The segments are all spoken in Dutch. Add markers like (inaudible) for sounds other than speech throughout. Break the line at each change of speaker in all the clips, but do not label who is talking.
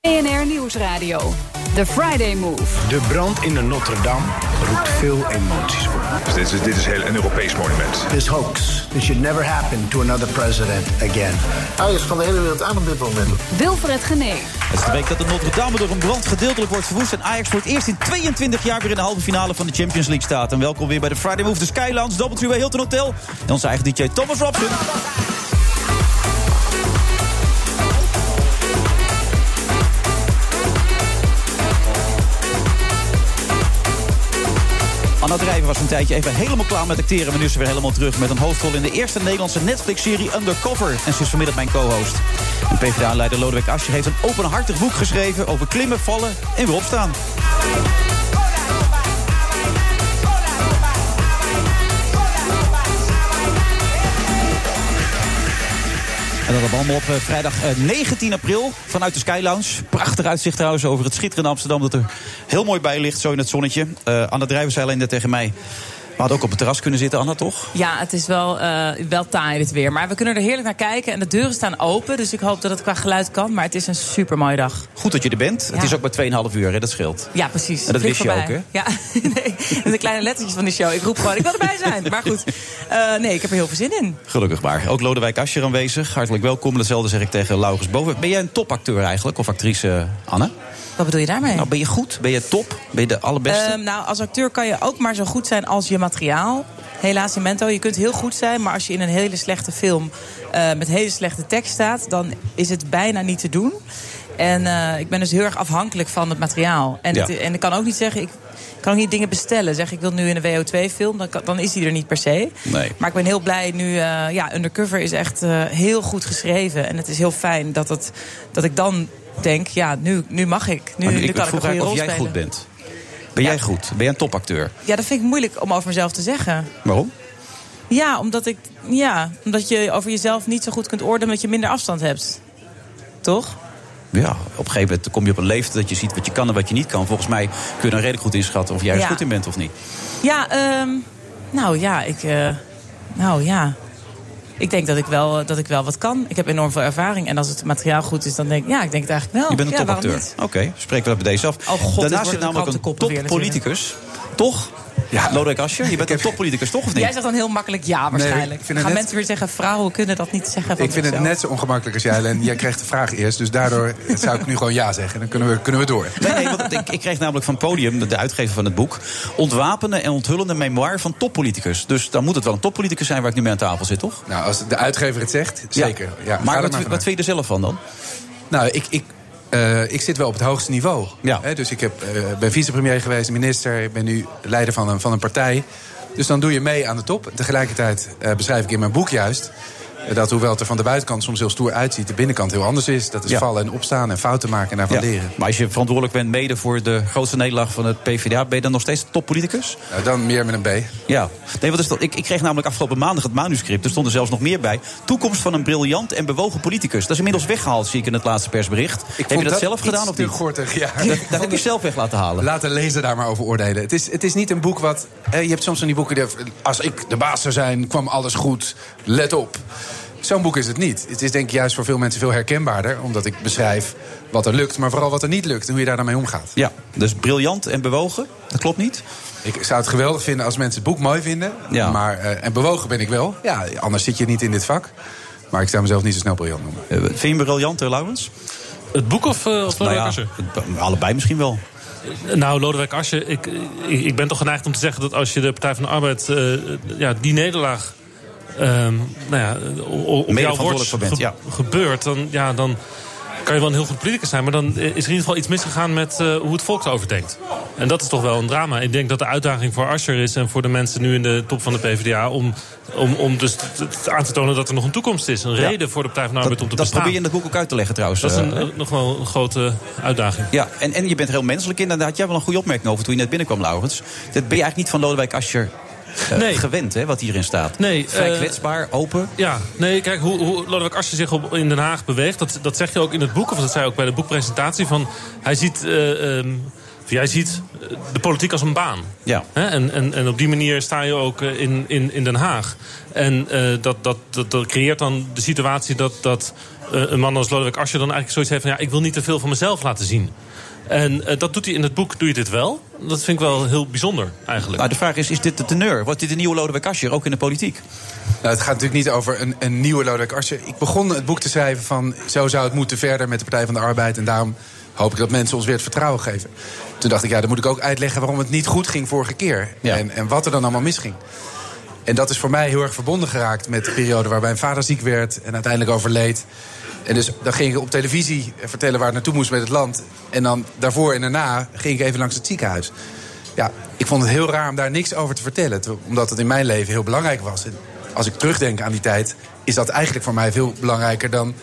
BNR Nieuwsradio. The Friday Move.
De brand in de Notre-Dame roept veel emoties op.
Dus dit, is, dit is heel een Europees monument.
This hoax, it should never happen to another president again.
Hij is van de hele wereld aan op dit moment.
Wilfred Gené.
Het is de week dat de Notre-Dame door een brand gedeeltelijk wordt verwoest... en Ajax voor het eerst in 22 jaar weer in de halve finale van de Champions League staat. En welkom weer bij de Friday Move, de Skylands, Doubletree bij E Hilton Hotel... en onze eigen DJ Thomas Robson. Anna Drijven was een tijdje even helemaal klaar met acteren... maar nu is ze weer helemaal terug met een hoofdrol in de eerste Nederlandse Netflix-serie Undercover. En ze is vanmiddag mijn co-host. De PvdA-leider Lodewijk Asscher heeft een openhartig boek geschreven... over klimmen, vallen en weer opstaan. En dat allemaal op eh, vrijdag eh, 19 april vanuit de Sky Lounge. Prachtig uitzicht trouwens over het schitterende Amsterdam... dat er heel mooi bij ligt, zo in het zonnetje. Eh Anna Drijven zei alleen net tegen mij... we hadden ook op het terras kunnen zitten, Anna, toch?
Ja, het is wel, eh, wel taai dit weer. Maar we kunnen er heerlijk naar kijken. En de deuren staan open. Dus ik hoop dat het qua geluid kan. Maar het is een super mooie dag.
Goed dat je er bent. Het
Ja.
is ook maar 2,5 uur, hè? dat scheelt.
Ja, precies.
En dat
Vlieg
wist je ook,
voorbij.
hè?
Ja, (laughs) nee. Met de kleine lettertjes van de show. Ik roep gewoon, ik wil erbij zijn. Maar goed, Eh, nee, ik heb er heel veel zin in.
Gelukkig maar. Ook Lodewijk Asscher aanwezig. Hartelijk welkom. Datzelfde zeg ik tegen Laurens Boven. Ben jij een topacteur eigenlijk, of actrice, Anne?
Wat bedoel je daarmee?
Nou, ben je goed? Ben je top? Ben je de allerbeste?
Ehm, nou, als acteur kan je ook maar zo goed zijn als je materiaal. Helaas in mento, je kunt heel goed zijn, maar als je in een hele slechte film eh, met hele slechte tekst staat, dan is het bijna niet te doen. En eh, ik ben dus heel erg afhankelijk van het materiaal. En,
Ja.
het- en ik kan ook niet zeggen, ik kan ook niet dingen bestellen. Zeg ik wil nu in een WO2-film, dan, kan- dan is die er niet per se.
Nee.
Maar ik ben heel blij nu, eh, ja, Undercover is echt eh, heel goed geschreven. En het is heel fijn dat, het, dat ik dan denk, ja, nu, nu mag ik. Nu,
Maar
nu
Ah, ik
kan ik een
vroeg
goede
eigenlijk
rol
of jij
spelen.
goed bent. Ben jij goed? Ben jij een topacteur?
Ja, dat vind ik moeilijk om over mezelf te zeggen.
Waarom?
Ja, omdat ik. Ja, omdat je over jezelf niet zo goed kunt oordelen omdat je minder afstand hebt. Toch?
Ja, op een gegeven moment kom je op een leeftijd dat je ziet wat je kan en wat je niet kan. Volgens mij kun je dan redelijk goed inschatten of jij er
Ja.
goed in bent of niet.
Ja, ehm, nou ja, ik. eh, nou ja. Ik denk dat ik, wel, eh, dat ik wel wat kan. Ik heb enorm veel ervaring. En als het materiaal goed is, dan denk ik, ja, ik denk het eigenlijk wel.
Je bent een
Oh, ja, waarom
topacteur.
niet?
Oké, spreken we dat bij deze af.
Oh god, dit
Daarnaast
worden de
zit namelijk een
krantenkoppen weer
toppoliticus. Toch? Ja. Lodewijk Asscher, je bent een toppoliticus, toch of niet?
Jij zegt dan heel makkelijk ja, waarschijnlijk.
ik vind het
Gaan
net-
mensen weer zeggen, vrouwen kunnen dat niet zeggen van
Ik vind het
zichzelf.
net zo ongemakkelijk als jij, en Jij kreeg de vraag eerst, dus daardoor zou ik nu gewoon ja zeggen. Dan kunnen we, kunnen we door.
Nee, nee, want ik, ik kreeg namelijk van Podium, de- de uitgever van het boek... ontwapenen en onthullende memoir van toppoliticus. Dus dan moet het wel een toppoliticus zijn waar ik nu mee aan tafel zit, toch?
Nou, als de uitgever het zegt, zeker. Ja. ga
maar
er
wat,
maar
wat
vanuit.
vind je er zelf van dan?
Nou, ik, ik, eh, ik zit wel op het hoogste niveau.
Ja.
Hè, dus ik heb, eh, ben vicepremier geweest, minister. Ik ben nu leider van een, van een partij. Dus dan doe je mee aan de top. Tegelijkertijd eh, beschrijf ik in mijn boek juist... eh, dat hoewel het er van de buitenkant soms heel stoer uitziet... de binnenkant heel anders is. Dat is
Ja.
vallen en opstaan en fouten maken en daarvan leren.
Maar als je verantwoordelijk bent mede voor de grootste nederlaag van het PvdA... ben je dan nog steeds toppoliticus?
Nou, dan meer met een B.
Ja. Nee, wat is dat? Ik, ik kreeg namelijk afgelopen maandag het manuscript. Er stond er zelfs nog meer bij. Toekomst van een briljant en bewogen politicus. Dat is inmiddels weggehaald, zie ik in het laatste persbericht. heb je
vond
dat, zelf
iets
gedaan of
te
niet?
gortig, ja.
Dat, dat heb je zelf weg laten halen.
Laat de lezer daar maar over oordelen. Het is, het is niet een boek wat. eh, je hebt soms van die boeken. die- Als ik de baas zou zijn, kwam alles goed. Let op. Zo'n boek is het niet. Het is denk ik juist voor veel mensen veel herkenbaarder. Omdat ik beschrijf wat er lukt, maar vooral wat er niet lukt. En hoe je daar dan mee omgaat.
Ja, dus briljant en bewogen. Dat klopt niet.
Ik zou het geweldig vinden als mensen het boek mooi vinden.
Ja.
Maar, eh, en bewogen ben ik wel. Ja, anders zit je niet in dit vak. Maar ik zou mezelf niet zo snel briljant noemen.
Eh, Vind je hem briljant, eh, Laurens?
Het boek of, eh of
Nou
Lodewijk
ja,
Asscher?
het- allebei misschien wel.
Nou, Lodewijk Asscher, ik, ik, ik ben toch geneigd om te zeggen... dat als je de Partij van de Arbeid, eh, ja, die nederlaag... ehm nou ja, o- o- op jouw
verantwoordelijk
worst
voor bent,
ge-
ja.
gebeurt... dan, ja, dan kan je wel een heel goed politicus zijn, maar dan is er in ieder geval iets misgegaan met eh, hoe het volk erover denkt. En dat is toch wel een drama. Ik denk dat de uitdaging voor Asscher is en voor de mensen nu in de top van de PvdA om, om, om dus t- t- aan te tonen dat er nog een toekomst is. Een
Ja.
reden voor de Partij van de
Dat,
Arbeid om te
dat
bestaan.
probeer je in dat boek ook uit te leggen trouwens.
Dat is een,
eh,
nog wel een grote uitdaging.
Ja, en, en je bent er heel menselijk in. En daar had jij wel een goede opmerking over toen je net binnenkwam, Laurens. Dat ben je eigenlijk niet van Lodewijk Asscher eh,
Nee.
gewend, hè, wat hierin staat.
Nee,
Vrij
eh,
kwetsbaar, open.
Ja, nee, kijk, hoe, hoe Lodewijk Asscher zich op, in Den Haag beweegt... Dat, dat zeg je ook in het boek, of dat zei je ook bij de boekpresentatie... van hij ziet, eh, ehm, of jij ziet eh, de politiek als een baan.
Ja.
Hè? En, en, en op die manier sta je ook eh, in, in, in Den Haag. En eh, dat, dat, dat, dat creëert dan de situatie dat, dat eh, een man als Lodewijk Asscher... dan eigenlijk zoiets heeft van, ja, ik wil niet te veel van mezelf laten zien. En eh, dat doet hij in het boek, doe je dit wel? Dat vind ik wel heel bijzonder, eigenlijk.
Nou, de vraag is, is dit de teneur? Wordt dit de nieuwe Lodewijk Asscher, ook in de politiek?
Nou, het gaat natuurlijk niet over een, een nieuwe Lodewijk Asscher. Ik begon het boek te schrijven van... zo zou het moeten verder met de Partij van de Arbeid... en daarom hoop ik dat mensen ons weer het vertrouwen geven. Toen dacht ik, ja, dan moet ik ook uitleggen... waarom het niet goed ging vorige keer.
Ja.
En, en wat er dan allemaal misging. En dat is voor mij heel erg verbonden geraakt met de periode... waar mijn vader ziek werd en uiteindelijk overleed. En dus dan ging ik op televisie vertellen waar het naartoe moest met het land. En dan daarvoor en daarna ging ik even langs het ziekenhuis. Ja, ik vond het heel raar om daar niks over te vertellen. te- Omdat het in mijn leven heel belangrijk was. En als ik terugdenk aan die tijd, is dat eigenlijk voor mij veel belangrijker dan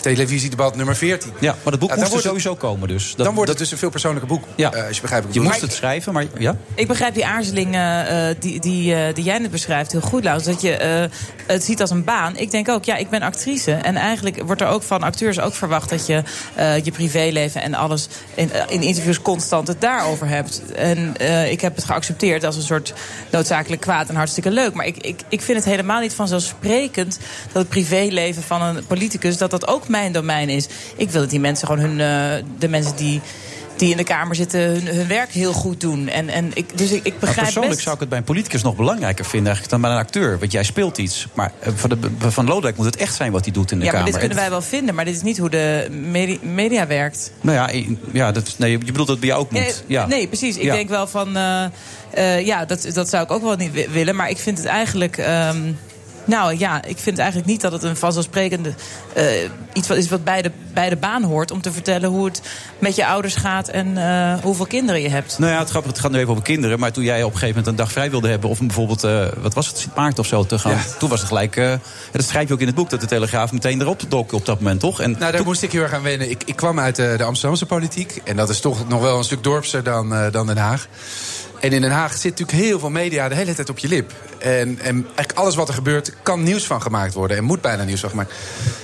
televisiedebat nummer 14.
Ja, maar dat boek
Ja, dan
moest er
wordt het-
sowieso komen dus. Dat-
dan wordt het
dat-
dus een veel persoonlijker boek.
Ja.
eh, als je begrijpt wat
Je
ik
moest
bedoel.
het schrijven, maar ja? Nou,
Ik begrijp die aarzeling eh, eh, die, die, eh, die jij net beschrijft heel goed, Laus. Dat je eh, het ziet als een baan. Ik denk ook, ja, ik ben actrice. En eigenlijk wordt er ook van acteurs ook verwacht dat je eh, je privéleven en alles in, eh, in interviews constant het daarover hebt. En eh, ik heb het geaccepteerd als een soort noodzakelijk kwaad en hartstikke leuk. Maar ik, ik, ik vind het helemaal niet vanzelfsprekend dat het privéleven van een politicus, dat dat ook mijn domein is. Ik wil dat die mensen gewoon hun, eh, de mensen die die in de Kamer zitten hun, hun werk heel goed doen. En, en ik, dus ik, ik
Maar
begrijp
persoonlijk
best...
zou ik het bij een politicus nog belangrijker vinden eigenlijk dan bij een acteur. Want jij speelt iets. Maar eh, van, de, van Lodewijk moet het echt zijn wat hij doet in de
ja, maar
Kamer.
dit kunnen
En-
wij wel vinden, maar dit is niet hoe de medi- media werkt.
Nou ja, in- ja dat, is- nee, je bedoelt dat het bij jou ook
Eh,
moet. Ja.
Nee, precies. Ik
Ja.
denk wel van, eh, eh, ja, dat, dat zou ik ook wel niet wi- willen. Maar ik vind het eigenlijk, ehm, nou ja, ik vind eigenlijk niet dat het een vanzelfsprekende eh, iets wat is wat bij de, bij de baan hoort om te vertellen hoe het met je ouders gaat en eh, hoeveel kinderen je hebt.
Nou ja, het grappige, het gaat nu even over kinderen. Maar toen jij op een gegeven moment een dag vrij wilde hebben... of bijvoorbeeld, eh, wat was het, Sint Maarten of zo te gaan... toen was het gelijk... eh, dat schrijf je ook in het boek dat de Telegraaf meteen erop dook op dat moment, toch? En
Nou, daar moest ik heel erg aan wennen. Ik, ik kwam uit eh, de Amsterdamse politiek. En dat is toch nog wel een stuk dorpser dan, eh, dan Den Haag. En in Den Haag zit natuurlijk heel veel media de hele tijd op je lip. En, en eigenlijk alles wat er gebeurt kan nieuws van gemaakt worden. En moet bijna nieuws van gemaakt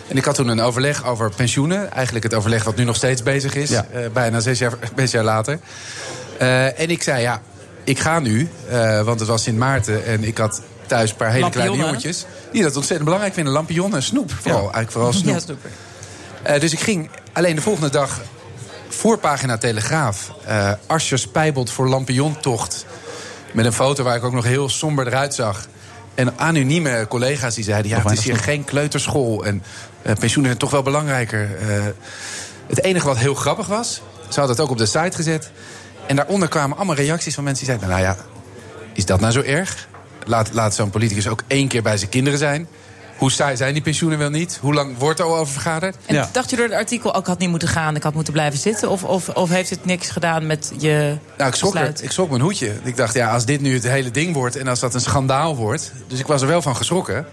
En ik had toen een overleg over pensioenen. Eigenlijk het overleg wat nu nog steeds bezig is.
Ja.
eh, bijna zes jaar, (laughs) zes jaar later. Eh, en ik zei, ja, ik ga nu. eh, want het was Sint Maarten en ik had thuis een paar hele kleine
Lampionnen.
jongetjes. Die dat ontzettend belangrijk vinden. Lampionnen en snoep. Vooral, Eigenlijk vooral
(laughs)
snoep.
Ja, snoeper.
Eh, dus ik ging alleen de volgende dag voorpagina Telegraaf. eh Asje spijbelt voor lampiontocht. Met een foto waar ik ook nog heel somber eruit zag. En anonieme collega's die zeiden... ja,
Nog
het is hier
weinig
geen kleuterschool. En eh, pensioenen zijn toch wel belangrijker. Eh, het enige wat heel grappig was... ze hadden het ook op de site gezet. En daaronder kwamen allemaal reacties van mensen die zeiden... nou ja, is dat nou zo erg? Laat, laat zo'n politicus ook één keer bij zijn kinderen zijn. Hoe saai zijn die pensioenen wel niet? Hoe lang wordt er al over vergaderd?
En
Ja.
dacht je door het artikel, oh, ik had niet moeten gaan, ik had moeten blijven zitten? Of, of, of heeft het niks gedaan met je
Nou, ik schrok, er,
besluit?
ik schrok mijn hoedje. Ik dacht, ja, als dit nu het hele ding wordt en als dat een schandaal wordt. Dus ik was er wel van geschrokken.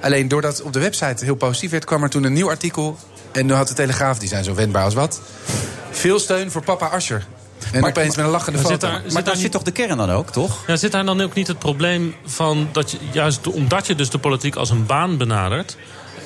Alleen doordat het op de website heel positief werd, kwam er toen een nieuw artikel. En toen had de Telegraaf, die zijn zo wendbaar als wat. Veel steun voor papa Ascher. En
Maar-
opeens met een lachende
Maar
foto.
zit daar-
maar
daar
daar zit
niet-
toch de kern dan ook, toch?
Ja, zit daar dan ook niet het probleem van dat je, juist omdat je dus de politiek als een baan benadert.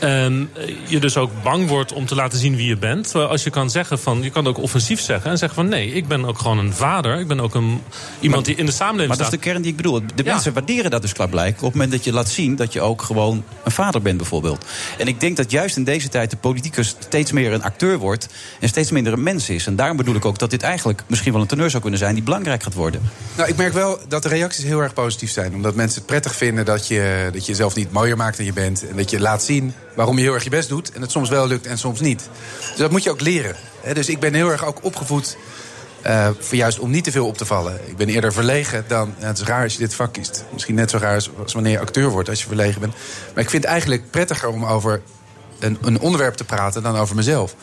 En je dus ook bang wordt om te laten zien wie je bent. Terwijl als je kan zeggen van, je kan het ook offensief zeggen en zeggen van nee, ik ben ook gewoon een vader. Ik ben ook een, iemand die in de samenleving
Maar dat is
staat.
de kern die ik bedoel. De
Ja.
mensen waarderen dat dus klaarblijkelijk... op het moment dat je laat zien dat je ook gewoon een vader bent bijvoorbeeld. En ik denk dat juist in deze tijd de politicus steeds meer een acteur wordt... en steeds minder een mens is. En daarom bedoel ik ook dat dit eigenlijk misschien wel een teneur zou kunnen zijn... die belangrijk gaat worden.
Nou, ik merk wel dat de reacties heel erg positief zijn. Omdat mensen het prettig vinden dat je, dat je jezelf niet mooier maakt dan je bent. En dat je laat zien waarom je heel erg je best doet. En het soms wel lukt en soms niet. Dus dat moet je ook leren. hè. Dus ik ben heel erg ook opgevoed. eh, voor juist om niet te veel op te vallen. Ik ben eerder verlegen dan. ja, het is raar als je dit vak kiest. Misschien net zo raar als, als wanneer je acteur wordt als je verlegen bent. Maar ik vind het eigenlijk prettiger om over een, een onderwerp te praten dan over mezelf.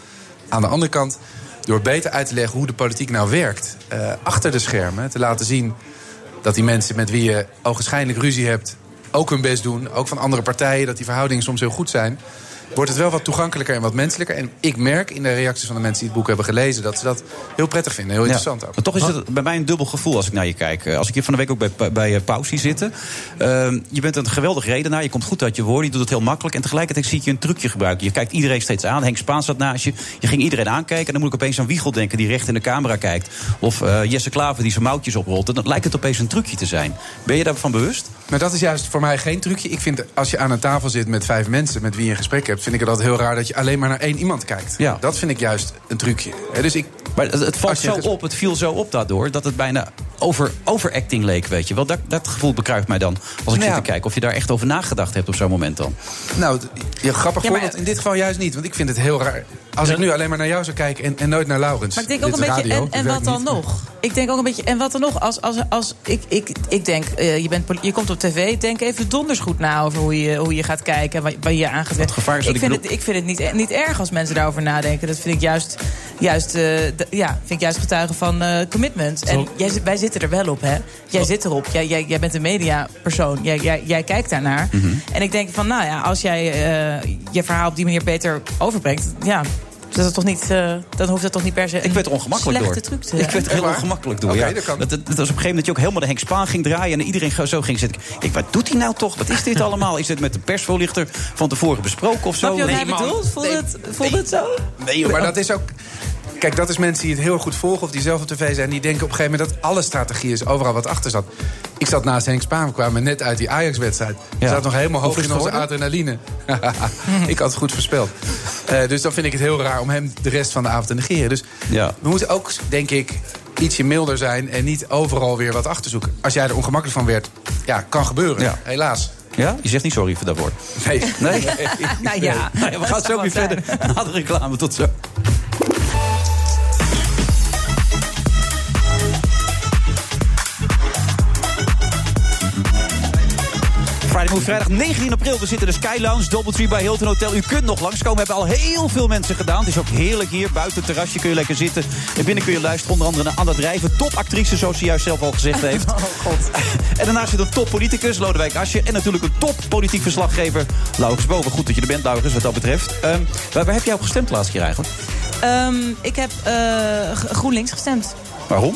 Aan de andere kant, door beter uit te leggen hoe de politiek nou werkt... eh, achter de schermen, te laten zien dat die mensen met wie je ogenschijnlijk ruzie hebt... ook hun best doen, ook van andere partijen, dat die verhoudingen soms heel goed zijn... wordt het wel wat toegankelijker en wat menselijker. En ik merk in de reacties van de mensen die het boek hebben gelezen... dat ze dat heel prettig vinden, heel
Ja.
interessant ook.
Maar toch is het bij mij een dubbel gevoel als ik naar je kijk. Eh, Als ik hier van de week ook bij, Pa- bij eh, Pauw zie zitten. Ehm, je bent een geweldig redenaar. Je komt goed uit je woorden. Je doet het heel makkelijk. En tegelijkertijd zie ik je een trucje gebruiken. Je kijkt iedereen steeds aan. Henk Spaan zat naast je. Je ging iedereen aankijken. En dan moet ik opeens aan Wiegel denken die recht in de camera kijkt. Of eh, Jesse Klaver die zijn mouwtjes oprolt. En dan lijkt het opeens een trucje te zijn. Ben je daarvan bewust?
Maar dat is juist voor mij geen trucje. Ik vind als je aan een tafel zit met vijf mensen met wie je een gesprek hebt, vind ik het altijd heel raar dat je alleen maar naar één iemand kijkt.
Ja.
Dat vind ik juist een trucje. Hè, Dus ik,
Maar het, het valt
Als je
zo
ges-
op, het viel zo op daardoor... dat het bijna over, overacting leek, weet je wel. Dat, dat gevoel bekruipt mij dan, als ik
Nou Ja.
zit te kijken... of je daar echt over nagedacht hebt op zo'n moment dan.
nou, d- ja, grappig
Ja, maar-
voorbeeld. In dit geval juist niet, want ik vind het heel raar. Als ik nu alleen maar naar jou zou kijken en, en nooit naar Laurens.
Maar ik denk ook
Dit
een
is
beetje,
radio,
en,
dat
en wat
werkt
dan
niet.
nog? Ik denk ook een beetje, en wat dan nog? Als, als, als, ik, ik, ik denk, eh, je, bent, poli- je komt op tv, denk even donders goed na over hoe je, hoe je gaat kijken en wat, wat je aangeeft. Het
gevaar is
ik,
dat ik
vind het,
bedoel-
ik vind het niet, niet erg als mensen daarover nadenken. Dat vind ik juist, juist, eh, d- ja, vind ik juist getuigen van eh, commitment. En
Zo-
jij, zit- wij zitten er wel op, hè? Jij zit erop. Jij, jij, jij bent een mediapersoon. Jij, jij, jij kijkt daarnaar. En ik denk van, nou ja, als jij eh, je verhaal op die manier beter overbrengt, ja. Dat het toch niet, eh, dan hoeft dat toch niet per se
Ik werd er ongemakkelijk door.
slechte truc te
ik werd er heel
Echt waar?
ongemakkelijk door,
Oké,
ja.
dat kan.
Dat, dat- dat was op een gegeven moment dat je ook helemaal de Henk Spaan ging draaien... en iedereen ga- zo ging zitten. Ik denk, wat doet hij nou toch? Wat
(laughs)
is dit allemaal? Is dit met de persvoorlichter van tevoren besproken of zo?
Snap je wat
Nee,
hij
man.
bedoelt? Voelde, het, voelde het zo?
Nee, joh.
Maar dat is ook. Kijk, dat is mensen die het heel goed volgen of die zelf op tv zijn. Die denken op een gegeven moment dat alle strategie is, overal wat achter zat. Ik zat naast Henk Spaan, we kwamen net uit die Ajax-wedstrijd.
Ja.
We zat nog helemaal hoog
Hoeveel is
in
het
onze adrenaline. (laughs) ik had het goed voorspeld. Eh, dus dan vind ik het heel raar om hem de rest van de avond te negeren. Dus
Ja.
we moeten ook, denk ik, ietsje milder zijn en niet overal weer wat achterzoeken. Als jij er ongemakkelijk van werd, ja, kan gebeuren.
Ja.
Helaas.
Ja? Je zegt niet sorry voor dat woord. (laughs)
Nee. (laughs)
Nee?
Nou ja.
Nou ja, we gaan zo weer verder. Na de reclame, tot zo. Friday Move, vrijdag 19 april. We zitten in de Sky Lounge, Doubletree bij Hilton Hotel. U kunt nog langskomen. We hebben al heel veel mensen gedaan. Het is ook heerlijk hier. Buiten het terrasje kun je lekker zitten. En binnen kun je luisteren onder andere naar Anna Drijven. Topactrice, zoals ze juist zelf al
(laughs)
gezegd (laughs) heeft. Oh god. En daarnaast zit een toppoliticus, Lodewijk Asscher. En natuurlijk een toppolitiek verslaggever, Laurens Boven. Goed dat je er bent, Laurens, wat dat betreft. Ehm, waar, waar heb jij op gestemd laatst keer eigenlijk?
Ehm, ik heb eh, G- GroenLinks gestemd.
Waarom?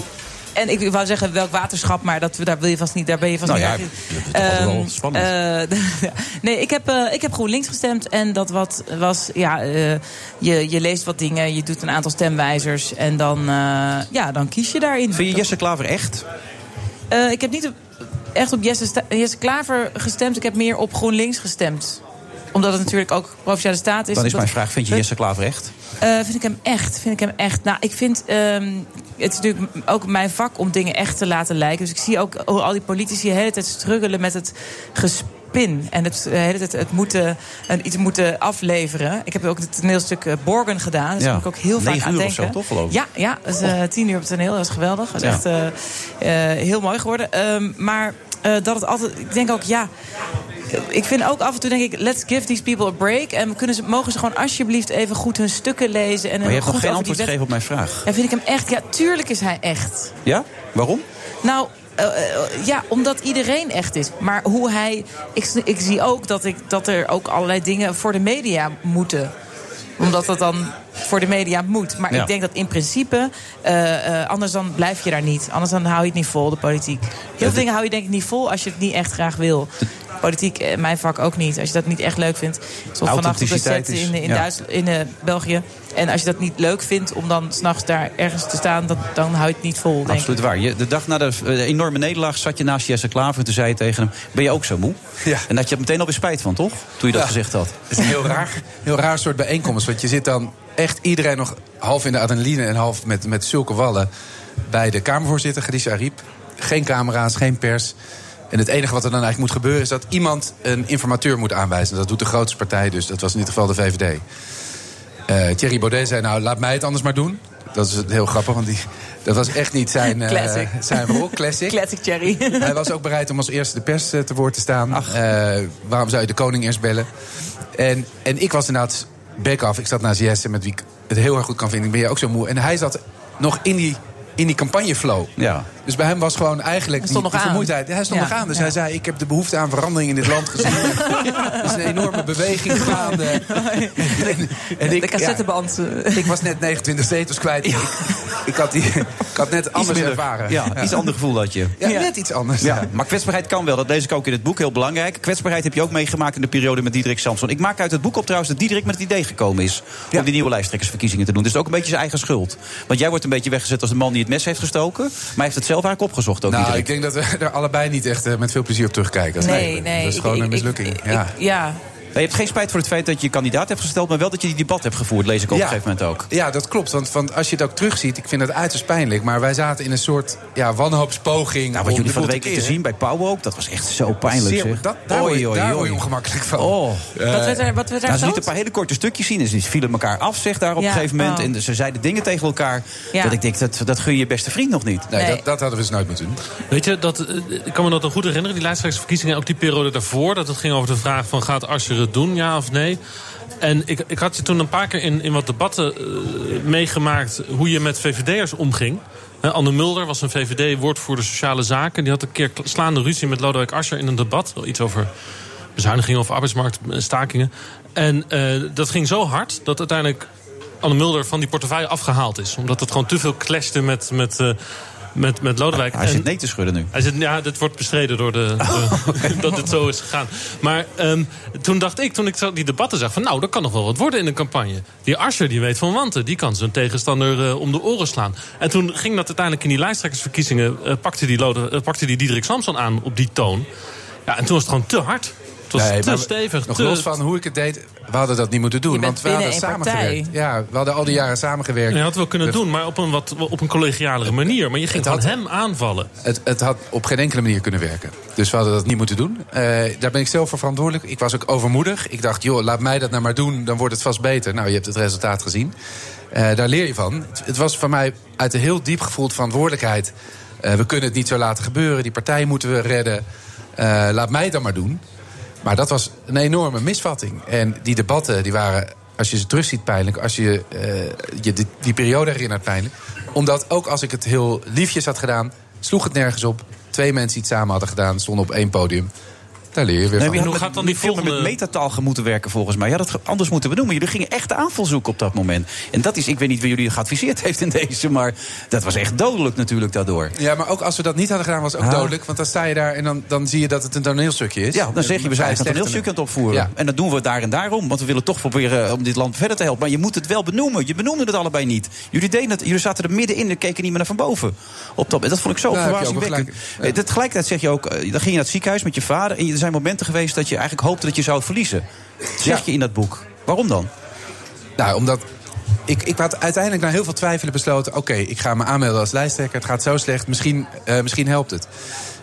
En ik wou zeggen welk waterschap, maar dat, daar, wil je vast niet, daar ben je vast niet
Nou ja, dat is toch altijd wel
Ehm,
spannend.
eh, (laughs) nee, ik heb, eh, ik heb GroenLinks gestemd. En dat wat was, ja, eh, je, je leest wat dingen, je doet een aantal stemwijzers. En dan, eh, ja, dan kies je daarin.
Vind je Jesse Klaver echt?
Eh, ik heb niet op- echt op Jesse, Sta- Jesse Klaver gestemd. Ik heb meer op GroenLinks gestemd. Omdat het natuurlijk ook Provinciale Staat is.
Dan is
Omdat-
mijn vraag, vind je Jesse Klaver echt?
Eh, vind ik hem echt. Vind ik hem echt. Nou, ik vind. ehm, het is natuurlijk m- ook mijn vak om dingen echt te laten lijken. Dus ik zie ook hoe al die politici de hele tijd struggelen met het gespin. En het, eh, de hele tijd het moeten, en iets moeten afleveren. Ik heb ook het toneelstuk eh, Borgen gedaan. Dus
Ja.
daar moet ik ook heel vaak
Negen
aan
uur of
denken.
zo, toch, geloof ik?
Ja, ja dat is, eh, tien uur op het toneel. Dat is geweldig. Dat is
Oh. Ja.
echt eh, eh, heel mooi geworden. Ehm, maar eh, dat het altijd... Ik denk ook, ja... Ik vind ook af en toe, denk ik, let's give these people a break. En we kunnen ze, mogen ze gewoon alsjeblieft even goed hun stukken lezen. En
Maar je
goed
hebt nog geen
over die
antwoord gegeven op mijn vraag.
wet- Ja, vind ik hem echt. Ja, tuurlijk is hij echt.
Ja? Waarom?
Nou, eh, eh, ja, omdat iedereen echt is. Maar hoe hij... Ik, s- ik zie ook dat, ik, dat er ook allerlei dingen voor de media moeten. Omdat dat dan voor de media moet. Maar
Ja.
ik denk dat in principe... eh, eh, anders dan blijf je daar niet. Anders dan hou je het niet vol, de politiek. Heel veel dingen hou je denk ik niet vol als je het niet echt graag wil. Politiek, eh, mijn vak ook niet. Als je dat niet echt leuk vindt. Zoals vannacht op de
Authenticiteit
set in,
is-
in,
ja.
Duits- in eh, België. En als je dat niet leuk vindt om dan s'nachts daar ergens te staan... Dat, dan hou je het niet vol, denk ik.
Absoluut waar. Je, de dag na de eh, enorme nederlaag zat je naast Jesse Klaver... en toen zei je tegen hem, ben je ook zo moe?
Ja.
En dat je er meteen alweer spijt van, toch? Toen je dat
Ja.
gezegd had.
Het is een heel raar, heel raar soort bijeenkomst. Want je zit dan echt iedereen nog half in de adrenaline en half met, met zulke wallen. Bij de Kamervoorzitter, Khadija Ariep. Geen camera's, geen pers. En het enige wat er dan eigenlijk moet gebeuren is dat iemand een informateur moet aanwijzen. Dat doet de grootste partij dus. Dat was in dit geval de VVD. Eh, Thierry Baudet zei, nou, laat mij het anders maar doen. Dat is heel grappig, want die, dat was echt niet zijn, eh,
Classic.
zijn rol. Classic.
Classic Cherry.
Hij was ook bereid om als eerste de pers eh, te woord te staan. Eh, waarom zou je de koning eerst bellen? En, en ik was inderdaad back af. Ik zat naast Jesse, met wie ik het heel erg goed kan vinden. Ik ben je ook zo moe. En hij zat nog in die, in die campagneflow.
Ja.
Dus bij hem was gewoon eigenlijk
Hij stond
die,
nog
die
aan.
vermoeidheid. Hij stond
Ja,
nog aan. Dus
ja.
hij zei, ik heb de behoefte aan verandering in dit land gezien. Er is
(laughs)
een enorme beweging gaande.
(laughs)
En, en
de cassetteband. eh,
ja, ik was net 29 zetels kwijt. Ik, ik, had die, ik had net
Iets
anders
minder.
ervaren.
Ja,
Ja.
iets ander gevoel dat je.
Ja,
Ja.
net iets anders.
Ja. Maar kwetsbaarheid kan wel. Dat lees ik ook in het boek. Heel belangrijk. Kwetsbaarheid heb je ook meegemaakt in de periode met Diederik Samson. Ik maak uit het boek op trouwens dat Diederik met het idee gekomen is... om
Ja.
die nieuwe lijsttrekkersverkiezingen te doen. Dus het is ook een beetje zijn eigen schuld. Want jij wordt een beetje weggezet als de man die het mes heeft gestoken. Maar hij heeft het zelf eigenlijk opgezocht ook,
Nou,
Diederik.
ik denk dat we er allebei niet echt eh, met veel plezier op terugkijken.
Nee, nee.
Dat is
ik-
gewoon
ik-
een
ik-
mislukking.
ik-
ja.
(laughs) ja,
Je hebt geen spijt voor het feit dat je je kandidaat hebt gesteld... maar wel dat je die debat hebt gevoerd, lees ik op een gegeven moment ook.
Ja, dat klopt. Want, want als je het ook terugziet, ik vind dat uiterst pijnlijk. Maar wij zaten in een soort ja, wanhoopspoging.
Nou, wat
om
jullie van de
boel
week te
keren.
zien bij Pauw ook, dat was echt zo pijnlijk,
Zeer-
zeg.
dat- daar word je-
Oei, oei,
daar word je
oei.
ongemakkelijk van.
Oh.
wat werd er, wat werd er
Nou, ze
groot?
lieten een paar hele korte stukjes zien. En ze vielen elkaar af, zeg daar op
Ja,
een gegeven moment.
oh.
En ze zeiden dingen tegen elkaar.
Ja.
Dat ik denk, dat, dat gun je je beste vriend nog niet.
Nee,
Nee.
Dat, dat hadden we dus nooit moeten doen.
Weet je, dat, eh, ik kan me dat nog goed herinneren. Die lijsttrekkersverkiezingen, ook die periode daarvoor. Dat het ging over de vraag van gaat Asscher het doen, ja of nee. En ik, ik had je toen een paar keer in, in wat debatten eh, meegemaakt... hoe je met VVD'ers omging. Hè, Anne Mulder was een VVD-woordvoerder sociale zaken. Die had een keer kla- slaande ruzie met Lodewijk Asscher in een debat. Iets over bezuinigingen of arbeidsmarktstakingen. En eh, dat ging zo hard dat uiteindelijk Anne Mulder van die portefeuille afgehaald is. Omdat het gewoon te veel clashte met, met, eh, met, met Lodewijk.
Hij
En-
zit nee te schudden nu. Oh,
hij zegt, ja, dit wordt bestreden door de, de- (laughs) dat dit zo is gegaan. Maar ehm, toen dacht ik, toen ik zo die debatten zag... van nou, dat kan nog wel wat worden in een campagne. Die Asscher, die weet van wanten. Die kan zijn tegenstander eh, om de oren slaan. En toen ging dat uiteindelijk in die lijsttrekkersverkiezingen... eh, pakte, die Lode, eh, pakte die Diederik Samson aan op die toon. Ja, en toen was het gewoon te hard. Het was
Nee,
te
maar
stevig.
Nog
te-
los van hoe ik het deed, we hadden dat niet moeten doen.
Je bent
want we hadden
binnen één partij.
samengewerkt. Ja, we hadden al die jaren samengewerkt.
Je had het wel kunnen
Het-
doen, maar op een, wat, op een collegialere manier. Maar je ging
Het
gewoon
had-
hem aanvallen.
Het, het had op geen enkele manier kunnen werken. Dus we hadden dat niet moeten doen. Eh, daar ben ik zelf voor verantwoordelijk. Ik was ook overmoedig. Ik dacht, joh, laat mij dat nou maar doen, dan wordt het vast beter. Nou, je hebt het resultaat gezien. Eh, daar leer je van. Het, het was van mij uit een heel diep gevoeld verantwoordelijkheid. Eh, we kunnen het niet zo laten gebeuren. Die partij moeten we redden. Eh, laat mij dat maar doen. Maar dat was een enorme misvatting. En die debatten die waren, als je ze terugziet, pijnlijk. Als je eh, je die, die periode herinnert, pijnlijk. Omdat ook als ik het heel liefjes had gedaan, sloeg het nergens op. Twee mensen die het samen hadden gedaan, stonden op één podium. Daar leer je weer
Nee,
van.
maar je
hoe
had
gaat dan die
veel meer
volgende-
met metataal ge- moeten werken volgens mij. Ja, dat ge- anders moeten we doen. Maar jullie gingen echt de aanval zoeken op dat moment. En dat is, ik weet niet wie jullie geadviseerd (laughs) heeft in deze... maar dat was echt dodelijk natuurlijk daardoor.
Ja, maar ook als we dat niet hadden gedaan, was het ook
Ah.
dodelijk. Want dan sta je daar en dan, dan zie je dat het een toneelstukje is.
Ja, dan zeg je, we
Met
zijn
vijf
een toneelstuk aan
slechtenen.
het opvoeren.
Ja.
En dat doen we daar en daarom. Want we willen toch proberen eh, om dit land verder te helpen. Maar je moet het wel benoemen. Je benoemde het allebei niet. Jullie, deden het, jullie zaten er middenin en keken niet meer naar van boven. Op dat, dat vond ik zo
Daar heb je ook wel
verbazingwekkend.
gelijk. Ja.
Eh, dat- Tegelijkertijd zeg je ook, eh, dan ging je naar het ziekenhuis met je vader... en er zijn momenten geweest dat je eigenlijk hoopte dat je zou het verliezen. Dat zeg
Ja.
je in dat boek. Waarom dan?
Nou, omdat ik, ik had uiteindelijk na heel veel twijfelen besloten... oké, ik ga me aanmelden als lijsttrekker, het gaat zo slecht, misschien, eh, misschien helpt het.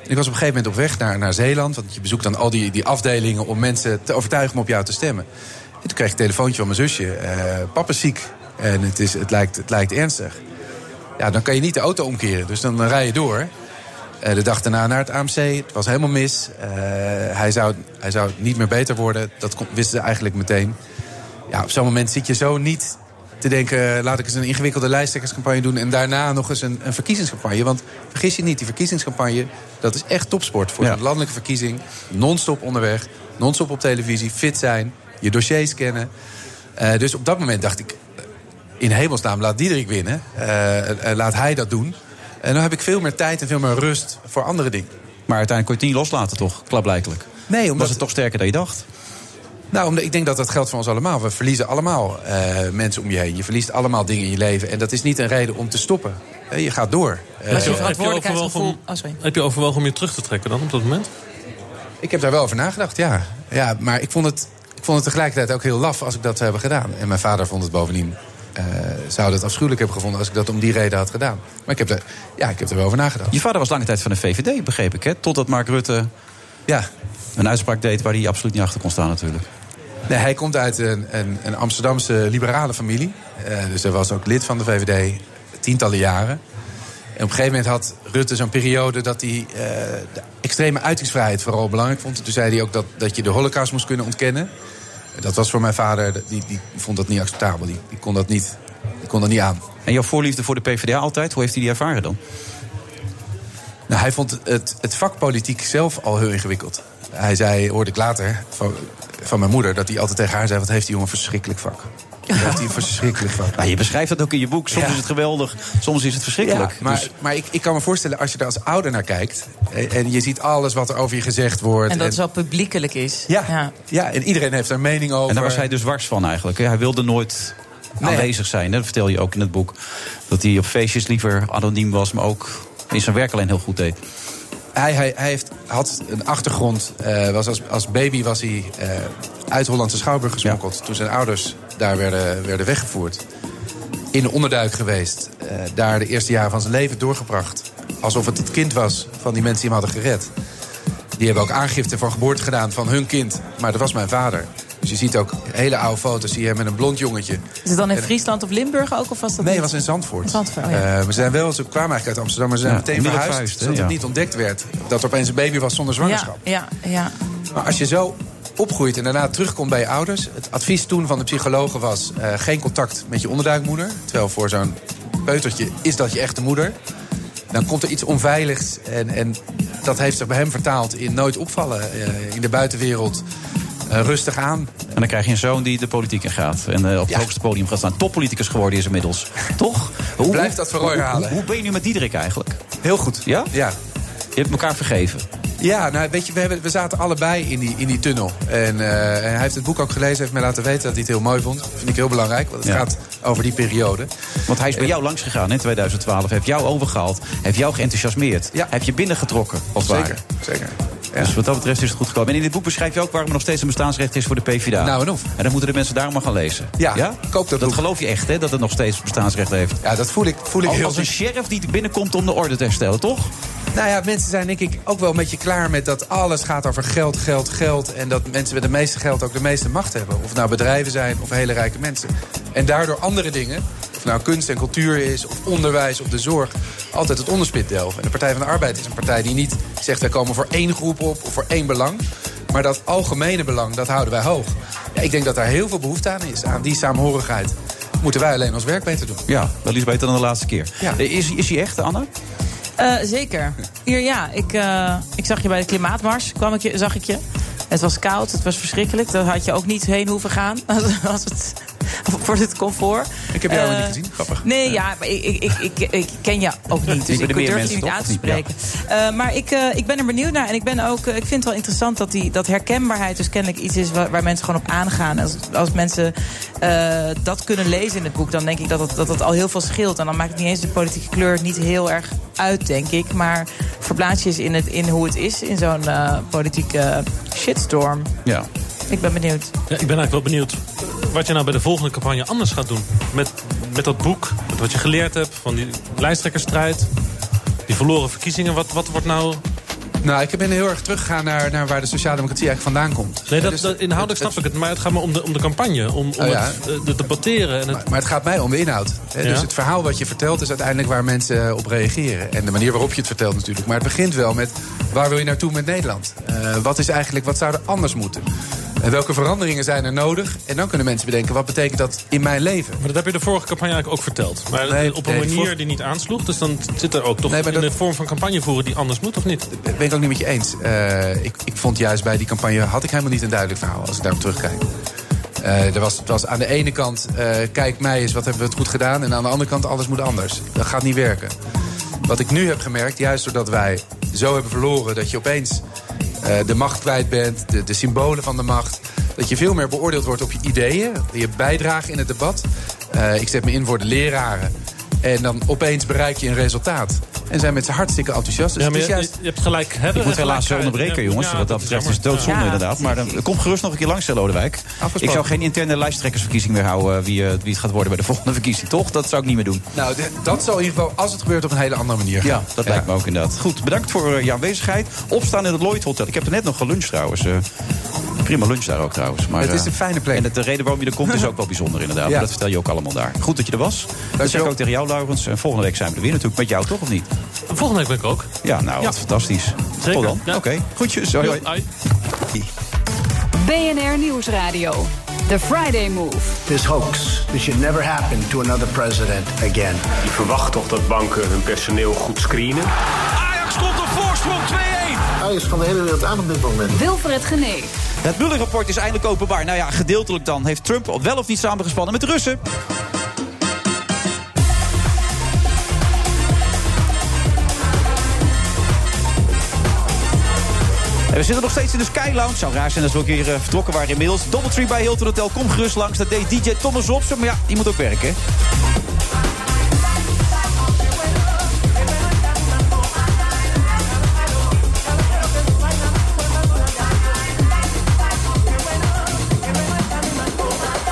En ik was op een gegeven moment op weg naar, naar Zeeland... want je bezoekt dan al die, die afdelingen om mensen te overtuigen om op jou te stemmen. En toen kreeg ik een telefoontje van mijn zusje. eh, papa is ziek en het, is, het, lijkt, het lijkt ernstig. Ja, dan kan je niet de auto omkeren, dus dan, dan rij je door... Eh, de dag daarna naar het AMC. Het was helemaal mis. Eh, hij, zou, hij zou niet meer beter worden. Dat kon- wisten ze eigenlijk meteen ja, op zo'n moment zit je zo niet te denken... laat ik eens een ingewikkelde lijsttrekkerscampagne doen... en daarna nog eens een, een verkiezingscampagne. Want vergis je niet, die verkiezingscampagne... dat is echt topsport voor
Ja.
een landelijke verkiezing. Non-stop onderweg, non-stop op televisie, fit zijn... je dossiers kennen. Eh, dus op dat moment dacht ik... eh, in hemelsnaam, laat Diederik winnen. Eh, eh, laat hij dat doen. En dan heb ik veel meer tijd en veel meer rust voor andere dingen.
Maar uiteindelijk kon je het niet loslaten toch, klaarblijkelijk.
Nee,
Was het toch sterker dan je dacht?
Nou, omdat ik denk dat dat geldt voor ons allemaal. We verliezen allemaal eh, mensen om je heen. Je verliest allemaal dingen in je leven. En dat is niet een reden om te stoppen. Eh, je gaat door. Eh,
Maar zo'n
Heb je
verantwoordelijkheidsgevoel...
overwogen
Oh, sorry.
Heb je overwogen om je terug te trekken dan op dat moment?
ik heb daar wel over nagedacht, ja. ja maar ik vond, het, ik vond het tegelijkertijd ook heel laf als ik dat zou hebben gedaan. En mijn vader vond het bovendien... eh, zou dat afschuwelijk hebben gevonden als ik dat om die reden had gedaan. Maar ik heb er, ja, ik heb er wel over nagedacht.
Je vader was lange tijd van de VVD, begreep ik. Hè? Totdat Mark Rutte
Ja.
een uitspraak deed waar hij absoluut niet achter kon staan natuurlijk.
Nee, hij komt uit een, een, een Amsterdamse liberale familie. Eh, dus hij was ook lid van de VVD tientallen jaren. En op een gegeven moment had Rutte zo'n periode dat hij eh, de extreme uitingsvrijheid vooral belangrijk vond. Toen zei hij ook dat, dat je de holocaust moest kunnen ontkennen. Dat was voor mijn vader, die, die vond dat niet acceptabel. Die, die kon dat niet Ik kon er niet aan.
En jouw voorliefde voor de PvdA altijd, hoe heeft hij die ervaren dan?
Nou, hij vond het, het vak politiek zelf al heel ingewikkeld. Hij zei, hoorde ik later van, van mijn moeder, dat hij altijd tegen haar zei: Wat heeft die jongen verschrikkelijk vak? Wat heeft hij een verschrikkelijk vak?
Nou, je beschrijft dat ook in je boek. Soms
Ja.
is het geweldig, soms is het verschrikkelijk.
Ja, maar
Dus-
maar ik, ik kan me voorstellen, als je er als ouder naar kijkt... en, en je ziet alles wat er over je gezegd wordt...
En dat het zo publiekelijk is.
ja, ja. en iedereen heeft daar mening over.
en daar was hij dus wars van eigenlijk. hè? Hij wilde nooit
Nee.
aanwezig zijn. hè? Dat vertel je ook in het boek. Dat hij op feestjes liever anoniem was, maar ook in zijn werk alleen heel goed deed.
Hij, hij, hij heeft, had een achtergrond. eh, was als, als baby was hij eh, uit Hollandse Schouwburg gesmokkeld. Toen zijn ouders daar werden, werden weggevoerd. In de onderduik geweest. eh, daar de eerste jaren van zijn leven doorgebracht. Alsof het het kind was van die mensen die hem hadden gered. Die hebben ook aangifte van geboorte gedaan van hun kind. Maar dat was mijn vader. Dus je ziet ook hele oude foto's. Zie je hem met een blond jongetje.
Is het dan in Friesland of Limburg ook? Of was dat
Nee,
niet?
het was in Zandvoort.
Zandvoort, oh ja.
Eh, we zijn wel, ze kwamen eigenlijk uit Amsterdam, maar ze zijn
Ja,
meteen
onmiddellijk
verhuisd.
verhuisd, hè,
zodat het
ja.
niet ontdekt werd dat er opeens een baby was zonder zwangerschap.
Ja, ja, ja.
Maar als je zo opgroeit en daarna terugkomt bij je ouders... het advies toen van de psychologen was... eh, geen contact met je onderduikmoeder. Terwijl voor zo'n peutertje is dat je echte moeder. Dan komt er iets onveiligs. En, en dat heeft zich bij hem vertaald in nooit opvallen eh, in de buitenwereld. eh, rustig aan.
En dan krijg je een zoon die de politiek in gaat. En eh, op het
Ja.
hoogste podium gaat staan. Toppoliticus geworden is inmiddels. Toch? Hoe
Blijf dat voor
hoe-
Roy
hoe-
herhalen.
Hoe, hoe ben je nu met Diederik eigenlijk?
Heel goed.
Ja?
Ja.
Je hebt elkaar vergeven.
Ja, nou weet je, we, hebben, we zaten allebei in die, in die tunnel. En, eh, en hij heeft het boek ook gelezen, heeft mij laten weten dat hij het heel mooi vond. Dat vind ik heel belangrijk, want het
Ja.
gaat over die periode.
Want hij is bij jou langs gegaan in 2012. Heeft jou overgehaald. Heeft jou geenthousiasmeerd.
Ja.
Heeft je binnengetrokken. Als het
Zeker,
ware.
zeker.
Dus wat dat betreft is het goed gekomen. En in dit boek beschrijf je ook waarom er nog steeds een bestaansrecht is voor de PvdA.
Nou, en of.
En dan moeten de mensen daarom maar gaan lezen.
Ja, koop dat
Dat
boek.
geloof je echt, hè? Dat het nog steeds bestaansrecht heeft.
Ja, dat voel ik, voel ik
Als,
heel
als een
diep.
sheriff die binnenkomt om de orde te herstellen, toch?
Nou ja, mensen zijn denk ik ook wel een beetje klaar met dat alles gaat over geld, geld, geld. En dat mensen met de meeste geld ook de meeste macht hebben. Of het nou bedrijven zijn of hele rijke mensen. En daardoor andere dingen, of nou kunst en cultuur is, of onderwijs of de zorg, altijd het onderspit delven. En de Partij van de Arbeid is een partij die niet zegt wij komen voor één groep op of voor één belang. Maar dat algemene belang, dat houden wij hoog. Ja, ik denk dat daar heel veel behoefte aan is, aan die saamhorigheid. Moeten wij alleen ons werk beter doen.
Ja, dat is beter dan de laatste keer.
Ja.
Eh, Is, is hij echt, Anne?
Eh, zeker. Hier, ja, ik, eh, ik zag je bij de klimaatmars, kwam ik je, zag ik je. Het was koud, het was verschrikkelijk. Daar had je ook niet heen hoeven gaan (laughs) als, als het, voor dit comfort.
Ik heb jou
Eh,
helemaal niet gezien, grappig.
Nee, ja, maar ik, ik, ik, ik, ik ken jou ook niet. Dus
bij de
ik
meer
durf je
mensen,
niet
toch?
aan te
Of niet? Ja.
spreken. Eh, maar ik, eh, ik ben er benieuwd naar. En ik, ben ook, eh, ik vind het wel interessant dat, die, dat herkenbaarheid dus kennelijk iets is waar, waar mensen gewoon op aangaan. Als, als mensen eh, dat kunnen lezen in het boek, dan denk ik dat het, dat het al heel veel scheelt. En dan maakt het niet eens de politieke kleur niet heel erg uit, denk ik. Maar verplaats je eens in, het, in hoe het is in zo'n eh, politieke shitstorm.
Ja.
Ik ben benieuwd.
Ja, ik ben eigenlijk wel benieuwd wat je nou bij de volgende campagne anders gaat doen. Met, met dat boek, met wat je geleerd hebt van die lijsttrekkersstrijd, die verloren verkiezingen. Wat, wat wordt nou.
Nou, ik ben heel erg teruggegaan naar, naar waar de sociaaldemocratie eigenlijk vandaan komt.
Nee, dat,
Dus
dat- inhoudelijk snap ik het, maar het gaat maar om de, om de campagne. Om, om
Oh ja.
het eh, te debatteren. En het,
Maar het gaat mij om de inhoud. hè.
Ja.
Dus het verhaal wat je vertelt is uiteindelijk waar mensen eh, op reageren. En de manier waarop je het vertelt natuurlijk. Maar het begint wel met waar wil je naartoe met Nederland? Eh, wat is eigenlijk, wat zou er anders moeten? En welke veranderingen zijn er nodig? En dan kunnen mensen bedenken, wat betekent dat in mijn leven?
maar dat heb je de vorige campagne eigenlijk ook verteld. Maar
Nee,
op een
nee, die
manier
vorige-
die niet aansloeg. Dus dan zit er ook toch
Nee, maar
in
dat- Dus
de vorm van campagne voeren die anders moet, of niet?
Ik ben het ook niet met je eens. Eh, ik, ik vond juist bij die campagne had ik helemaal niet een duidelijk verhaal als ik daarop terugkijk. Eh, er was, het was aan de ene kant, eh, kijk mij eens, wat hebben we het goed gedaan. En aan de andere kant, alles moet anders. Dat gaat niet werken. Wat ik nu heb gemerkt, juist doordat wij zo hebben verloren... dat je opeens eh, de macht kwijt bent, de, de symbolen van de macht... dat je veel meer beoordeeld wordt op je ideeën, je bijdrage in het debat. Eh, ik zet me in voor de leraren. En dan opeens bereik je een resultaat. En zijn mensen hartstikke enthousiast. Dus
ja, maar
het
je,
is juist...
je hebt gelijk hebben.
Ik moet
en gelijk
helaas zo
krijgen.
onderbreken,
Ja,
jongens.
ja,
wat dat
is
betreft is
jammer.
het doodzonde,
Ja.
inderdaad. Maar dan, kom gerust nog een keer langs, hè, Lodewijk. Ik zou geen interne lijsttrekkersverkiezing meer houden... Wie, eh, wie het gaat worden bij de (laughs) volgende verkiezing, toch? Dat zou ik niet meer doen.
Nou, d- dat zal in ieder geval, als het gebeurt, op een hele andere manier gaan.
Ja, dat lijkt me ook inderdaad. Goed, bedankt voor eh, je aanwezigheid. Opstaan in het Lloyd Hotel. Ik heb er net nog geluncht trouwens. eh. prima lunch daar ook trouwens. Maar,
Het is
eh,
een fijne plek.
En het, de reden waarom je er komt is
(laughs)
ook wel bijzonder inderdaad.
Ja.
Maar dat vertel je ook allemaal daar. Goed dat je er was. Dat zeg ik
Dankjewel.
ook tegen jou, Laurens. En volgende week zijn we er weer natuurlijk. Met jou toch, of niet?
Volgende week ben ik ook.
Ja, nou, wat fantastisch.
Zeker,
Tot dan.
ja.
Oké, goedjes. Hoi, hoi.
Hoi.
BNR Nieuwsradio. The Friday Move.
This hoax, this should never happen to another president again.
Je verwacht toch dat banken hun personeel goed screenen?
Ajax komt op voorsprong 2-1. Ajax kan de hele wereld aan op dit moment.
Wilfred Genee.
Het Mueller-rapport is eindelijk openbaar. Nou ja, gedeeltelijk dan heeft Trump op wel of niet samengespannen met de Russen. En we zitten nog steeds in de Sky Lounge. Zou raar zijn als we ook weer eh, vertrokken waren inmiddels. Doubletree bij Hilton Hotel. Kom gerust langs. Dat deed DJ Thomas Robson. Maar ja, die moet ook werken. hè.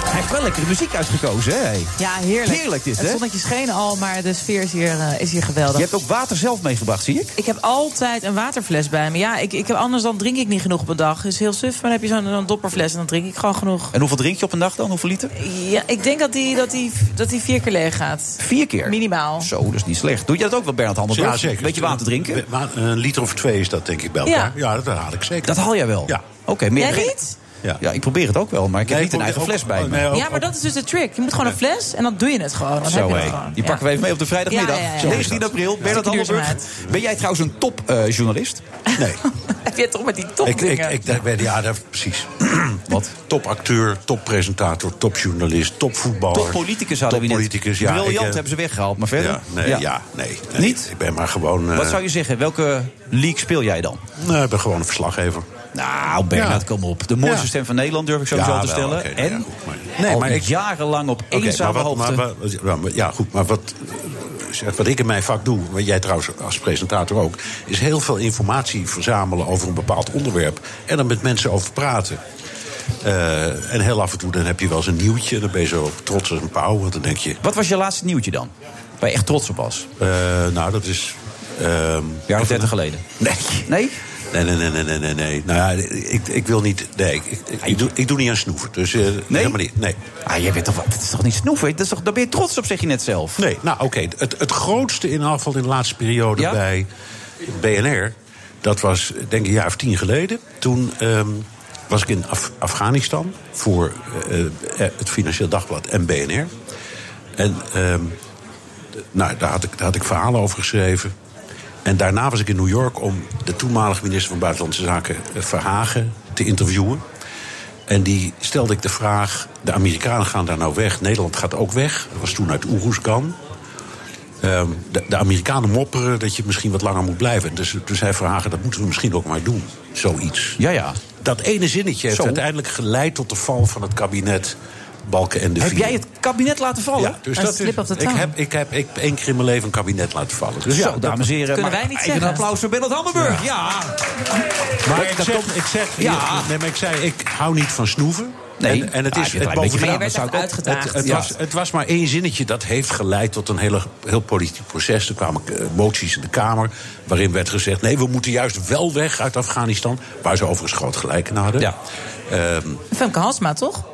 Hij heeft wel lekkere muziek uitgekozen, hè? hey.
Ja, heerlijk.
Heerlijk dit,
Het
hè?
zonnetje scheen al, maar de sfeer is hier, eh, is hier geweldig.
Je hebt ook water zelf meegebracht, zie ik.
Ik heb altijd een waterfles bij me. Ja, ik, ik heb, anders dan drink ik niet genoeg op een dag. Dus heel suf, maar dan heb je zo'n zo'n dopperfles en dan drink ik gewoon genoeg.
En hoeveel drink je op een dag dan? Hoeveel liter?
Ja, ik denk dat die, dat die, dat die vier keer leeg gaat.
Vier keer?
Minimaal.
Zo, dat is niet slecht. Doe je dat ook wel, Bernard Handel?
Ja, zeker.
Beetje water drinken?
Maar een liter of twee is dat denk ik bij elkaar. Ja, dat haal ik zeker.
Dat haal jij wel?
Ja.
Oké, meer
Jij
drink-
niet?
Ja.
Ja, ik probeer het ook wel, maar ik heb
Nee,
niet een
ik
eigen
ook-
fles bij
oh,
me.
nee, ook-
Ja, maar dat is dus de trick. Je moet gewoon een fles en dan doe je het gewoon. Dan heb
Zo,
je het
hé.
gewoon.
Die
Ja.
pakken we even mee op de vrijdagmiddag.
Ja, ja, ja, ja.
19 april, Bernard
Stukje
Handelburg.
duurzaamheid.
Ben jij trouwens een eh, topjournalist?
Nee,
(laughs) Heb je het toch met die
ik, ik,
topdingen?
ik, ik ben ja, dat,
(clears throat)
precies.
Wat?
Topacteur, toppresentator, topjournalist, topvoetballer.
Toppoliticus hadden we net.
Oh, Toppoliticus, ja.
Briljant
ik, eh,
hebben ze weggehaald, maar verder?
Ja, nee, ja. nee, nee.
Niet?
Ik ben maar gewoon... eh,
Wat zou je zeggen? Welke league speel jij dan?
Nee, ik ben gewoon een verslaggever.
Nou, Bernard,
Ja.
kom op. De mooiste
Ja.
stem van Nederland, durf ik sowieso
Ja,
te
wel,
stellen.
oké, nou ja,
en
goed, maar-
nee,
Nee,
maar
maar ik-
jarenlang op
Oké,
eenzame
maar wat-
hoogte.
maar wat- ja, maar- ja, goed, maar wat, zeg, wat ik in mijn vak doe, wat jij trouwens als presentator ook, is heel veel informatie verzamelen over een bepaald onderwerp en dan met mensen over praten. Eh, en heel af en toe dan heb je wel eens een nieuwtje en dan ben je zo trots als een pauw, want dan denk je,
Wat was je laatste nieuwtje dan? Waar je echt trots op was? Een
eh, nou dat is. ehm,
jaar of dertig geleden.
Nee.
Nee?
Nee, nee, nee, nee, nee, nee, nee. Nou ja, ik, ik wil niet. Nee, ik, ik, ik doe, ik doe niet aan snoeven. Dus eh, helemaal niet. Nee.
Ah, jij bent toch, wat- dat is toch niet snoeven? Dat is toch, daar ben je trots op, zeg je net zelf.
Nee, nou oké. Het, het grootste inafval in de laatste periode
Ja?
bij BNR... dat was denk ik een jaar of tien geleden. Toen ehm, was ik in Af- Afghanistan voor eh, eh, het Financieel Dagblad en BNR. En ehm, d- nou, daar, had ik, daar had ik verhalen over geschreven. En daarna was ik in New York om de toenmalige minister van Buitenlandse Zaken eh, Verhagen te interviewen. En die stelde ik de vraag: de Amerikanen gaan daar nou weg, Nederland gaat ook weg. Dat was toen uit Oeroeskan. Ehm, de, de Amerikanen mopperen dat je misschien wat langer moet blijven. En Dus, dus hij vragen, dat moeten we misschien ook maar doen, zoiets.
Ja, ja.
Dat ene zinnetje heeft
Zo.
uiteindelijk geleid tot de val van het kabinet Balken en de
Heb jij het kabinet laten vallen?
Ja, dus
Een
dat
slip
is,
of the
ik,
tongue.
heb, ik heb ik heb één keer in mijn leven een kabinet laten vallen. Dus ja,
Zo,
dat- Ah,
dames en heren.
kunnen
maar
wij niet
even
zeggen.
een applaus voor Bernard Hammelburg. Ja.
Maar
Dat-
ik
dat
zeg,
komt-
ik zeg
Ja.
nee, maar ik zei, ik hou niet van snoeven.
Nee.
en, en het
Ah,
is
je hebt
het
wel een beetje
bovendien.
Maar je werd
dat zou
echt
ik ook-
uitgedaagd.
Het,
Ja.
was, het was maar één zinnetje dat heeft geleid tot een hele, heel politiek proces. Er kwamen eh, moties in de Kamer waarin werd gezegd... nee, we moeten juist wel weg uit Afghanistan. Waar ze overigens groot gelijk in hadden. Ehm,
Ja.
Femke Halsma, toch?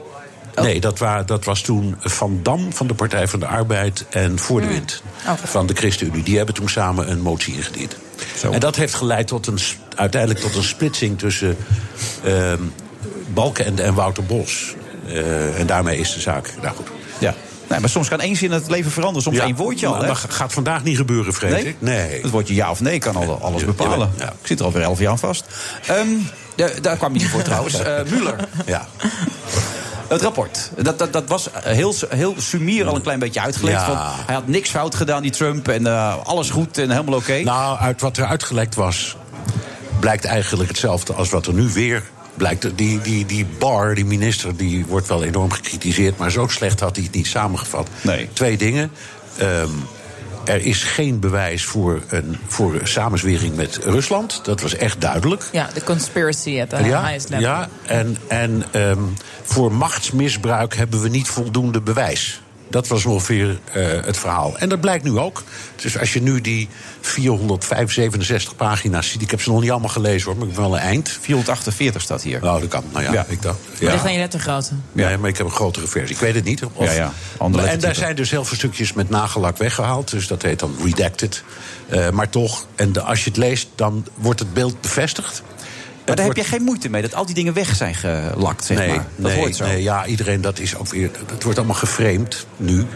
Oh.
Nee, dat, wa- dat was toen Van Dam van de Partij van de Arbeid... en Voor de
Hmm.
Wind
Oh.
Oké.
van de ChristenUnie. Die hebben toen samen een motie ingediend. En dat heeft geleid tot een, s- uiteindelijk tot een splitsing tussen... ehm Balkenende en Wouter Bos. Eh, en daarmee is de zaak... Nou goed.
ja. Nee, maar soms kan één zin het leven veranderen. Soms
Ja,
één woordje al.
maar-
hè?
maar gaat vandaag niet gebeuren, vrees
Nee?
ik. Nee.
Het woordje ja of nee kan al, alles bepalen.
jawel, ja.
Ik zit er alweer elf jaar aan vast. Ehm, ja, daar kwam je niet
(laughs)
voor trouwens. Eh Muller,
Ja.
het rapport. Dat, dat, dat was eh, heel, su- heel sumier al een klein beetje uitgelegd.
Ja.
Want hij had niks fout gedaan, die Trump. En eh, alles goed en helemaal oké.
Nou, uit wat er uitgelekt was, blijkt eigenlijk hetzelfde als wat er nu weer blijkt. Die, die, die bar, die minister, die wordt wel enorm gekritiseerd, maar zo slecht had hij het niet samengevat.
Nee.
Twee dingen. Ehm, er is geen bewijs voor een, voor een samenzwering met Rusland. Dat was echt duidelijk.
Ja, de conspiracy at the highest level.
Ja, en, en ehm, voor machtsmisbruik hebben we niet voldoende bewijs. Dat was ongeveer eh, het verhaal. En dat blijkt nu ook. Dus als je nu die 467 pagina's ziet... ik heb ze nog niet allemaal gelezen, hoor, maar ik ben wel een eind.
448 staat hier.
Nou, dat kan. Nou ja,
Ja.
ik dacht...
Ja.
Ja.
Ligt aan je lettergrootte.
Ja, maar ik heb een grotere versie. Ik weet het niet. Of,
Ja, ja. Andere
en daar
lettertype.
zijn dus heel veel stukjes met nagelak weggehaald. Dus dat heet dan redacted. Eh, maar toch, en de- als je het leest, dan wordt het beeld bevestigd.
Maar daar
wordt-
heb je geen moeite mee, dat al die dingen weg zijn gelakt, zeg
nee,
maar. Dat
nee,
hoort zo.
Nee, ja, iedereen, dat is ook weer. Het wordt allemaal geframed nu.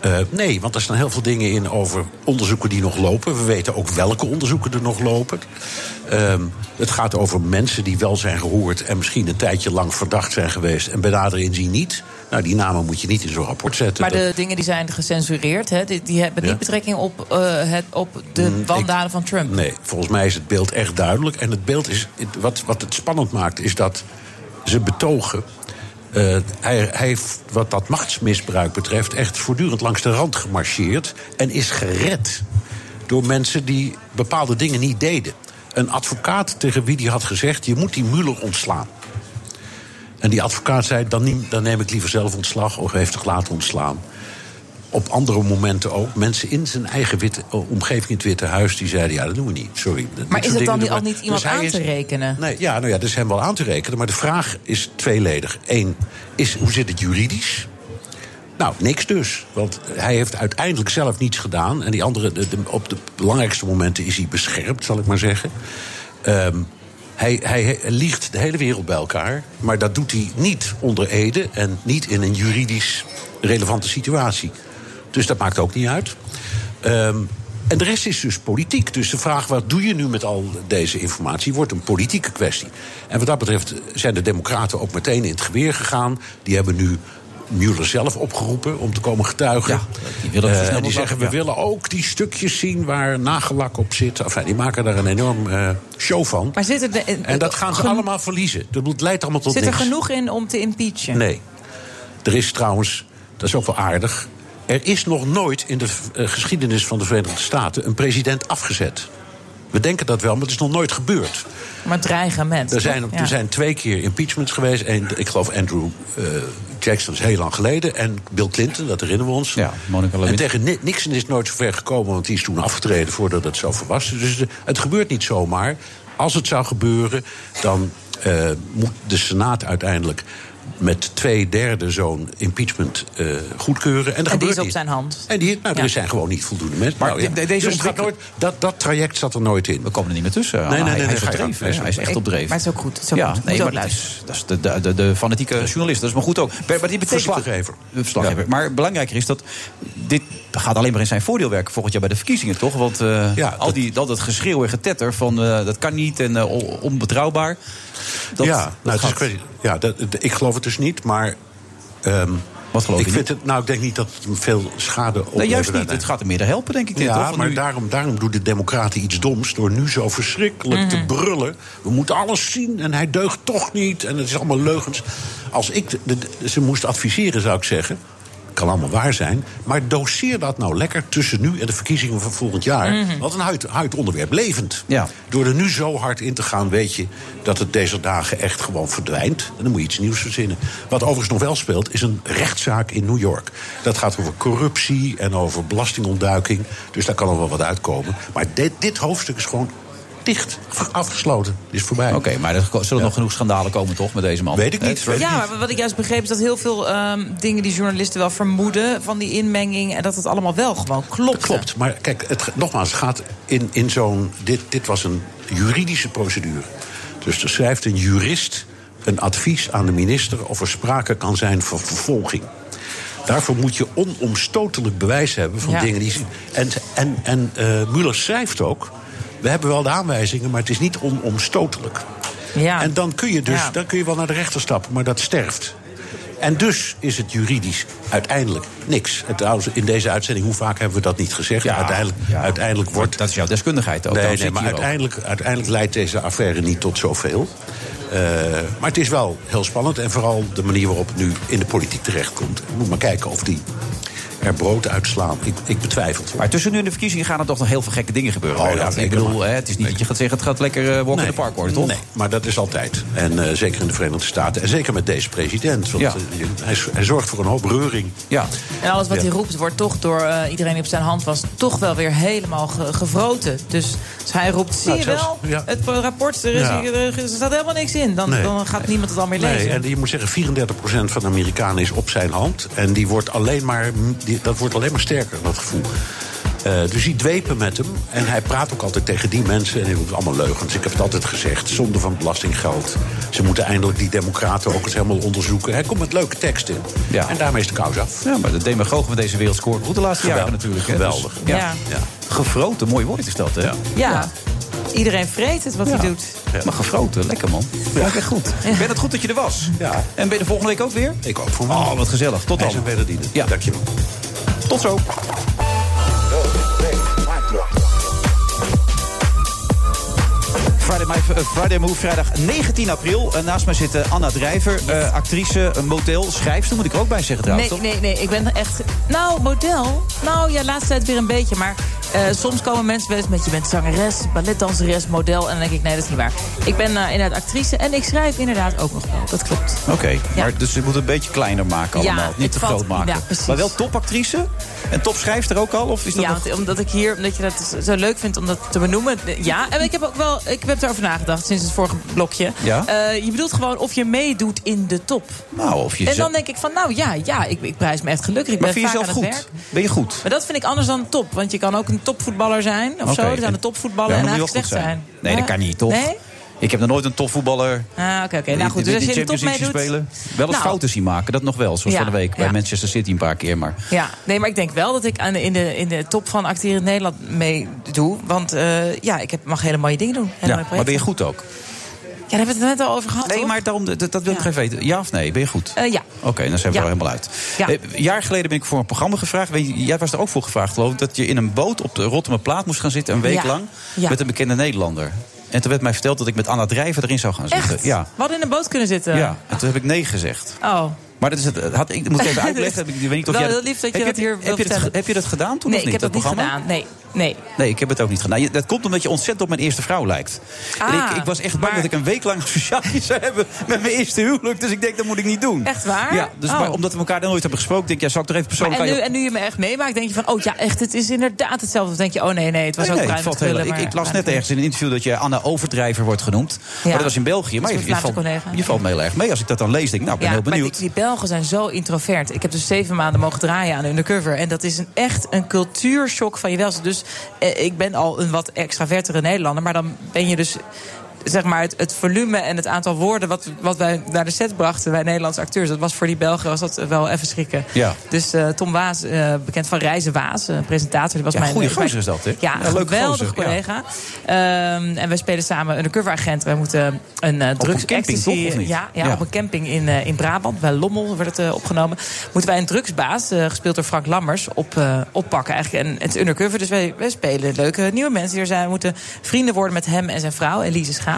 Eh, nee, want er staan heel veel dingen in over onderzoeken die nog lopen. We weten ook welke onderzoeken er nog lopen. Ehm, het gaat over mensen die wel zijn gehoord en misschien een tijdje lang verdacht zijn geweest en bij nader inzien niet. Nou, die namen moet je niet in zo'n rapport zetten.
Maar
Dat-
de dingen die zijn gecensureerd, hè, die, die hebben niet
Ja.
betrekking op, eh, het, op de
Mm, ik-
wandaden van Trump.
Nee, volgens mij is het beeld echt duidelijk. En het beeld is. het- Wat, wat het spannend maakt, is dat ze betogen. eh, hij, hij heeft, wat dat machtsmisbruik betreft, echt voortdurend langs de rand gemarcheerd. En is gered door mensen die bepaalde dingen niet deden. Een advocaat tegen wie die had gezegd: je moet die Muller ontslaan. En die advocaat zei: dan, neem- dan neem ik liever zelf ontslag of heeft zich laten ontslaan. Op andere momenten ook. Mensen in zijn eigen witte, eh, omgeving, in het Witte Huis, die zeiden: ja, dat doen we niet. Sorry.
Maar is het dan niet, al niet iemand aan te
rekenen?
rekenen?
Dus Nee, ja, nou ja, dat is hem wel aan te rekenen. Maar de vraag is tweeledig. Eén, is, hoe zit het juridisch? Nou, niks dus. Want hij heeft uiteindelijk zelf niets gedaan. En die andere, de- de- op de belangrijkste momenten is hij beschermd, zal ik maar zeggen. Ehm, hij, hij, hij liegt de hele wereld bij elkaar. Maar dat doet hij niet onder ede en niet in een juridisch relevante situatie. Dus dat maakt ook niet uit. Ehm, en de rest is dus politiek. Dus de vraag, wat doe je nu met al deze informatie, wordt een politieke kwestie. En wat dat betreft zijn de Democraten ook meteen in het geweer gegaan. Die hebben nu Mueller zelf opgeroepen om te komen getuigen. die
willen het zo snel
en
mogelijk,
die zeggen, we
ja.
willen ook die stukjes zien waar nagelak op zit. Enfin, die maken daar een enorm eh, show van.
Maar zit er,
En dat gaan ze allemaal verliezen. Dat leidt allemaal tot
zit er
niks.
genoeg in om te impeachen?
Nee. Er is trouwens, dat is ook wel aardig. Er is nog nooit in de eh, geschiedenis van de Verenigde Staten een president afgezet. We denken dat wel, maar het is nog nooit gebeurd.
Maar dreigement.
Er zijn,
toch? Ja.
er zijn twee keer impeachments geweest. Eén, ik geloof Andrew eh, Jackson is heel lang geleden. En Bill Clinton, dat herinneren we ons. Ja, Monica en tegen Ni- Nixon is het nooit zo ver gekomen, want die is toen afgetreden voordat het zo was. Dus de- het gebeurt niet zomaar. Als het zou gebeuren, dan eh, moet de Senaat uiteindelijk met twee derde zo'n impeachment eh, goedkeuren. En, dat
En die
gebeurt
is op
niet.
zijn hand.
En die, nou, er
Ja.
zijn gewoon niet voldoende mensen.
Maar
Nou ja.
de- de- deze
Dus het gaat nooit, dat, dat traject zat er nooit in. We
komen er niet meer tussen.
Nee, nee, nee,
hij, hij
nee,
is
ga je gang.
opdreven, hè. Hij is echt
Ik-
opdreven.
Maar het is ook goed. Het is ook
ja,
goed.
nee,
Moet
maar
ook
dat
luisteren.
is, dat is de, de, de, de fanatieke journalist. Dat is maar goed ook. Maar, maar die betekent,
Verslaggever.
De verslaggever. Maar belangrijker is dat dit gaat alleen maar in zijn voordeel werken volgend jaar bij de verkiezingen, toch? Want eh, al, die, al dat geschreeuw en getetter van eh, dat kan niet en eh, on- onbetrouwbaar. Dat,
ja,
dat
nou, het is
gaat-
een kwestie- ja dat, dat- ik geloof het dus niet, maar. ehm,
geloof
ik
je
vind het, Nou, ik denk niet dat het veel schade oplevert.
Nee, juist niet.
uiteindelijk.
Het gaat er meer helpen, denk ik. dit, toch?
Ja,
Want
maar
nu-
daarom, daarom doen de democraten iets doms... door nu zo verschrikkelijk te brullen. We moeten alles zien en hij deugt toch niet. En het is allemaal leugens. Als ik de- de- ze moest adviseren, zou ik zeggen... kan allemaal waar zijn, maar doseer dat nou lekker... tussen nu en de verkiezingen van volgend jaar.
Mhm.
Want dan houdt houdt het onderwerp levend.
Ja.
Door er nu zo hard in te gaan, weet je dat het deze dagen echt gewoon verdwijnt. En dan moet je iets nieuws verzinnen. Wat overigens nog wel speelt, is een rechtszaak in New York. Dat gaat over corruptie en over belastingontduiking. Dus daar kan er wel wat uitkomen. Maar dit, dit hoofdstuk is gewoon dicht, afgesloten. Is voorbij. Oké,
maar er zullen nog genoeg schandalen komen, toch, met deze man?
Weet ik
Hè,
niet.
Trump?
Ja, maar wat ik juist begreep is dat heel veel ehm, dingen die journalisten wel vermoeden van die inmenging. En dat het allemaal wel gewoon klopt.
Klopt, maar kijk, het, ge- nogmaals, het gaat in, in zo'n. Dit, dit was een juridische procedure. Dus er schrijft een jurist een advies aan de minister of er sprake kan zijn van vervolging. Daarvoor moet je onomstotelijk bewijs hebben van
Ja.
dingen die. En, en, en eh Muller schrijft ook. We hebben wel de aanwijzingen, maar het is niet onomstotelijk. En dan kun je dus
Ja.
dan kun je wel naar de rechter stappen, maar dat sterft. En dus is het juridisch uiteindelijk niks. En trouwens, in deze uitzending, hoe vaak hebben we dat niet gezegd? uiteindelijk, uiteindelijk wordt.
Dat is jouw deskundigheid ook.
Nee,
Daarom
nee
zit
maar
je hier ook.
uiteindelijk, uiteindelijk leidt deze affaire niet tot zoveel. Eh, maar het is wel heel spannend. En vooral de manier waarop het nu in de politiek terechtkomt. We moeten maar kijken of die er brood uitslaan. Ik, ik betwijfel het.
Maar tussen nu en de verkiezingen gaan er toch nog heel veel gekke dingen gebeuren.
Oh, ja,
Ronald. ik
zeker,
bedoel,
maar-
hè, het is niet dat je gaat zeggen, het gaat lekker eh, walk in the park worden, toch?
Nee, maar dat is altijd. En eh, zeker in de Verenigde Staten. En zeker met deze president. Want
Ja.
eh, je- hij, hij zorgt voor een hoop reuring.
Ja.
En alles wat
Ja.
hij roept wordt toch door eh, iedereen die op zijn hand was... toch wel weer helemaal ge- gevroten. Dus als hij roept, zie
Nou,
je
zelfs-
wel,
ja.
het rapport, er, is,
Ja.
er, er staat helemaal niks in. Dan,
Nee.
dan gaat niemand het al meer lezen.
Nee, en je moet zeggen, 34% van de Amerikanen is op zijn hand. En die wordt alleen maar, die, dat wordt alleen maar sterker, dat gevoel. Eh, dus die dwepen met hem. En hij praat ook altijd tegen die mensen. En hij doet allemaal leugens. Ik heb het altijd gezegd. Zonde van belastinggeld. Ze moeten eindelijk die democraten ook eens helemaal onderzoeken. Hij komt met leuke teksten. En daarmee is de kous af.
Ja, maar de demagogen van deze wereld scoort goed de laatste jaren natuurlijk. hè.
Geweldig.
Dus, ja.
Ja.
Gefroten, mooi woord is dat, hè?
Ja. Iedereen vreet het wat hij doet.
Maar gefroten, lekker man. Ja, echt goed. Ik ben het goed dat je er was. Ja. En ben je de volgende week ook weer?
Ik ook voor
Oh, wat gezellig. Tot dan.
Hij is een ja. Dankjewel.
Tot zo. Friday, My- eh, Friday Move, vrijdag 19 april. Eh, naast mij zit eh, Anna Drijver, eh, actrice, een model, schrijfster, moet ik er ook bij zeggen trouwens.
Nee,
toch?
nee, nee. Ik ben echt... Nou, model? Nou ja, laatste tijd weer een beetje. Maar eh, soms komen mensen wel eens met... je bent zangeres, balletdanseres, model. En dan denk ik, nee, dat is niet waar. Ik ben eh, inderdaad actrice en ik schrijf inderdaad ook nog wel. Dat klopt.
Oké, maar dus je moet het een beetje kleiner maken
Ja,
allemaal. Niet
het
te
valt-
groot maken.
ja, precies.
maar wel topactrice en topschrijfster ook al? Of is dat
ja,
Dus nog-
want- omdat ik hier, omdat je dat dus zo leuk vindt om dat te benoemen. eh, Ja, en ik heb ook wel, ik heb erover nagedacht sinds het vorige blokje.
Ja.
Eh, je bedoelt gewoon of je meedoet in de top.
Nou, of je
en
zelf-
dan denk ik van, nou ja, ja, ik, ik prijs me echt gelukkig. Ik
maar
ben
vind je
vaak
jezelf
aan
goed?
het werk.
Ben je goed?
Maar dat vind ik anders dan top. Want je kan ook een topvoetballer zijn of zo.
Oké,
Er zijn de
Ja,
topvoetballen
maar
en
dan moet je
eigenlijk
wel
slecht
goed
zijn.
Nee,
Ja.
dat kan niet, toch?
Nee?
Ik heb nog nooit een topvoetballer...
Ah, oké, oké. Nou goed, dus als je in de top meedoet...
spelen. Wel eens
Nou.
fouten zien maken, dat nog wel. Zoals
Ja,
van de week bij
ja.
Manchester City een paar keer. Maar
Ja, nee, maar ik denk wel dat ik aan de, in, de, in de top van acteren in Nederland meedoe. Want eh, ja, ik heb, mag hele mooie dingen doen. Hele
Ja,
mooie
maar ben je
projecten.
goed ook?
Ja, daar hebben we het net al over gehad,
Nee,
toch?
maar daarom, dat, dat wil ik
Ja.
even weten. Ja of nee? Ben je goed?
Eh, ja.
Oké, dan zijn we
Ja.
er helemaal uit.
Ja.
Eh, Een jaar geleden ben ik voor een programma gevraagd. Weet je, jij was er ook voor gevraagd, geloof ik. Dat je in een boot op de Rotterdam Plaat moest gaan zitten. Een week
Ja.
lang.
Ja.
Met een bekende Nederlander. En toen werd mij verteld dat ik met Anna Drijver erin zou gaan zitten.
Echt?
Ja.
We hadden in een boot kunnen zitten.
ja. En toen heb ik nee gezegd.
Oh.
Maar dat is het, had, ik moet
(laughs)
ik even
Dus-
uitleggen. Ik weet niet of
Wel
jij
heel lief dat je
heb
dat hier wilt
heb je, dat, ge-
vertellen.
heb je dat gedaan toen
nee,
of niet?
ik heb dat, niet
programma?
gedaan. Nee, nee.
Nee, ik heb het ook niet gedaan. Je- Dat komt omdat je ontzettend op mijn eerste vrouw lijkt. En
Ah,
ik, ik was echt bang dat ik een week lang (laughs) sociaal zou hebben met mijn eerste huwelijk. Dus ik denk, dat moet ik niet doen.
Echt waar?
Ja, dus
Oh.
maar omdat we elkaar dan nooit hebben gesproken, denk ik, ja, zou ik er even
Maar
persoonlijk
en, nu,
aan je-
en nu je me echt meemaakt, denk je van... oh ja, echt, het is inderdaad hetzelfde. Of denk je, oh nee, nee, het was
Nee,
ook
nee,
bruin met
het valt heel-
krullen,
ik,
maar-
ik las
maar-
net ergens in een interview dat je Anna Overdrijver wordt genoemd. Maar dat was in België.
Dat
Maar je,
is
je
een
valt,
Vlaamse collega.
je valt me heel erg mee. Als ik dat dan lees, denk ik, nou, ik ben
ja,
heel
Maar
benieuwd.
die, die Belgen zijn zo introvert. Ik heb dus zeven maanden mogen draaien aan Undercover. En dat is een, echt een cultuurshock van je welzijn. Dus eh, ik ben al een wat extravertere Nederlander. Maar dan ben je dus... Zeg maar het, het volume en het aantal woorden wat, wat wij naar de set brachten, wij Nederlandse acteurs, dat was voor die Belgen was dat wel even schrikken.
Ja.
Dus eh, Tom Waas, eh, bekend van Reizen Waas, een presentator, die was
Ja,
mijn
goede
mijn-
gozer is dat, hè?
Ja,
Ja, leuke
geweldige
gozer, ja.
collega. Ehm, en wij spelen samen Undercover Agent. Wij moeten een eh
Op een
drugs
camping,
ecstasy-
toch, of niet?
Ja, ja,
Ja.
op een camping in, eh, in Brabant, bij Lommel wordt het eh, opgenomen. Moeten wij een drugsbaas, eh, gespeeld door Frank Lammers, op, eh, oppakken eigenlijk. En het is undercover, dus wij, wij spelen leuke nieuwe mensen die er zijn. We moeten vrienden worden met hem en zijn vrouw, Elise Schaap.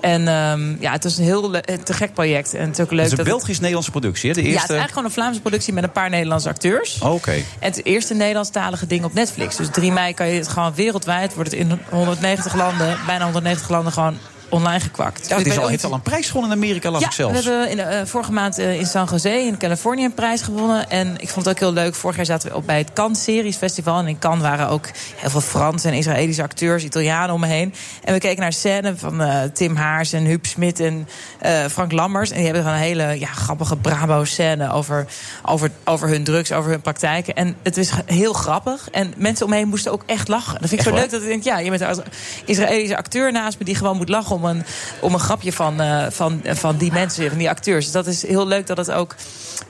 En ehm, ja, het is een heel le- eh, te gek project. En het is ook leuk
Het is een
dat het-
Belgisch-Nederlandse productie, hè? De
ja, het is
eerste. Oh.
eigenlijk gewoon een Vlaamse productie met een paar Nederlandse acteurs.
Oké.
En het eerste Nederlandstalige ding op Netflix. Dus 3 mei kan je het gewoon wereldwijd, wordt het in 190 landen, bijna 190 landen gewoon online gekwakt.
Ja,
Dus
het
ik
is
weet
al,
ook
heeft
niet-
al een prijs gewonnen in Amerika, las
ja,
ik zelfs.
we hebben in, eh, vorige maand eh, in San Jose in Californië een prijs gewonnen. En ik vond het ook heel leuk. Vorig jaar zaten we op bij het Cannes Series Festival. En in Cannes waren ook heel veel Franse en Israëlische acteurs, Italianen om me heen. En we keken naar scènes van eh, Tim Haars en Huub Smit en eh, Frank Lammers. En die hebben gewoon een hele ja, grappige Brabo-scène over, over, over hun drugs, over hun praktijken. En het is ge- heel grappig. En mensen om me heen moesten ook echt lachen. Dat vind ik
Echt
zo
waar?
leuk dat ik denk, ja, je bent een Israëlische acteur naast me die gewoon moet lachen om een, om een grapje van, eh, van, van die mensen, van die acteurs. Dus dat is heel leuk dat het ook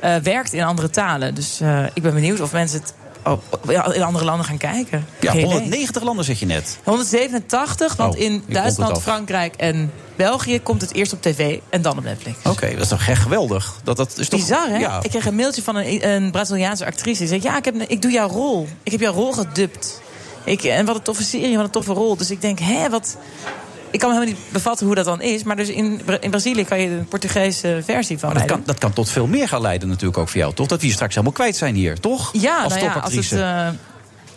eh, werkt in andere talen. Dus eh, ik ben benieuwd of mensen het ook in andere landen gaan kijken.
Ja,
Geen idee.
190 landen zeg je net.
187, want
Oh, ik
in
rond het
Duitsland,
af.
Frankrijk en België komt het eerst op tv en dan op Netflix.
Oké, dat is toch echt geweldig. Dat, dat is toch,
Bizar, hè?
Ja.
Ik kreeg een mailtje van een, een Braziliaanse actrice. Die zei, ja, ik, heb, ik doe jouw rol. Ik heb jouw rol gedubt. Ik, en wat een toffe serie, wat een toffe rol. Dus ik denk, hè, wat... Ik kan me helemaal niet bevatten hoe dat dan is. Maar dus in, Bra- in Brazilië kan je een Portugese versie van
Maar dat
mij
kan, dat kan tot veel meer gaan leiden natuurlijk ook voor jou, toch? Dat we je straks helemaal kwijt zijn hier, toch?
doen. Ja,
als
nou ja, als het,
topactrice.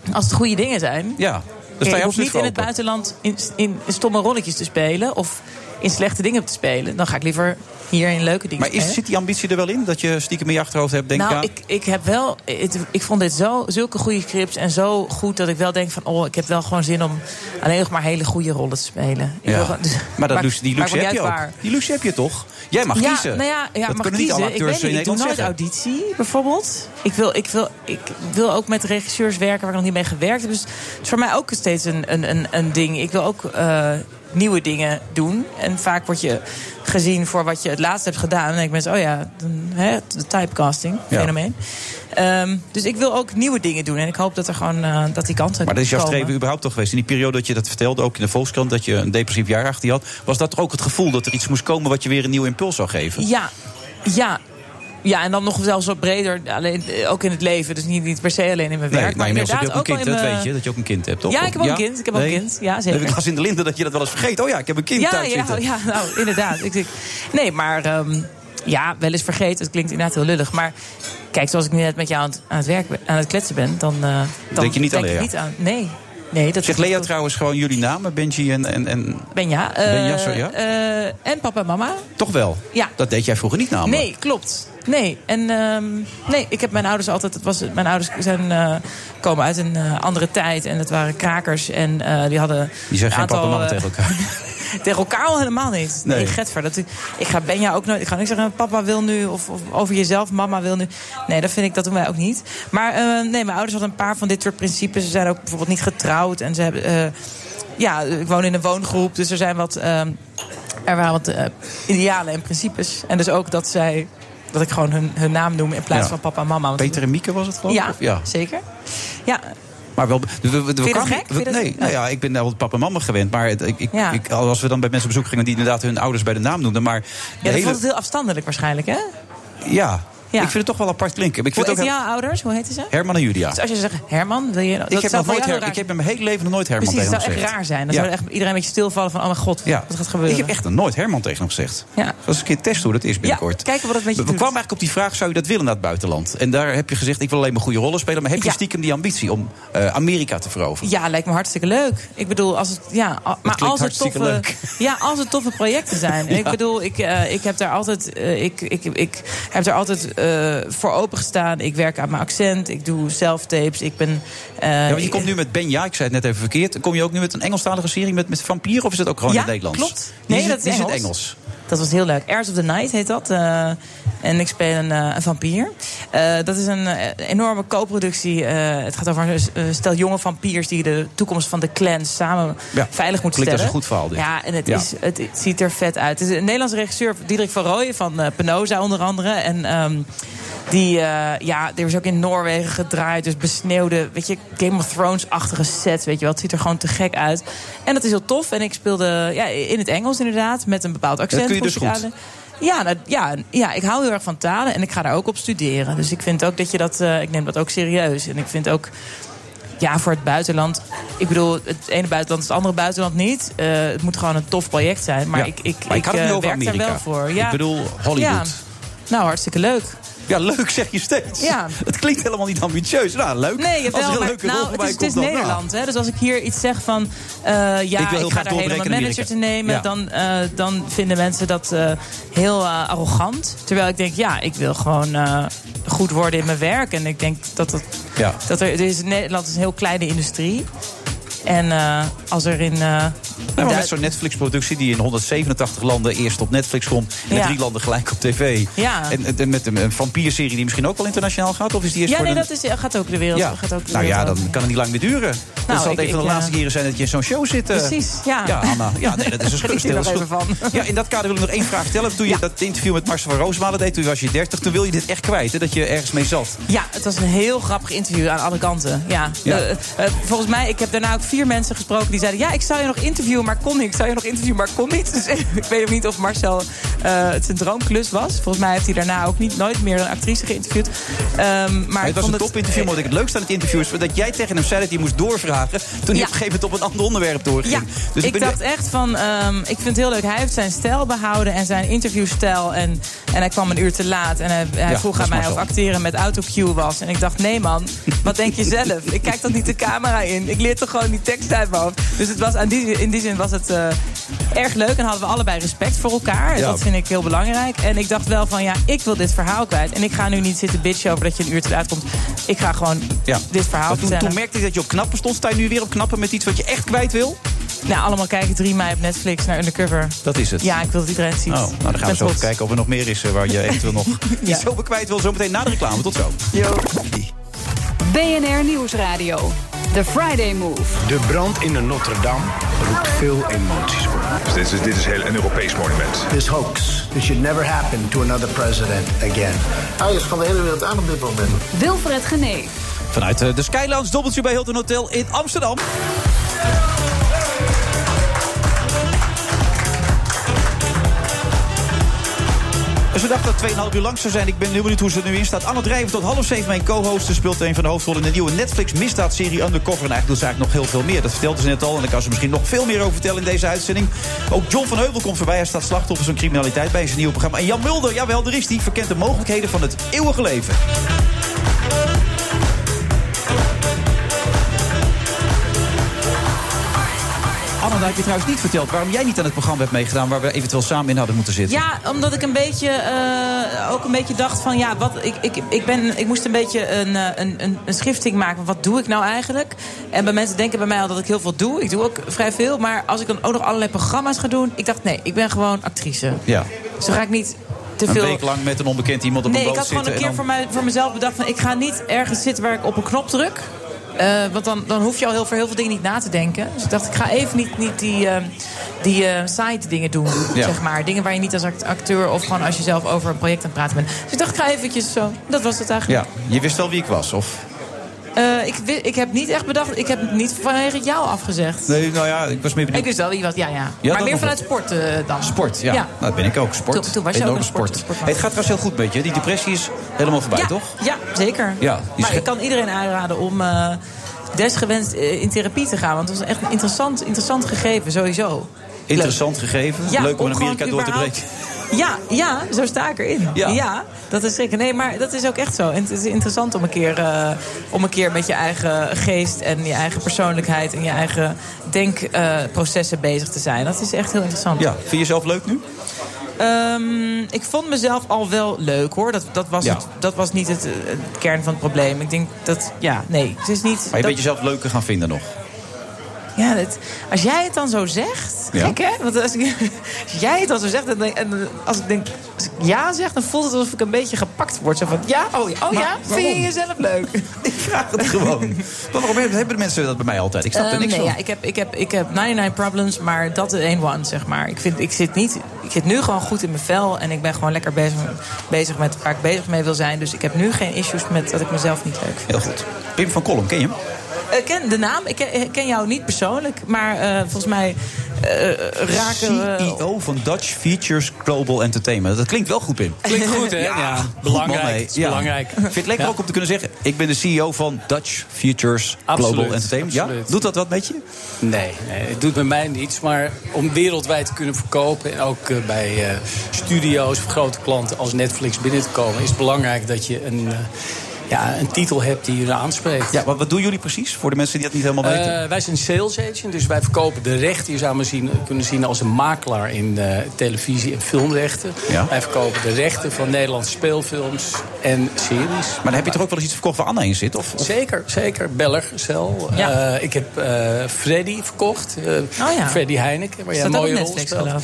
eh, als het goede dingen zijn.
ja, daar
Kijk, ik
sta je
hoef
absoluut
niet
voor
in het
open.
buitenland in, in stomme rolletjes te spelen. Of in slechte dingen te spelen. Dan ga ik liever hier in leuke dingen
Maar is,
spelen.
zit die ambitie er wel in? Dat je stiekem in je achterhoofd hebt, denk
nou,
ja,
ik, ik heb wel. het- ik vond dit zo, zulke goede scripts en zo goed dat ik wel denk van oh, ik heb wel gewoon zin om alleen nog maar hele goede rollen te spelen. Ik wil
Ja.
gewoon- dus-
Maar dat
maakt-
luxe, die
maakt
luxe
me
heb
niet
je
uit
ook.
waar.
Die luxe heb je toch? Jij mag
ja,
kiezen.
Nou ja, ja
dat
mag
kunnen niet alle
kiezen.
acteurs
ik weet
in
niet, ik doe
Nederland
nooit
zeggen.
auditie, bijvoorbeeld. Ik wil, ik, wil, ik wil ook met regisseurs werken waar ik nog niet mee gewerkt heb. Dus het is voor mij ook steeds een, een, een, een ding. Ik wil ook eh, nieuwe dingen doen. En vaak word je gezien voor wat je het laatst hebt gedaan. En dan denken mensen, oh ja, dan, hè, de typecasting,
Ja.
fenomeen. Ehm, dus ik wil ook nieuwe dingen doen. En ik hoop dat, er gewoon, eh, dat die kansen
Maar dat is jouw
komen.
streven überhaupt toch geweest? In die periode dat je dat vertelde, ook in de Volkskrant, dat je een depressief jaar achter je had, was dat toch ook het gevoel dat er iets moest komen wat je weer een nieuw impuls zou geven?
Ja, ja. Ja, en dan nog zelfs wat breder, alleen, eh, ook in het leven. Dus niet, niet per se alleen in mijn
Nee,
werk.
maar inmiddels heb je ook een kind,
wel in
dat
mijn-
weet je, dat je ook een kind hebt, toch?
Ja, ik heb ook
Ja?
een kind. Ik heb ook
Nee?
een kind. Ja, zeker.
Ik las in de linden dat je dat wel eens vergeet. Oh ja, ik heb een kind
ja,
thuis
ja,
zitten.
ja, nou, inderdaad. ik, denk- nee, maar ehm, ja, wel eens vergeten. Het klinkt inderdaad heel lullig. Maar kijk, zoals ik nu net met jou aan het, aan het werk ben, aan het kletsen ben, dan, eh, dan
Denk je niet aan
ik
Lea?
niet aan. Nee, nee dat
Zegt
is-
Lea trouwens gewoon jullie namen, Benji en... en, en...
Benja. eh,
Benja, sorry, ja?
eh, en papa en mama.
Toch wel?
Ja.
Dat deed jij vroeger niet namelijk.
Nee, klopt. Nee, en ehm, nee, ik heb mijn ouders altijd. Het was, mijn ouders zijn, eh, komen uit een eh, andere tijd en dat waren krakers. En eh, die hadden.
Die zijn
een
geen papa en
aantal,
mama
eh,
tegen elkaar.
Tegen elkaar al helemaal niet. Nee,
Nee.
Getver. Dat, ik, ik ga Benja ook nooit. Ik ga niet zeggen, papa wil nu. Of, of over jezelf, mama wil nu. Nee, dat vind ik, dat doen wij ook niet. Maar eh, nee, mijn ouders hadden een paar van dit soort principes. Ze zijn ook bijvoorbeeld niet getrouwd. En ze hebben. eh, ja, ik woon in een woongroep. Dus er zijn wat. ehm, er waren wat eh, idealen en principes. En dus ook dat zij. Dat ik gewoon hun, hun naam noem in plaats
Ja.
van papa en mama. Want-
Peter en Mieke was het geloof ik?
Ja,
Of- ja.
zeker. Ja,
Maar wel, we, we, we
je dat
kwamen-
gek?
we-
Vind je dat-
nee, nou ja, ik ben daar wel papa en mama gewend. Maar het- ik, ik,
Ja.
ik- als we dan bij mensen op bezoek gingen die inderdaad hun ouders bij de naam noemden. Maar de
ja dat
hele-
vond het heel afstandelijk waarschijnlijk, hè?
ja.
Ja.
ik vind het toch wel apart klinken. Maar Ik
Hoe
vind het
heet
ook
jouw
heel-
ouders? Hoe heten ze?
Herman en Julia.
Dus als je zegt Herman, wil je. dat
Ik heb,
zou
nog
voor
nooit
jou
Her-
heel
ik
raar
heb in mijn hele leven nog nooit Herman
Precies,
tegen
dat
hem
zou echt
gezegd.
raar zijn. Dan
Ja.
zou echt iedereen een beetje stilvallen van... oh mijn god,
Ja.
wat gaat gebeuren?
Ik heb echt nog nooit Herman tegen hem gezegd.
Ja.
Dat is een keer testen hoe dat is binnenkort.
kijken wat dat met je
we
doet.
kwamen eigenlijk op die vraag, zou je dat willen naar het buitenland? En daar heb je gezegd, ik wil alleen maar goede rollen spelen. Maar heb je
Ja.
stiekem die ambitie om eh, Amerika te veroveren?
Ja, lijkt me hartstikke leuk. Ik bedoel, als het, ja, a- maar
klinkt
als het,
hartstikke
toffe,
leuk.
Ja, als het toffe projecten zijn. En
(laughs) Ja.
Ik bedoel, ik, eh, ik heb daar altijd, eh, ik, ik, ik heb daar altijd eh, voor opengestaan. Ik werk aan mijn accent, ik doe zelftapes, ik ben... eh,
ja, want je komt nu met Benja, ik zei het net even verkeerd. Kom je ook nu met een Engelstalige serie met, met vampieren? Of is het ook gewoon
Ja,
in het Nederlands?
klopt.
Die
Nee,
is-
dat is
die in het
Engels.
Engels.
Dat was heel leuk. Airs of the Night heet dat. eh, en ik speel een, eh, een vampier. Eh, dat is een eh, enorme co-productie. Eh, het gaat over een s- een stel jonge vampiers die de toekomst van de clan samen
Ja,
veilig moeten
klinkt als
stellen.
een goed verhaal, dit.
Ja, en het,
Ja.
Is, eh, het, het ziet er vet uit. Het is een Nederlandse regisseur, Diederik van Rooyen van eh Penosa onder andere. En ehm, die, eh, ja, er is ook in Noorwegen gedraaid. Dus besneeuwde, weet je, Game of Thrones-achtige set. Weet je wel, het ziet er gewoon te gek uit. En dat is heel tof. En ik speelde ja, in het Engels inderdaad, met een bepaald accent.
kun je dus
vond ik
goed.
aan. Ja, nou, ja, en- ja, ik hou heel erg van talen en ik ga daar ook op studeren. Dus ik vind ook dat je dat, eh, ik neem dat ook serieus. En ik vind ook, ja, voor het buitenland. Ik bedoel, het ene buitenland is het andere buitenland niet. Eh, het moet gewoon een tof project zijn. Maar
Ja.
ik, ik,
Maar ik had het
eh,
niet over
werk daar
Amerika.
wel voor.
Ik
Ja.
bedoel, Hollywood.
Ja. Nou, hartstikke leuk.
Ja, leuk zeg je steeds.
Ja.
Het klinkt helemaal niet ambitieus. Nou, leuk.
Nee, je
Als er
wel,
een
maar
leuke rol
nou, het
voorbij
is, het is
komt, dan, nou.
Nederland. Hè? Dus als ik hier iets zeg van... eh, ja,
heel
ik,
graag
ga daar
doorbreken
helemaal
in
manager
Amerika.
te nemen...
Ja.
Dan, eh, dan vinden mensen dat eh, heel eh, arrogant. Terwijl ik denk, ja, ik wil gewoon eh, goed worden in mijn werk. En ik denk dat dat...
Ja.
dat er, er is, Nederland is een heel kleine industrie. En eh, als er in... eh,
Ja, Nou, maar
Duits-
met zo'n Netflix-productie die in 187 landen eerst op Netflix komt... en in
Ja.
drie landen gelijk op tv.
Ja.
En, en met een, een vampierserie die misschien ook wel internationaal gaat? Of is die eerst
Ja,
voor
nee,
de...
dat is, gaat ook de wereld.
ja.
Gaat ook de
nou ja,
wereld
dan
over.
kan het niet lang meer duren. dat zal
ik-
het een van de
ik,
laatste
eh,
keren zijn dat je in zo'n show zit. eh.
Precies, ja.
Ja, Anna. Ja, nee,
(laughs)
dat is een
Geniet
schu-
er
stil.
nog even van.
Ja, in dat kader wil ik nog één vraag stellen. Toen je dat interview met Marcel van Roosmalen deed, toen was je 30... toen wil je dit echt kwijt, hè, dat je ergens mee zat.
Ja, het was een heel grappig interview aan alle kanten. Ja.
Ja.
Eh, eh, volgens mij, ik heb daarna ook vier mensen gesproken die zeiden... ja, ik zou je nog interviewen, maar kon niet. Ik zou je nog interviewen, maar kon niet. (laughs) Dus ik weet ook niet of Marcel eh, het zijn droomklus was. Volgens mij heeft hij daarna ook niet, nooit meer een actrice geïnterviewd. Ehm, maar
het
ik
was
vond
een topinterview, maar wat ik het leukste aan het interview is... dat jij tegen hem zei dat hij moest doorvragen... toen hij op een gegeven moment op een ander onderwerp doorging.
Ja,
Dus
ik
ben-
dacht echt van, ehm, ik vind het heel leuk. Hij heeft zijn stijl behouden en zijn interviewstijl. En, en hij kwam een uur te laat en hij, hij
Ja,
vroeg
dat
aan
is
mij of
Marcel.
acteren met autocue was. En ik dacht, nee man, wat denk je zelf? Ik kijk toch niet de camera in. Ik leer toch gewoon die tekst uit mijn hoofd. Dus het was aan die, in die die zin was het eh, erg leuk en hadden we allebei respect voor elkaar. En
Ja.
Dat vind ik heel belangrijk. En ik dacht wel van ja, ik wil dit verhaal kwijt. En ik ga nu niet zitten bitchen over dat je een uur te laat komt. Ik ga gewoon
Ja.
dit verhaal
Maar toen,
vertellen.
toen merkte ik dat je op knappen stond. Sta je nu weer op knappen met iets wat je echt kwijt wil?
Nou, allemaal kijken 3 mei op Netflix naar Undercover.
Dat is het.
Ja, ik wil dat iedereen het ziet.
Oh, nou, dan gaan
Ben
we zo even
trots.
kijken of er nog meer is eh,
(laughs)
waar je eventueel nog iets over kwijt wil. Zometeen na de reclame. Tot zo.
BNR Nieuwsradio. The Friday Move.
De brand in de Notre-Dame roept veel emoties op.
Dus dit, is, dit is heel een Europees monument.
This hoax, this should never happen to another president again. Hij is van de hele wereld aan op dit moment.
Wilfred Genee.
Vanuit eh, de Skylands dobbeltje bij Hilton Hotel in Amsterdam. Dus we dachten dat 2,5 uur lang zou zijn. Ik ben heel benieuwd hoe ze er nu in staat. Anne Drijven tot half zeven mijn co-host. Ze speelt een van de hoofdrollen in de nieuwe Netflix-misdaadserie Undercover. En eigenlijk doet ze eigenlijk nog heel veel meer. Dat vertelde ze net al. En daar kan ze misschien nog veel meer over vertellen in deze uitzending. Ook John van Heuvel komt voorbij. Hij staat slachtoffer van criminaliteit bij zijn nieuwe programma. En Jan Mulder, jawel, er is die. Verkent de mogelijkheden van het eeuwige leven. Anne, nou heb je trouwens niet verteld waarom jij niet aan het programma hebt meegedaan... waar we eventueel samen in hadden moeten zitten.
Ja, omdat ik een beetje, eh, ook een beetje dacht van ja, wat, ik, ik, ik, ben, ik moest een beetje een, eh, een, een, een schifting maken. van Wat doe ik nou eigenlijk? En bij mensen denken bij mij al dat ik heel veel doe. Ik doe ook vrij veel. Maar als ik dan ook nog allerlei programma's ga doen, ik dacht nee, ik ben gewoon actrice.
Ja.
Zo ga ik niet te veel.
Een week lang met een onbekend iemand op
nee,
een
ik
boot
had gewoon
zitten.
een keer
en
voor,
dan...
mij, voor mezelf bedacht van ik ga niet ergens zitten waar ik op een knop druk. Eh, want dan, dan hoef je al heel, voor heel veel dingen niet na te denken. Dus ik dacht, ik ga even niet, niet die, eh, die eh, side dingen doen,
Ja.
zeg maar. Dingen waar je niet als act- acteur of gewoon als je zelf over een project aan het praten bent. Dus ik dacht, ik ga eventjes zo. Dat was het eigenlijk.
Ja, je wist wel wie ik was, of?
Eh, ik, wi- ik heb niet echt bedacht, ik heb niet vanwege jou afgezegd.
Nee, nou ja, ik was meer
Ik
benieuwd.
wist wel wie was, ja, ja.
Ja,
maar
dat
meer
nog
vanuit sport eh, dan.
Sport, ja. Nou, dat ben ik ook. Sport.
Toen- toen was je
Enorm
ook een sport-
sport.
sportman.
Hey, het gaat trouwens heel goed met je. Die depressie is helemaal voorbij,
ja,
toch?
Ja, zeker.
Ja, die
maar
sche-
ik kan iedereen aanraden om eh, desgewenst eh, in therapie te gaan. Want het was echt een interessant, interessant gegeven, sowieso.
Interessant gegeven.
Ja,
Leuk om in
gewoon
Amerika door te
überhaupt-
breken.
Ja, ja, zo sta ik erin.
Ja.
Ja. dat is zeker. Nee, maar dat is ook echt zo. En het is interessant om een keer, eh, om een keer met je eigen geest en je eigen persoonlijkheid en je eigen denkprocessen bezig te zijn. Dat is echt heel interessant.
Ja, vind je jezelf leuk nu?
Ehm, ik vond mezelf al wel leuk hoor. Dat, dat, was,
Ja.
het, dat was niet het, eh, het kern van het probleem. Ik denk dat, ja, nee. Het is niet.
Maar je
dat-
bent jezelf leuker gaan vinden nog.
ja, dat- als jij het dan zo zegt.
Ja.
Gek hè? Want als, ik- (laughs) als jij het dan zo zegt. dan denk- en als ik denk. Als ik ja zeg, dan voelt het alsof ik een beetje gepakt word. Zo van ja, oh, ja, oh
Maar
ja. Vind je
waarom?
jezelf leuk? ik vraag het (laughs)
(laughs) Gewoon. Maar waarom hebben de mensen dat bij mij altijd? Ik snap er
Ehm,
niks
nee,
van.
Ja, ik, heb, ik, heb, ik heb 99 problems, maar dat is één one, zeg maar. Ik, vind, ik, zit niet, ik zit nu gewoon goed in mijn vel en ik ben gewoon lekker bezig, bezig met waar ik bezig mee wil zijn. Dus ik heb nu geen issues met dat ik mezelf niet leuk vind.
Heel goed. Pim van Kolm, ken je hem?
Ik ken de naam, ik ken, ik ken jou niet persoonlijk, maar eh, volgens mij eh, raken we...
CEO E van Dutch Features Global Entertainment. Dat klinkt wel goed, Pim.
Klinkt goed, hè?
Ja,
Ja,
goed,
belangrijk,
man, hé.
het is belangrijk.
Ik vind het lekker
Ja.
ook om te kunnen zeggen... ik ben de CEO van Dutch Futures Global Entertainment. Ja? Doet dat wat met je?
Nee, nee, het doet bij mij niets. Maar om wereldwijd te kunnen verkopen... en ook eh, bij eh, studio's of grote klanten als Netflix binnen te komen... is het belangrijk dat je een, eh, ja, een titel hebt die je aanspreekt.
Ja, maar wat doen jullie precies? Voor de mensen die dat niet helemaal weten.
Eh, wij zijn sales agent, dus wij verkopen de rechten. Je zou me zien, kunnen zien als een makelaar in eh, televisie- en filmrechten.
Ja.
Wij verkopen de rechten van Nederlandse speelfilms en series.
Maar dan heb je toch ook wel eens iets verkocht waar Anna in zit? Of?
Zeker, zeker. Bellercel.
Ja.
ik heb eh, Freddy verkocht. Eh,
Oh ja.
Freddy Heineken, waar jij
Staat
een
ook op
mooie rol
Netflix,
speelt.
geloof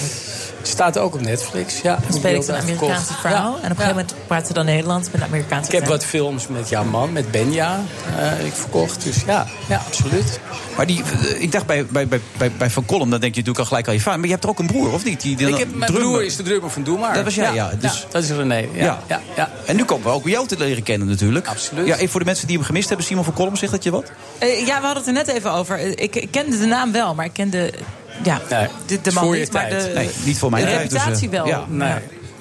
Staat ook op Netflix, ja.
Dan speel ik een Amerikaanse vrouw. En op een gegeven moment praat ze dan Nederlands met een Amerikaanse
Ik heb
accent.
wat films met jouw man, met Benja, eh, ik verkocht. Dus ja, ja absoluut.
Maar die, eh, ik dacht bij, bij, bij, bij- bij Van Kolm, dan denk je natuurlijk al gelijk aan je vader. Maar je hebt er ook een broer, of niet? Die, die
Ik
dan-
heb, mijn
drummer.
broer is de drummer van Doe Maar.
Dat was jij, ja. Dus...
dat is René. Ja, ja. ja,
En nu komen we ook jou te leren kennen natuurlijk. Absoluut. Ja, even voor de mensen die hem gemist hebben. Simon van Kolm, zegt dat je wat?
Eh, ja, we hadden het er net even over. Eh, Ik, ik kende de naam wel, maar ik kende... Ja, de, de man niet, maar de,
Nee, niet voor mijn
de
tijd, dus, eh,
reputatie wel.
ja.
Nee.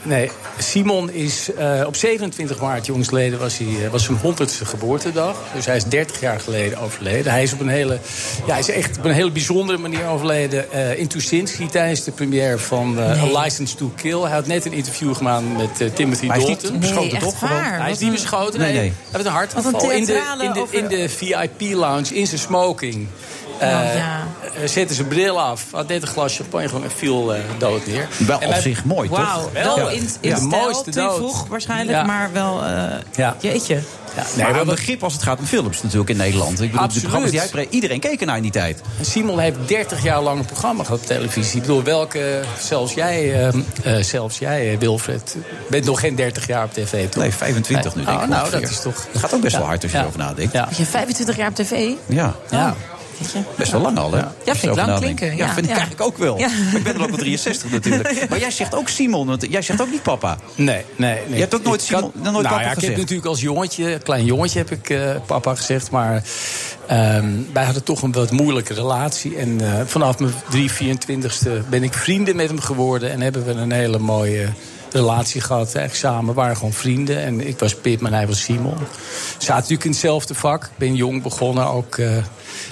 Nee, Simon is eh, op 27 maart jongsleden was, hij, eh, was zijn 100ste geboortedag. Dus hij is 30 jaar geleden overleden. Hij is op een hele, ja, hij is echt op een hele bijzondere manier overleden. eh, in Tuschinski tijdens de première van eh, A License to Kill. Hij had net een interview gemaakt met eh, Timothy
Maar hij is niet
Dalton.
beschoten, Nee, echt toch? Gewoon- waar.
Hij is
Wat
niet
een-
beschoten.
Nee,
Nee,
nee.
Hij heeft een
Wat een
hartaanval in de,
theatrale
in de, in de VIP lounge in zijn smoking. Eh, eh, Zette zijn bril af, had net een glas champagne gewoon en viel eh, dood neer.
Wel
En
op
wij-
zich mooi,
Wauw, wel
Ja.
in, in
Ja.
stijl,
Mooiste
te
dood.
vroeg waarschijnlijk,
Ja.
maar wel... eh,
Ja.
Jeetje.
Nee, maar een begrip als het gaat om films natuurlijk in Nederland. Ik bedoel, de
Absoluut.
programma's die jij pre- iedereen keek naar in die tijd.
Simon heeft 30 jaar lang een programma gehad op televisie. Ik bedoel, welke, zelfs jij, ehm, eh, zelfs jij eh, Wilfred, bent nog geen 30 jaar op tv, toch?
Nee, 25 nu, denk
Oh,
ik
nou,
ongeveer.
dat is toch...
Dat gaat ook best wel hard als je
Ja.
erover nadenkt.
Ja.
Had je 25 jaar op tv?
Ja.
Ja. Weet je?
Best wel lang al, hè?
Ja, vind ik lang
Nadenken.
klinken.
Ja,
Ja,
vind ik
ja.
eigenlijk ook wel.
Ja.
Maar ik ben er ook maar 63
(laughs)
natuurlijk. Maar jij zegt ook Simon, want jij zegt ook niet papa.
Nee, nee, nee.
Je hebt ook nooit,
Ik
Simon,
kan-
nooit
nou,
papa
ja, Ik
gezegd.
heb natuurlijk als jongetje, klein jongetje heb ik eh, papa gezegd. Maar ehm, wij hadden toch een wat moeilijke relatie. En eh, vanaf mijn 3, 24ste ben ik vrienden met hem geworden. En hebben we een hele mooie relatie gehad. Eigenlijk samen we waren gewoon vrienden. En ik was Pip en hij was Simon. We zaten natuurlijk in hetzelfde vak. Ik ben jong begonnen, ook eh,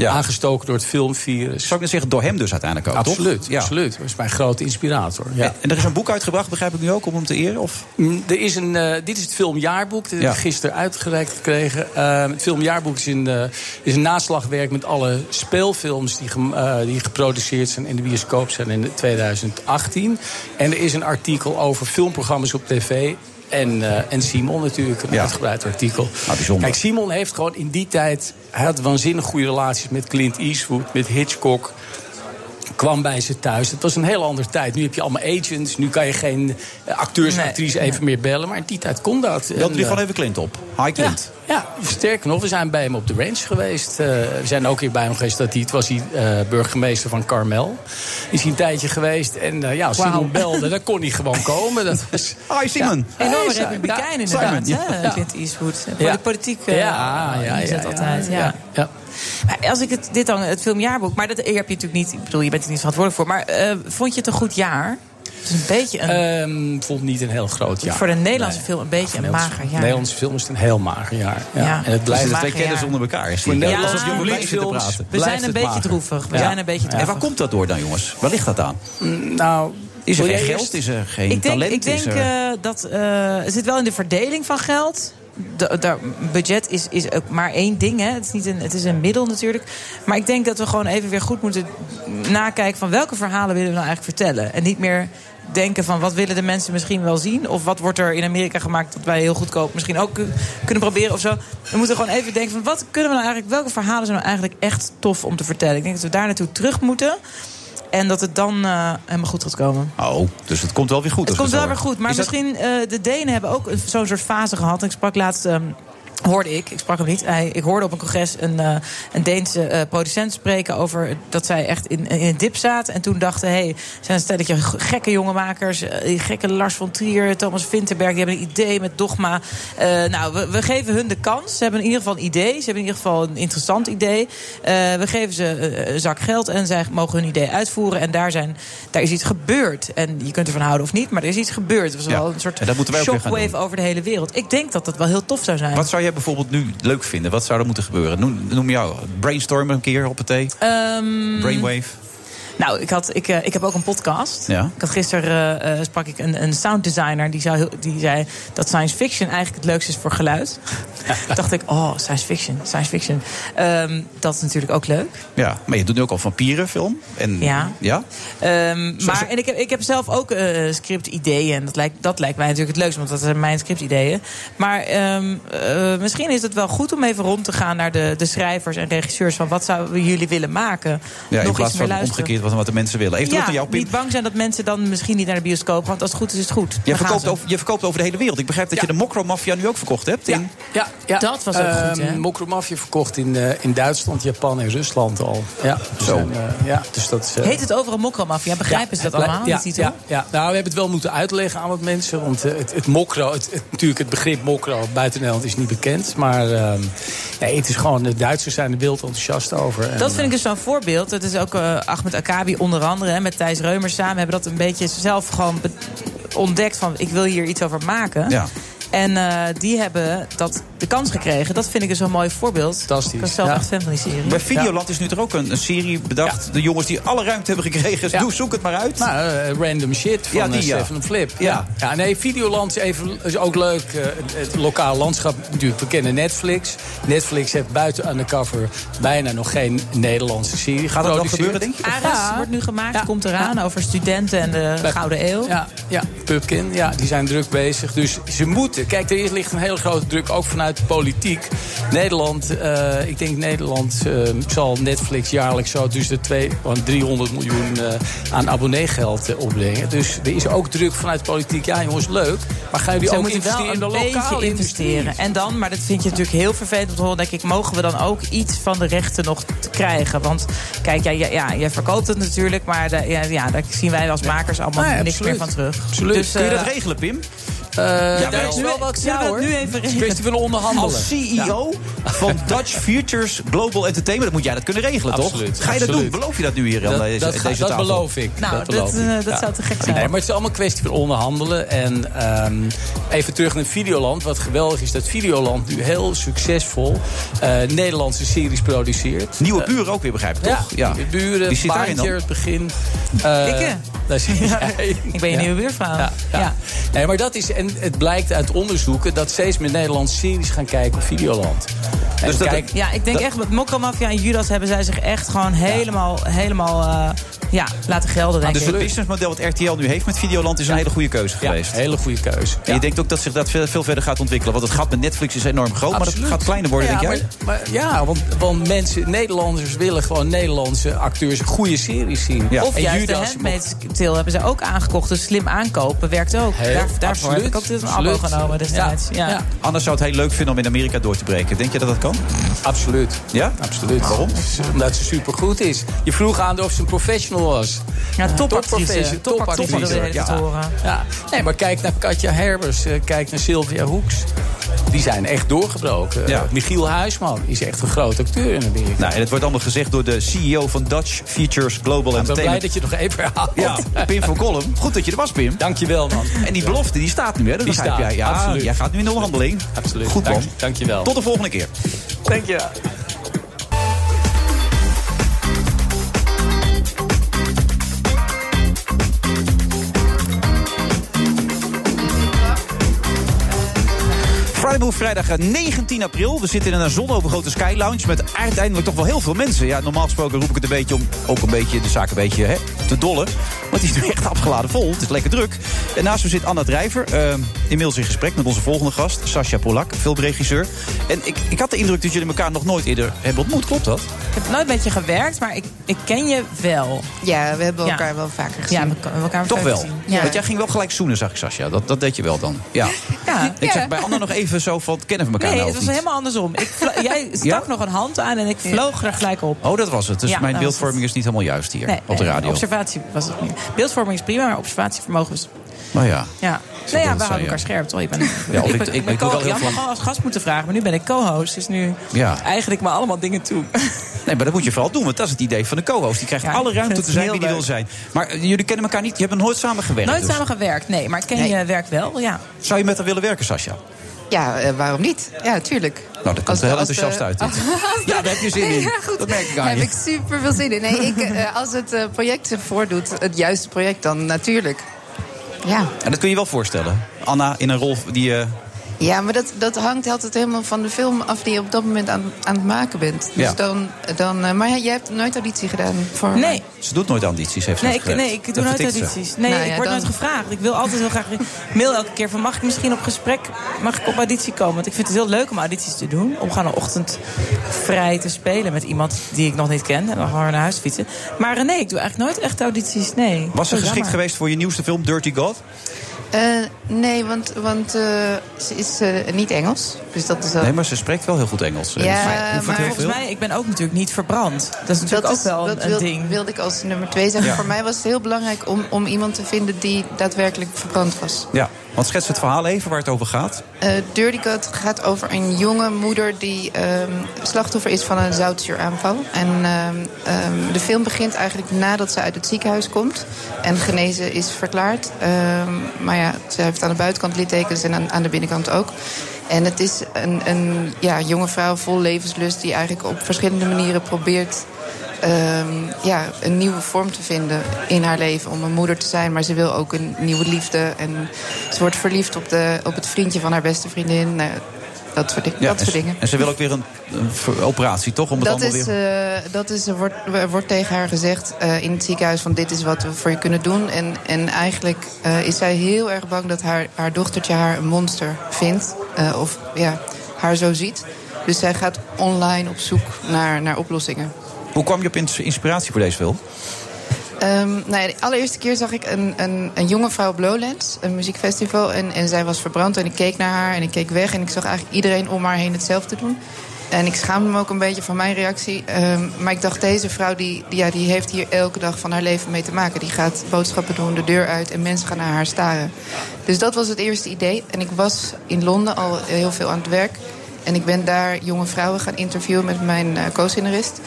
aangestoken door het filmvirus. Zou
ik net zeggen, door hem dus uiteindelijk ook, toch?
Absoluut,
Ja.
absoluut. Dat is mijn grote inspirator. Ja.
En- En er is een boek uitgebracht, begrijp ik nu ook, om hem te eren? Of?
Mm, Er is een, eh, dit is het filmjaarboek. Dat heb ik
Ja.
gisteren uitgereikt gekregen. Eh, het filmjaarboek is een, eh, is een naslagwerk met alle speelfilms die, gem- eh, die geproduceerd zijn in de bioscoop zijn in 2018. En er is een artikel over filmprogramma's op tv. En, eh, en Simon natuurlijk, een uitgebreid artikel. Kijk, Simon heeft gewoon in die tijd... Hij had waanzinnig goede relaties met Clint Eastwood, met Hitchcock kwam bij ze thuis. Het was een heel andere tijd. Nu heb je allemaal agents. Nu kan je geen eh, acteurs en actrices even meer bellen. Maar in die tijd kon dat. En,
Belt u
eh,
gewoon even Clint op. Hi Clint.
Ja, sterker nog, we zijn bij hem op de range geweest. Eh, we zijn ook hier bij hem geweest. Dat hij, het was hij eh, burgemeester van Carmel. Is hij een tijdje geweest. En eh, ja, als
Wauw.
Simon belde, dan kon hij gewoon komen. Dat was,
(laughs) Hi Simon.
Enorme
Hey, Simon.
republikein
Ja.
inderdaad,
Simon,
hè,
ja.
Clint Eastwood. Voor
Ja.
de politiek eh,
Ja, ja,
ingezet
ja, ja,
altijd. Ja.
ja,
Maar als ik het, dit dan, het filmjaarboek... Maar dat hier heb je natuurlijk niet... Ik bedoel, je bent er niet verantwoordelijk voor. Maar eh, vond je het een goed jaar? Het is een beetje een...
Ehm, vond niet een heel groot jaar.
voor de Nederlandse film een beetje een
Nederlandse-
mager jaar.
Nederlandse film is het een heel mager jaar. Ja.
Ja.
En het blijft
Dus de
mager
twee kennis
jaar.
onder elkaar. Is
Voor
die.
Nederlanders
Alsof je
die
over
publiek
lijstjes te
films
praten.
We
blijft
zijn een
het
beetje
mager.
droevig. We
Ja.
zijn een beetje
Ja.
droevig.
En waar komt dat door dan, jongens? Waar ligt dat aan?
Mm,
Nou,
Is er
wil
geen
jij
geld?
eerst?
Is er geen
ik denk,
talent?
Ik denk
is er...
eh, dat eh, het zit wel in de verdeling van geld. Da- daar- budget is, is ook maar één ding. Hè. Het, is niet een, het is een middel natuurlijk. Maar ik denk dat we gewoon even weer goed moeten nakijken van welke verhalen willen we nou eigenlijk vertellen. En niet meer denken van wat willen de mensen misschien wel zien. Of wat wordt er in Amerika gemaakt dat wij heel goedkoop misschien ook eh, kunnen proberen of zo. We moeten gewoon even denken van wat kunnen we nou eigenlijk, welke verhalen zijn nou eigenlijk echt tof om te vertellen. Ik denk dat we daar naartoe terug moeten. En dat het dan eh, helemaal goed gaat komen.
Oh, dus het komt wel weer goed.
Het
als
komt
we
wel
zo
weer
horen.
goed. Maar
Is dat-
misschien, eh, de Denen hebben ook een- zo'n soort fase gehad. Ik sprak laatst, ehm, hoorde ik, ik sprak hem niet. Hij, ik hoorde op een congres een, eh, een Deense eh, producent spreken over dat zij echt in, in een dip zaten. En toen dachten, hé, hey, zijn een stelletje g- gekke jongemakers. eh, die gekke Lars von Trier, Thomas Vinterberg. Die hebben een idee met dogma. Eh, nou, we, we geven hun de kans. Ze hebben in ieder geval een idee. Ze hebben in ieder geval een interessant idee. Eh, we geven ze eh, een zak geld en zij mogen hun idee uitvoeren. En daar, zijn, daar is iets gebeurd. En je kunt ervan houden of niet, maar er is iets gebeurd. Het was
Ja,
wel een soort
en dat moeten wij ook weer gaan
shockwave over de hele wereld. Ik denk dat dat wel heel tof zou zijn.
Wat zou jij bijvoorbeeld nu leuk vinden? Wat zou er moeten gebeuren? Noem, noem jou brainstormen een keer op het thee.
Ehm,
Brainwave.
Nou, ik, had, ik, eh, ik heb ook een podcast.
Ja.
Ik had gisteren eh, eh, sprak ik een, een sounddesigner die, zou, heel- die zei dat science fiction eigenlijk het leukste is voor geluid.
(laughs)
Toen dacht ik, oh, science fiction, science fiction. Ehm, dat is natuurlijk ook leuk.
Ja, maar je doet nu ook al vampierenfilm. En,
Ja.
ja?
Ehm, maar en ik, heb, ik heb zelf ook eh, scriptideeën. En dat lijkt, dat lijkt mij natuurlijk het leukst, want dat zijn mijn scriptideeën. Maar ehm, eh, misschien is het wel goed om even rond te gaan naar de, de schrijvers en regisseurs. van wat zouden jullie willen maken?
Ja, in
Nog iets
plaats
meer
van
luisteren.
omgekeerd wat, wat de mensen willen. Even terug
ja,
naar jou, Pim.
niet bang zijn dat mensen dan misschien niet naar de bioscoop gaan. Want als het goed is, is het goed.
Je
Dan gaan
verkoopt,
ze.
over, je verkoopt over de hele wereld. Ik begrijp dat je de Mokro-maffia nu ook verkocht hebt. In...
Ja, ja.
Dat was ook goed, hè?
Ehm, Mokromafje verkocht in, eh, in Duitsland, Japan en Rusland al. Ja, we
Zo.
zijn, eh, ja, dus dat is, eh,
Heet het overal mokromafia? Begrijpen ze dat
het
allemaal?
blij-
die titel?
Ja, ja, ja. Nou, we hebben het wel moeten uitleggen aan wat mensen. Want eh, het, het mokro, het, het- natuurlijk het begrip mokro buiten Nederland is niet bekend. Maar ehm, nee, het is gewoon, de Duitsers zijn er wild enthousiast over. En,
Dat
eh,
vind ik dus zo'n voorbeeld. Dat is ook eh, Ahmed Akabi onder andere. En met Thijs Reumers samen hebben dat een beetje zelf gewoon be- ontdekt. Van ik wil hier iets over maken.
Ja.
En eh, die hebben dat de kans gekregen. Dat vind ik dus een mooi voorbeeld. Fantastisch. Ik was zelf
Ja.
echt fan van die serie.
Bij Videoland is nu er ook een, een serie bedacht. De jongens die alle ruimte hebben gekregen. Doe, zoek het maar uit.
Nou, eh, random shit van
Ja,
ja,
die, ja.
Stefan Flip.
Ja.
Ja. ja, nee, Videoland is, even, is ook leuk. Eh, het, het lokaal landschap natuurlijk. We kennen Netflix. Netflix heeft buiten aan de cover bijna nog geen Nederlandse serie
Gaat dat wel
geproduceerd.
gebeuren, denk je?
Ares wordt nu gemaakt, komt eraan over studenten en de
Leuk.
Gouden Eeuw.
Ja, ja, Pupkin, ja, die zijn druk bezig. Dus ze moeten. Kijk, er is, ligt een hele grote druk, ook vanuit de politiek. Nederland, eh, ik denk Nederland eh, zal Netflix jaarlijks zo tussen de twee- want 300 miljoen eh, aan abonneegeld eh, opbrengen. Dus er is ook druk vanuit de politiek. Ja, jongens, leuk. Maar gaan jullie
Ze
ook
moeten
investeren
wel
in de
een
lokale
beetje investeren.
industrie?
En dan, maar dat vind je natuurlijk heel vervelend om te horen, denk ik, mogen we dan ook iets van de rechten nog te krijgen? Want kijk, ja, ja, ja, jij verkoopt het natuurlijk, maar da- ja, ja, daar zien wij als makers allemaal
Nee,
niks
absoluut.
meer van terug.
Absoluut. Kun je
eh,
dat
regelen, Pim?
ja,
Ja,
Dus, daar
maar
is
nu-
wel wat
kunnen we dat
ja, hoor.
nu even
Het is een kwestie
regelen?
van onderhandelen.
Als CEO van Dutch Futures Global Entertainment, dan moet jij dat kunnen regelen,
Absoluut,
toch? Ga je dat
absoluut.
doen? Beloof je dat nu hier aan
dat,
deze,
dat,
aan
ga-
deze
dat
tafel?
beloof ik.
Nou, dat,
beloof ik,
eh, dat zou te gek zijn.
Nee, maar het is allemaal een kwestie van onderhandelen. En ehm, even terug naar Videoland. Wat geweldig is dat Videoland nu heel succesvol eh, Nederlandse series produceert. Eh,
Nieuwe buren ook weer, begrijp ik,
Ja,
toch?
Nieuwe buren,
Die zit daarin
Baantje,
dan.
het begin. Eh,
Ikke?
Daar
(laughs)
zit jij.
Ik ben je
Ja.
nieuwe buurvrouw.
Ja, ja.
Ja.
Nee, maar dat is, en het blijkt uit onderzoeken dat steeds meer Nederlandse series gaan kijken op Videoland. En
Dus dat-
kijk,
Ja, ik denk
dat-
echt met Mokromafia en Judas hebben zij zich echt gewoon helemaal, helemaal eh, ja, laten gelden,
Ah,
denk
dus het
ik.
businessmodel wat RTL nu heeft met Videoland is een hele goede keuze geweest.
hele goede keuze.
En je denkt ook dat zich dat veel, veel verder gaat ontwikkelen. Want het gat met Netflix is enorm groot, Oh, maar
Absoluut.
dat gaat kleiner worden,
ja,
denk jij?
Maar, maar ja, want, want mensen, Nederlanders willen gewoon Nederlandse acteurs goede series zien.
Of
En
juist
Judas-
de Handmaid's Tale hebben ze ook aangekocht. Dus slim aankopen werkt ook.
Heel,
Daar, daarvoor
absoluut,
heb ik ook dit een
absoluut.
abo genomen destijds. Ja.
Ja.
Anders zou het heel leuk vinden om in Amerika door te breken. Denk je dat dat kan?
Absoluut.
Ja?
Absoluut.
Waarom?
Omdat ze supergoed is. Je vroeg aan of ze een professional was.
Ja, topactrice. Topactrice,
profession- topactrice.
dat wil je
ja.
te horen.
Ja. Nee, maar kijk naar Katja Herbers, eh, kijk naar Sylvia Hoeks. Die zijn echt doorgebroken.
Ja.
Eh, Michiel Huisman is echt een groot acteur in Amerika.
Nou, en het wordt allemaal gezegd door de CEO van Dutch Features Global
Ik ben blij
Entertainment. Ah,
dat je het nog even herhaalt.
Ja, Pim van Kolm. Goed dat je er was, Pim.
Dankjewel, man.
En die belofte, die staat nu, hè? Dat
Die
begrijp
staat,
jij. Ja,
absoluut.
Jij gaat nu in de onderhandeling.
Absoluut.
Goed, man.
Dank, dankjewel.
Tot de volgende keer.
Dank je.
Friday Move vrijdag eh, 19 april. We zitten in een zonovergrote Sky Lounge met uiteindelijk toch wel heel veel mensen. Ja, normaal gesproken roep ik het een beetje om ook een beetje de zaak een beetje hè, te dollen. Want het is nu (laughs) echt afgeladen vol. Het is lekker druk. En naast me zit Anna Drijver. eh, inmiddels in gesprek met onze volgende gast, Sascha Polak, filmregisseur. En ik, ik had de indruk dat jullie elkaar nog nooit eerder hebben ontmoet. Klopt dat?
Ik heb nooit met je gewerkt, maar ik, ik ken je wel.
Ja, we hebben
Ja.
elkaar wel vaker gezien.
Ja, we hebben elkaar
Toch
vaak
wel.
gezien.
Want jij ging wel gelijk zoenen, zag ik, Sascha. Dat, dat deed je wel
(laughs)
dan. Ja.
Ja.
Ik zeg bij Anna nog even zo van, kennen we elkaar
Nee,
nou
het
of
was
niet?
helemaal andersom. Ik
(laughs)
vla- jij stak nog een hand aan en ik vloog er gelijk op.
Oh, dat was het. Dus
Ja,
mijn
dat was
beeldvorming is niet helemaal juist hier
Nee,
op de
nee,
radio.
Observatie was het niet. Beeldvorming is prima, maar observatievermogen is...
Maar ja.
Ja,
Zo
nou ja, we
wil het
houden
zijn, ja.
elkaar scherp, toch? Ik ben,
Ja, of ik-
ben-
ik-
ben
ik doe
co-
wel
(laughs)
heel
Je had me
veel-
gewoon als gast moeten vragen, maar nu ben ik co-host. Dus nu
Ja.
eigenlijk me allemaal dingen toe.
Nee, maar dat moet je vooral doen, want dat is het idee van de co-host. Die krijgt
Ja,
alle
ik vind
ruimte
het
te zijn
heel
wie die wil
leuk.
zijn. Maar eh, jullie kennen elkaar niet, je hebt nog nooit samen gewerkt.
Nooit
dus.
samen gewerkt, nee. Maar ik ken je werk wel, ja.
Zou je met haar willen werken, Sascha?
Ja, eh, waarom niet? Ja, tuurlijk.
Nou, dat komt er heel enthousiast
(laughs)
uit. dit.
(laughs)
ja, daar heb je zin in.
Ja, goed.
Dat merk ik
Daar
aan
heb
je.
ik super veel zin in. Nee, ik,
(laughs)
eh, als het eh, project zich voordoet, het juiste project, dan natuurlijk. Ja,
En dat kun je wel voorstellen. Anna in een rol die... eh
ja maar dat, dat hangt altijd helemaal van de film af die je op dat moment aan, aan het maken bent. Dus
Ja.
dan, dan, eh, maar ja, jij hebt nooit auditie gedaan voor
Nee,
ze doet nooit audities, heeft ze
nee,
net
ik,
gezegd.
nee, ik doe
Dat
nooit
vertikt ze.
audities. Nee,
Nou ja,
ik word
dan-
nooit gevraagd. Ik wil altijd heel graag... Ik mail elke keer van, mag ik misschien op gesprek... Mag ik op auditie komen? Want ik vind het heel leuk om audities te doen. Om gewoon een ochtend vrij te spelen met iemand die ik nog niet ken. En dan gewoon naar huis fietsen. Maar eh, nee, ik doe eigenlijk nooit echt audities, nee.
Was ze
Zo
geschikt
jammer.
geweest voor je nieuwste film, Dirty God?
Eh, nee, want, want eh, ze is eh, niet Engels. Dus dat is al...
Nee, maar ze spreekt wel heel goed Engels. eh,
Ja,
dus ze oefent
maar-
heel
Volgens
veel.
Nee, ik ben ook natuurlijk niet verbrand. Dat is natuurlijk
dat
ook wel
dat
een
wil-
ding.
wilde ik als nummer twee zeggen.
Ja.
Voor mij was het heel belangrijk om, om iemand te vinden die daadwerkelijk verbrand was.
Ja, want schets het verhaal even waar het over gaat.
Eh Dirty God gaat over een jonge moeder die ehm, slachtoffer is van een zoutzuuraanval. En ehm, ehm, de film begint eigenlijk nadat ze uit het ziekenhuis komt en genezen is verklaard. Ehm, maar ja, ze heeft aan de buitenkant littekens en aan, aan de binnenkant ook. En het is een, een ja, jonge vrouw vol levenslust die eigenlijk op verschillende manieren probeert ehm, ja, een nieuwe vorm te vinden in haar leven. Om een moeder te zijn, maar ze wil ook een nieuwe liefde. En ze wordt verliefd op, de, op het vriendje van haar beste vriendin. Nou, dat soort, ding-
Ja,
dat
en,
soort
ze-
dingen.
en ze wil ook weer een, een ver- operatie, toch? Om het
Dat
allemaal
is,
weer...
eh, dat is, er wordt, er wordt tegen haar gezegd eh, in het ziekenhuis van dit is wat we voor je kunnen doen. En, en eigenlijk eh, is zij heel erg bang dat haar, haar dochtertje haar een monster vindt. eh, of ja, haar zo ziet. Dus zij gaat online op zoek naar, naar oplossingen.
Hoe kwam je op ins- inspiratie voor deze film?
Ehm, nou ja, de allereerste keer zag ik een, een, een jonge vrouw op Lowlands, een muziekfestival. En, en zij was verbrand en ik keek naar haar en ik keek weg. En ik zag eigenlijk iedereen om haar heen hetzelfde doen. En ik schaamde me ook een beetje van mijn reactie. Ehm, maar ik dacht, deze vrouw die, die, ja, die heeft hier elke dag van haar leven mee te maken. Die gaat boodschappen doen, de deur uit en mensen gaan naar haar staren. Dus dat was het eerste idee. En ik was in Londen al heel veel aan het werk. En ik ben daar jonge vrouwen gaan interviewen met mijn eh, co-scenarist.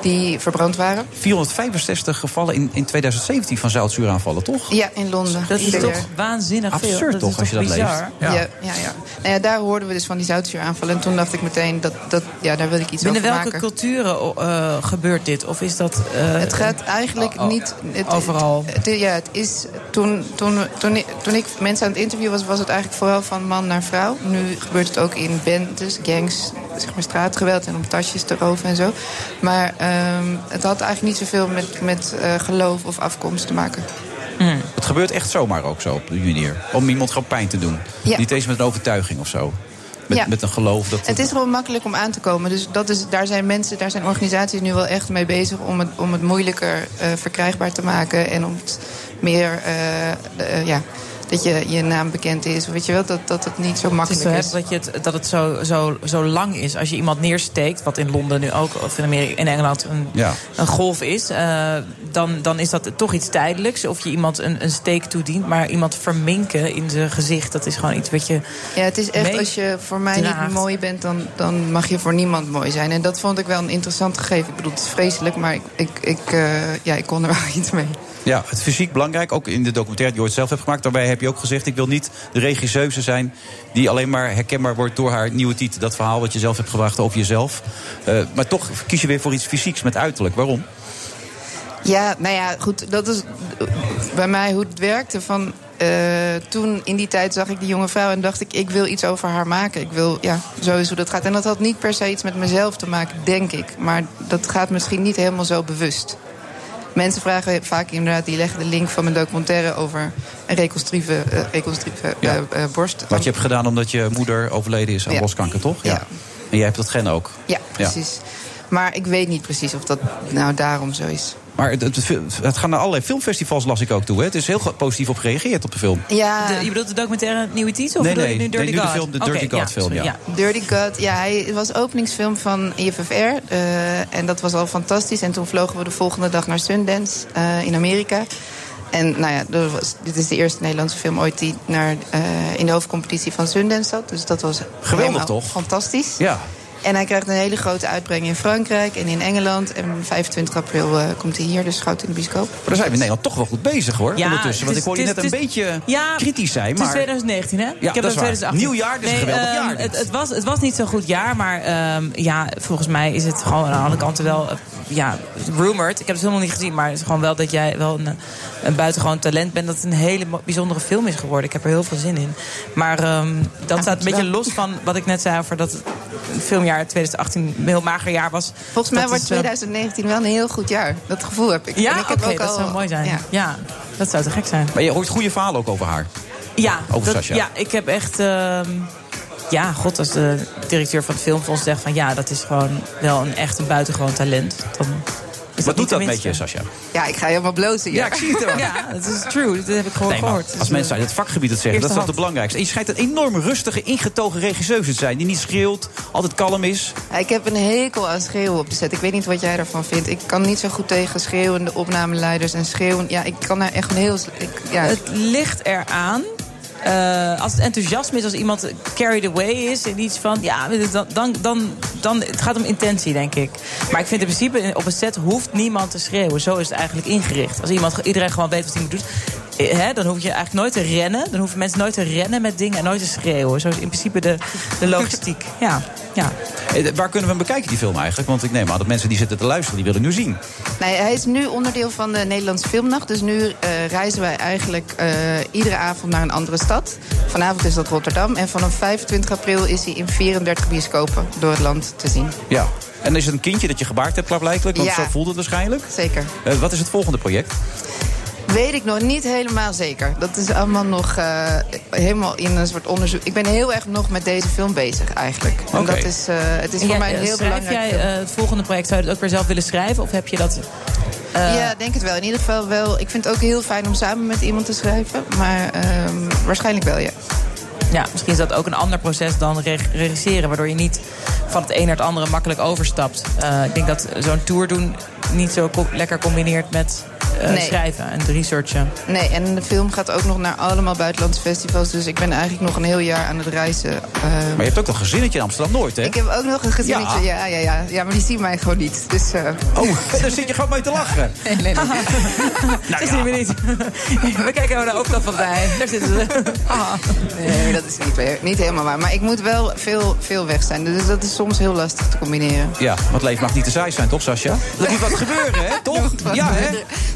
Die verbrand waren.
465 gevallen in, in 2017 van zuidzuuraanvallen, toch?
Ja, in Londen.
Dat is
Ieder
toch
jaar.
waanzinnig
Absurd
veel.
toch,
is
als je dat
bizar?
leest.
Ja.
Ja.
Ja, ja, Nou ja, daar hoorden we dus van die zoutzuuraanval. En toen dacht ik meteen, dat, dat, ja, daar wil ik iets
Binnen
over
welke
maken.
culturen eh, gebeurt dit? Of is dat... eh,
het gaat eigenlijk
oh, oh,
niet... Het,
overal.
het- het- ja, het is... Toen, toen, toen, ik- toen ik mensen aan het interviewen was... was het eigenlijk vooral van man naar vrouw. Nu gebeurt het ook in bendes, gangs, zeg maar straatgeweld... en om tasjes te roven en zo. Maar ehm, het had eigenlijk niet zoveel met, met eh, geloof of afkomst te maken.
Het gebeurt echt zomaar ook zo op die manier. Om iemand gewoon pijn te doen.
Ja.
Niet eens met een overtuiging of zo. Met,
Ja.
met een geloof dat...
Het is wel makkelijk om aan te komen. Dus dat is, daar zijn mensen, daar zijn organisaties nu wel echt mee bezig om het, om het moeilijker eh, verkrijgbaar te maken. En om het meer eh, eh, ja, dat je, je naam bekend is. Weet je wel, dat, dat het niet zo
Het is
makkelijk
zo
is.
heftig dat, je het, dat het zo, zo, zo lang is. Als je iemand neersteekt, wat in Londen nu ook, of in, Amerika, in Engeland een,
Ja.
een golf is, eh, dan, dan is dat toch iets tijdelijks. Of je iemand een, een steek toedient, maar iemand verminken in zijn gezicht, dat is gewoon iets wat je.
Ja, het is echt,
mee
als je voor mij
draagt.
niet mooi bent, dan, dan mag je voor niemand mooi zijn. En dat vond ik wel een interessant gegeven. Ik bedoel, het is vreselijk, maar ik, ik, ik, eh, ja, ik kon er (laughs) wel iets mee.
Ja, het fysiek belangrijk, ook in de documentaire die je ooit zelf hebt gemaakt. Daarbij heb je ook gezegd, ik wil niet de regisseuse zijn... die alleen maar herkenbaar wordt door haar nieuwe titel. Dat verhaal wat je zelf hebt gebracht over jezelf. Eh, maar toch kies je weer voor iets fysieks met uiterlijk. Waarom?
Ja, nou ja, goed, dat is bij mij hoe het werkte. Van, eh, toen in die tijd zag ik die jonge vrouw en dacht ik, ik wil iets over haar maken. Ik wil, ja, zo is hoe dat gaat. En dat had niet per se iets met mezelf te maken, denk ik. Maar dat gaat misschien niet helemaal zo bewust. Mensen vragen vaak inderdaad, die leggen de link van mijn documentaire over een reconstructieve, eh, reconstructieve
Ja.
eh, eh, borst.
Wat je hebt gedaan omdat je moeder overleden is aan
Ja.
borstkanker, toch? Ja. En jij hebt dat gen ook.
Ja, precies. Maar ik weet niet precies of dat nou daarom zo is.
Maar het, het, het gaan naar allerlei filmfestivals, las ik ook toe. Hè? Het is heel ge- positief op gereageerd op de film.
Ja.
De- je bedoelt de documentaire Nieuwe Titel? Of
Nee,
bedoel je
nee,
nu Dirty
nee, nu de
God?
film, de
Oké,
Dirty God film,
sorry,
ja.
Dirty God, ja, hij was openingsfilm van IFFR. eh, en dat was al fantastisch. En toen vlogen we de volgende dag naar Sundance eh, in Amerika. En nou ja, dat was, dit is de eerste Nederlandse film ooit die naar, eh, in de hoofdcompetitie van Sundance zat. Dus dat was
Geweldig,
helemaal
toch?
Fantastisch.
Ja.
En hij krijgt een hele grote uitbrenging in Frankrijk en in Engeland. En 25 april eh, komt hij hier, dus goud in de bioscoop.
Maar dan zijn we in Nederland toch wel goed bezig, hoor,
Ja,
ondertussen. Want
het
ik hoor je
is-
net een
het is-
beetje
ja,
kritisch zijn,
Het is
maar...
2019, hè?
dat is
nog
waar. Nieuw jaar, dus een geweldig
ehm,
jaar dit.
Het, het, was, het was niet zo'n goed jaar, maar ehm, ja, volgens mij is het gewoon aan alle kanten wel eh, ja, rumored. Ik heb het helemaal niet gezien, maar het is gewoon wel dat jij wel een, een buitengewoon talent bent. Dat het een hele mo- bijzondere film is geworden. Ik heb er heel veel zin in. Maar ehm, dat staat een beetje los van wat ik net zei over dat het filmjaar 2018 een heel mager jaar was.
Volgens mij wordt 2019 wel een heel goed jaar. Dat gevoel heb ik.
eh, Ja,
En ik heb
oké,
ook
dat
al-
zou mooi zijn.
ja.
ja, dat zou te gek zijn.
Maar je hoort goede verhalen ook over haar.
Ja,
Over
dat-
Sascha.
Ja, ik heb echt. ehm, ja, god, als de directeur van het filmfonds zegt van ja, dat is gewoon wel een echt een buitengewoon talent. Dan is niet
Wat
te
doet dat met
minste.
je, Sascha?
Ja, ik ga helemaal blozen hier.
Ja, ik zie het wel.
Ja, dat is true. Dat heb ik gewoon
Nee, maar
gehoord.
als mensen uit het vakgebied het zeggen, dat is
eerste
toch het belangrijkste. En je schijnt een enorme rustige, ingetogen regisseuse te zijn... die niet schreeuwt, altijd kalm is.
Ja, Ik heb een hekel aan schreeuwen op de set. Ik weet niet wat jij daarvan vindt. Ik kan niet zo goed tegen schreeuwende opnameleiders en schreeuwen. Ja, ik kan daar echt een heel. sle- Ik, ja.
Het ligt eraan. eh, als het enthousiasme is, als iemand carried away is en iets van ja, dan, dan, dan, dan het gaat om intentie, denk ik. Maar ik vind in principe op een set hoeft niemand te schreeuwen. Zo is het eigenlijk ingericht. Als iemand, iedereen gewoon weet wat hij moet doen. eh, hè, dan hoef je eigenlijk nooit te rennen. Dan hoeven mensen nooit te rennen met dingen en nooit te schreeuwen. Zo is in principe de, de logistiek. (laughs) Ja, ja.
Eh, Waar kunnen we hem bekijken, die film eigenlijk? Want ik neem aan dat mensen die zitten te luisteren, die willen nu zien.
Nee, hij is nu onderdeel van de Nederlandse Filmnacht. Dus nu eh, reizen wij eigenlijk eh, iedere avond naar een andere stad. Vanavond is dat Rotterdam. En vanaf 25 april is hij in 34 bioscopen door het land te zien.
Ja. En is het een kindje dat je gebaard hebt, klaarblijkelijk? Want
Ja.
zo voelt het waarschijnlijk.
Zeker.
Eh, wat is het volgende project?
Weet ik nog niet helemaal zeker. Dat is allemaal nog eh, helemaal in een soort onderzoek. Ik ben heel erg nog met deze film bezig eigenlijk. En
Oké.
dat is, eh, het is voor
En jij,
mij een
eh,
heel
schrijf
belangrijk
jij
film.
eh, het volgende project, zou je dat ook weer zelf willen schrijven? Of heb je dat... eh,
ja, denk het wel. In ieder geval wel. Ik vind het ook heel fijn om samen met iemand te schrijven. Maar ehm, waarschijnlijk wel, ja.
Ja, misschien is dat ook een ander proces dan reg- regisseren. Waardoor je niet van het een naar het andere makkelijk overstapt. Eh, ik denk dat zo'n tour doen niet zo co- lekker combineert met eh,
Nee.
schrijven en researchen.
Nee, en de film gaat ook nog naar allemaal buitenlandse festivals. Dus ik ben eigenlijk nog een heel jaar aan het reizen. ehm.
Maar je hebt ook een gezinnetje in Amsterdam Noord, hè?
ik heb ook nog een gezinnetje.
Ja.
Ja. Ja, ja, ja, maar die zien mij gewoon niet. Dus, eh,
Oh, (laughs) daar zit je gewoon mee te lachen.
nee,
(laughs)
nee, nee.
dat zien we niet. Nou (laughs) we kijken naar de overkant van bij. Daar zitten ze.
(laughs) Nee, dat is niet, waar- niet helemaal waar. Maar ik moet wel veel, veel weg zijn. Dus dat is soms heel lastig te combineren.
Ja, want het leven mag niet te saai zijn, toch, Sascha? Er moet wat gebeuren, hè?
(laughs)
Toch? Ja, hè?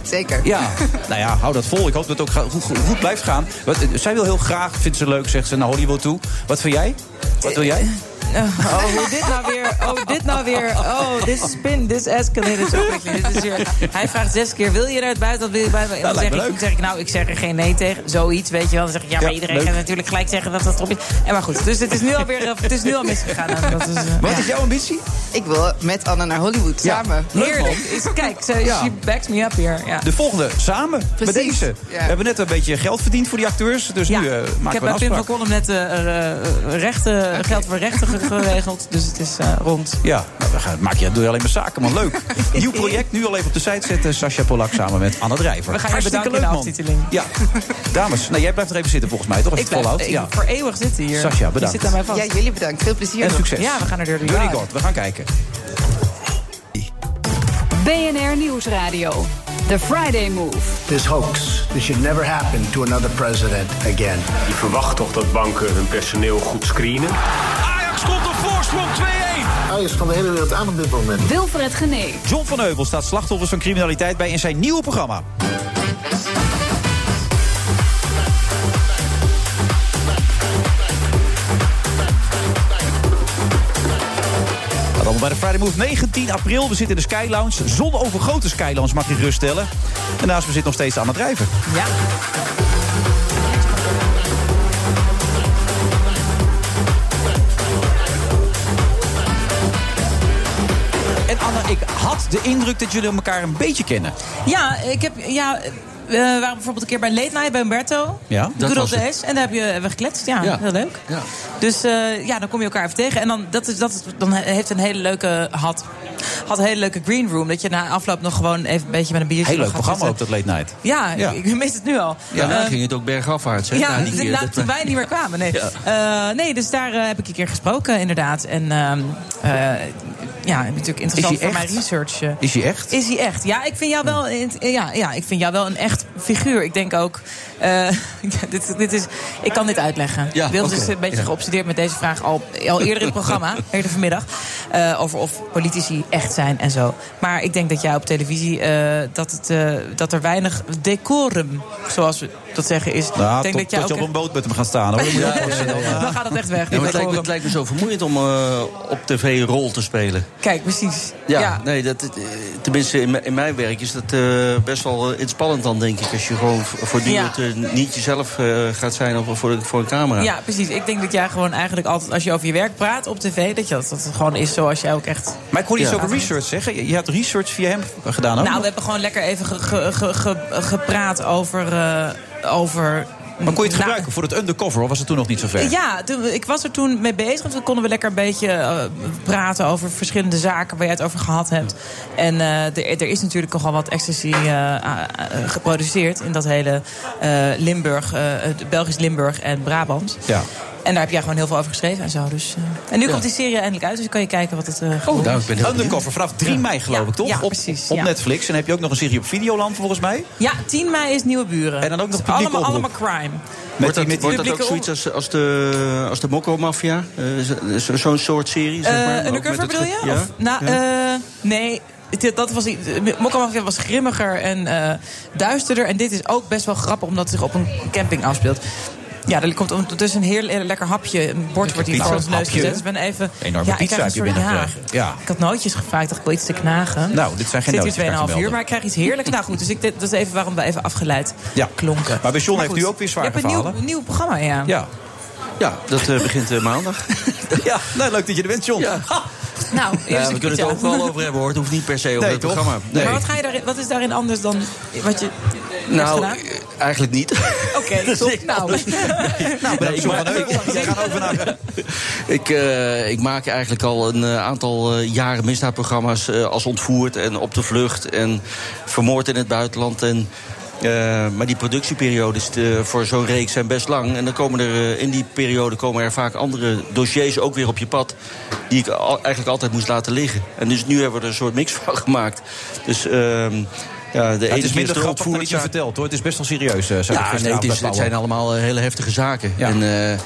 Zeker. (laughs)
Ja, (laughs) nou ja, hou dat vol. Ik hoop dat het ook ga- goed, goed- goed blijft gaan. Wat, eh, zij wil heel graag, vindt ze leuk, zegt ze naar Hollywood toe. Wat vind jij? Wat wil jij?
Oh, hoe dit nou weer. Oh, dit nou weer. Oh, this spin, this escalated so quickly. Dit is weer, hij vraagt zes keer, wil je naar het buitenland? Wil je naar het buitenland?
Nou,
En
lijkt
dan
me
zeg, ik, dan zeg ik, nou, ik zeg er geen nee tegen. Zoiets, weet je wel. Dan zeg ik, ja, maar
Ja,
iedereen
leuk.
gaat natuurlijk gelijk zeggen dat dat erop is. En maar goed, dus het is nu alweer eh, het is nu al misgegaan. En Dat is, eh,
Wat
ja.
is jouw ambitie?
Dus, Ik wil met Anne naar Hollywood samen.
Heerlijk. Is- Kijk, ze-
Ja.
she backs me up hier. Ja.
De volgende, samen,
Precies,
bij deze.
ja.
We hebben net een beetje geld verdiend voor die acteurs, dus nu eh,
Ik
maken
heb
we
bij
een
Pim
afspraak.
van Kolm net eh, eh, eh, rechten, geld voor rechten ge- geregeld. Dus het is eh, rond.
Ja, nou, we gaan, maak je, doe je alleen maar zaken, man.
(laughs)
Leuk. Nieuw project, nu al even op de site zetten. Sascha Polak samen met Anna Drijver.
We gaan je
Hartstikke
bedanken
leuk,
in de
man. Ja. Dames, nou, jij blijft er even zitten volgens mij, toch? Als
Ik
je het
blijf
volhoudt.
ik-
Ja.
voor eeuwig zitten hier.
Sascha,
Je
bedankt.
zit aan mij vast.
Ja, jullie bedankt. Veel plezier.
En succes.
Ja, we gaan er door de
Johnny
jaren.
God, we gaan kijken.
BNR Nieuwsradio. The Friday Move.
This hoax. This should never happen to another president again.
Je verwacht toch dat banken hun personeel goed screenen?
Ajax komt op voorsprong 2-1. Ajax kan de hele wereld aan op dit moment.
Wilfred Genee.
John van Heuvel staat slachtoffers van criminaliteit bij in zijn nieuwe programma. Dat allemaal Nou, bij de Friday Move. 19 april, we zitten in de Sky Lounge. Zon over grote Sky Lounge, mag je geruststellen. En naast me zit nog steeds aan het drijven.
Ja.
En Anne, ik had de indruk dat jullie elkaar een beetje kennen.
Ja, ik heb. Ja, eh, we waren bijvoorbeeld een keer bij Late Night bij Umberto.
Ja,
De
dat
Good old
was het.
days. Oh, En daar heb je, hebben we gekletst. Ja,
Ja.
heel leuk. Dus eh, ja, dan kom je elkaar even tegen. En dan, dat is, dat is, dan he- heeft een hele leuke... Had, had een hele leuke green room. Dat je na afloop nog gewoon even een beetje met een biertje...
Heel leuk
nog gaat
programma
zitten.
ook, dat Late Night.
Ja,
Ja.
Ik, ik mis het nu al.
Ja, daar
Eh,
ging het ook bergafwaarts. hè?
ja, (laughs)
Nou, die
dus
keer
na-
dat
toen
wij-
wij niet meer kwamen. Nee,
(laughs) Ja.
Eh, nee dus daar eh, heb ik een keer gesproken, inderdaad. En ehm eh ja, natuurlijk interessant
Is hij
voor mijn
echt?
research. eh.
Is hij echt?
Is hij echt? Ja, ik vind jou wel, in- ja, ja, ik vind jou wel een echt figuur. Ik denk ook. eh, (laughs) dit, dit is, ik kan dit uitleggen.
Ja,
Wilders
oké,
is een beetje
ja.
geobsedeerd met deze vraag al, al eerder in het
(laughs)
programma, eerder vanmiddag. eh, over of politici echt zijn en zo. Maar ik denk dat jij op televisie eh, dat, het, eh, dat er weinig decorum, zoals we dat zeggen, is.
Nou,
ik denk
tot,
dat jij
tot je
ook
op een boot met hem gaat staan. Hoor. Dan moet je
Ja,
(laughs)
oppassen, dan, eh.
dan gaat het echt weg.
Ja, maar het,
die
lijkt me,
decorum.
het lijkt me zo vermoeiend om eh, op tv een rol te spelen.
Kijk, precies.
Ja, nee, dat, eh, tenminste in, mijn- in mijn werk is dat eh, best wel eh, inspannend dan, denk ik. Als je gewoon v- voortdurend eh, niet jezelf eh, gaat zijn of voor, voor een camera.
Ja, precies. Ik denk dat jij gewoon eigenlijk altijd, als je over je werk praat op tv, dat je dat, dat het gewoon is zoals jij ook echt.
Maar ik hoorde iets
Ja.
over research zeggen. Je, je hebt research via hem gedaan ook?
Nou, we hebben gewoon lekker even ge- ge- ge- ge- gepraat over. eh, over
maar kon je het
Nou,
gebruiken voor het undercover? Of was het toen nog niet Nou, zo ver?
Ja, toen- ik was er toen mee bezig. want Toen konden we lekker een beetje eh, praten over verschillende zaken waar jij het over gehad hebt. En eh, er, er is natuurlijk nogal wat ecstasy eh, a- a- geproduceerd in dat hele eh, Limburg, eh, het Belgisch Limburg en Brabant.
Ja.
En daar heb jij gewoon heel veel over geschreven en zo. Dus, eh. En nu
Ja.
komt die serie eindelijk uit, dus dan kan je kijken wat het eh geworden
nou,
is.
ik ben heel Undercover vanaf 3 mei geloof ik, toch?
ja,
op,
precies,
op
ja.
Netflix. En dan heb je ook nog een serie op Videoland volgens mij.
Ja, 10 mei is Nieuwe Buren.
En dan ook nog
Het is
publieke
allemaal, allemaal
oproep.
crime.
Wordt dat, wordt dat ook
publieke
zoiets als, als de, als de Mokko-mafia? Eh, zo- zo- Zo'n soort serie, zeg maar?
Eh,
Ook
undercover
met het
bedoel je?
ge-
Of, nou,
Ja.
eh, nee. Dit, dat was, iets- eh, Mokka Mafia was grimmiger en eh, duisterder. En dit is ook best wel grappig, omdat het zich op een camping afspeelt. Ja, er komt ondertussen een heel lekker hapje. Een bord wordt hier
pizza.
voor ons neus
Hapje.
gezet. Dus ik ben even...
Een enorme
ik
pizza
krijg
heb je
een soort-
binnengekregen. Ja.
Ik had nootjes gevraagd. Ik dacht, ik wil iets te knagen.
Nou, dit zijn geen
Ik
nootjes,
zit
kan ik
hier 2,5 uur,
je melden.
maar ik krijg iets heerlijks. nou goed, dus ik, dit, dat is even waarom we even afgeleid.
Ja.
Klonken.
Maar bij John
Maar
heeft
goed,
nu ook weer
Je
zwaar
hebt een
verhalen.
nieuw, nieuw programma, ja.
Ja. Ja,
dat eh, begint eh, maandag.
(laughs) ja, nou, leuk dat je er bent, John.
Ja,
Nou, eerst
Eh, we
een
kunnen
pizza.
het er ook wel over hebben, hoor. Het hoeft niet per se over
Nee,
het
toch?
programma.
Nee.
Maar wat, ga je daarin, wat is daarin anders dan wat je hebt
Nou,
gedaan?
eh, eigenlijk niet. (laughs)
Oké, top. nou.
Nou, bedankt, John
maar-
van Heuvel. Jij gaat over naar...
Ik, eh, ik maak eigenlijk al een eh, aantal eh, jaren misdaadprogramma's eh, als ontvoerd en op de vlucht en vermoord in het buitenland. En, eh, maar die productieperiodes eh, voor zo'n reeks zijn best lang. En dan komen er, eh, in die periode komen er vaak andere dossiers ook weer op je pad. Die ik al- eigenlijk altijd moest laten liggen. En dus nu hebben we er een soort mix (laughs) van gemaakt. Dus ehm, ja, de ene
Ja, het is
keer de
minder grappig dan
ontvoerzaak.
iets je vertelt, hoor. Het is best wel serieus. eh, zei ik
Ja, nee,
gisteravond
het, is-
bij
het
Pauwen.
zijn allemaal eh, hele heftige zaken. En eh,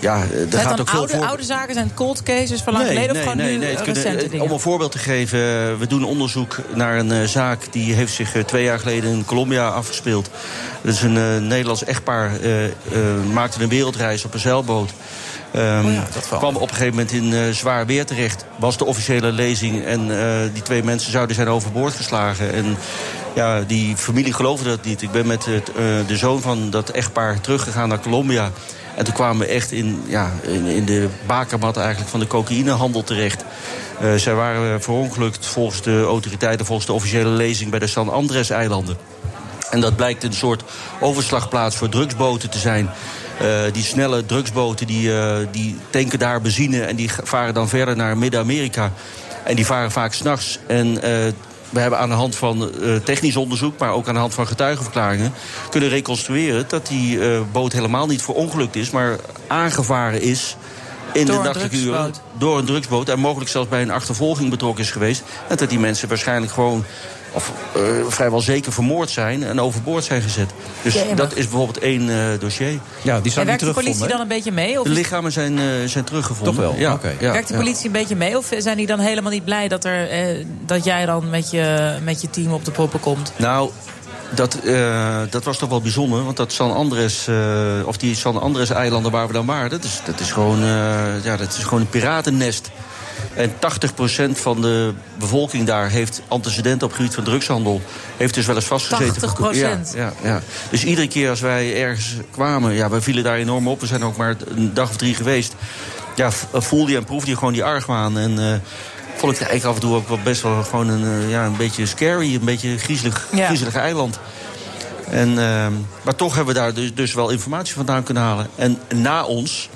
ja, eh, er
Zijn
gaat
het
ook
dan
veel
oude,
voor.
oude zaken? Zijn het cold cases van lang geleden of gewoon nu
het kunnen-
recente
eh,
dingen?
Om een voorbeeld te geven, eh, we doen onderzoek naar een eh, zaak... die heeft zich eh, twee jaar geleden in Colombia afgespeeld. Dat is een eh, Nederlands echtpaar, eh, eh, maakte een wereldreis op een zeilboot.
Oh
Ehm, kwam op een gegeven moment in eh, zwaar weer terecht. Was de officiële lezing en eh, die twee mensen zouden zijn overboord geslagen. En ja, die familie geloofde dat niet. Ik ben met het, eh, de zoon van dat echtpaar teruggegaan naar Colombia... En toen kwamen we echt in, ja, in, in de bakermat eigenlijk van de cocaïnehandel terecht. Eh, zij waren eh, verongelukt volgens de autoriteiten, volgens de officiële lezing bij de San Andres-eilanden. En dat blijkt een soort overslagplaats voor drugsboten te zijn. Eh, die snelle drugsboten die, eh, die tanken daar benzine en die g- varen dan verder naar Midden-Amerika. En die varen vaak s'nachts. En eh, we hebben aan de hand van eh, technisch onderzoek, maar ook aan de hand van getuigenverklaringen, kunnen reconstrueren dat die eh, boot helemaal niet verongelukt is, maar aangevaren is in
Door
de
een
nachtelijke uren
drugsboot.
door een drugsboot en mogelijk zelfs bij een achtervolging betrokken is geweest. En dat die mensen waarschijnlijk gewoon of eh, vrijwel zeker vermoord zijn en overboord zijn gezet. Dus
Jemig.
dat is bijvoorbeeld één eh, dossier.
Ja, die
En werkt de politie dan een beetje mee? Of
De
is-
lichamen zijn, eh, zijn teruggevonden.
Toch wel?
Ja.
Oké.
Ja.
werkt de
Ja.
politie een beetje mee? Of zijn die dan helemaal niet blij dat, er, eh, dat jij dan met je, met je team op de proppen komt?
Nou, dat, eh, dat was toch wel bijzonder. Want dat San Andres, eh, of die San Andres-eilanden waar we dan waren... dat is, dat is, gewoon, eh, ja, dat is gewoon een piratennest. En 80% van de bevolking daar heeft antecedenten op het gebied van drugshandel. Heeft dus wel eens vastgezeten.
80%?
Ja, ja, ja. Dus iedere keer als wij ergens kwamen... ja, wij vielen daar enorm op. We zijn ook maar een dag of drie geweest. Ja, v- eh, voelde je en proefde je gewoon die argwaan. En eh, vond ik het eigenlijk af en toe ook wel best wel gewoon een, eh, ja, een beetje scary. Een beetje griezelig,
Ja.
griezelige eiland. En, ehm, maar toch hebben we daar dus, dus wel informatie vandaan kunnen halen. En na ons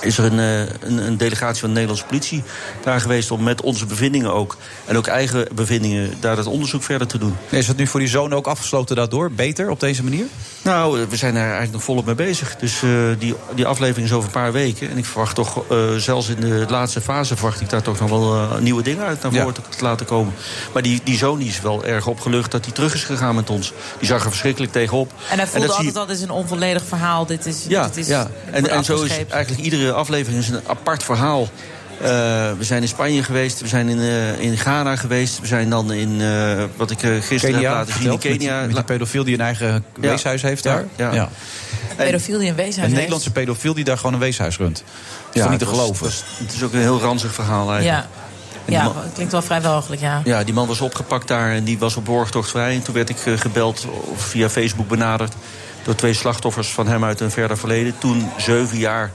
is er een, eh, een, een delegatie van de Nederlandse politie daar geweest... om met onze bevindingen ook, en ook eigen bevindingen... daar het onderzoek verder te doen.
Is dat nu voor die zoon ook afgesloten daardoor? Beter op deze manier?
Nou, eh, we zijn er eigenlijk nog volop mee bezig. Dus eh, die, die aflevering is over een paar weken. En ik verwacht toch, eh, zelfs in de laatste fase... verwacht ik daar toch nog wel eh, nieuwe dingen uit naar voren te, te laten komen. Maar die, die zoon die is wel erg opgelucht dat hij terug is gegaan met ons. Die zag er verschrikkelijk tegenop.
En hij
dat
voelde
zie je-
altijd dat is een onvolledig verhaal. Dit is,
ja,
dit is,
ja. En,
wordt
en zo is
afgescheept.
eigenlijk iedere aflevering is een apart verhaal. Eh, we zijn in Spanje geweest, we zijn in, eh, in Ghana geweest, we zijn dan in eh, wat ik eh, gisteren
Kenia,
heb laten zien in
verteld,
Kenia.
met die- met die pedofiel die een eigen
Ja.
weeshuis heeft daar.
Ja, ja.
Pedofiel die in
Een
wezen
Nederlandse pedofiel die daar gewoon een weeshuis runt. Dat is toch niet te
het was-
geloven?
het was- het is ook een heel ranzig verhaal eigenlijk.
Ja. ja, klinkt wel vrij walgelijk, ja.
Ja, die man was opgepakt daar en die was op borgtocht vrij. En toen werd ik eh, gebeld of via Facebook benaderd door twee slachtoffers van hem uit een verder verleden. Toen zeven jaar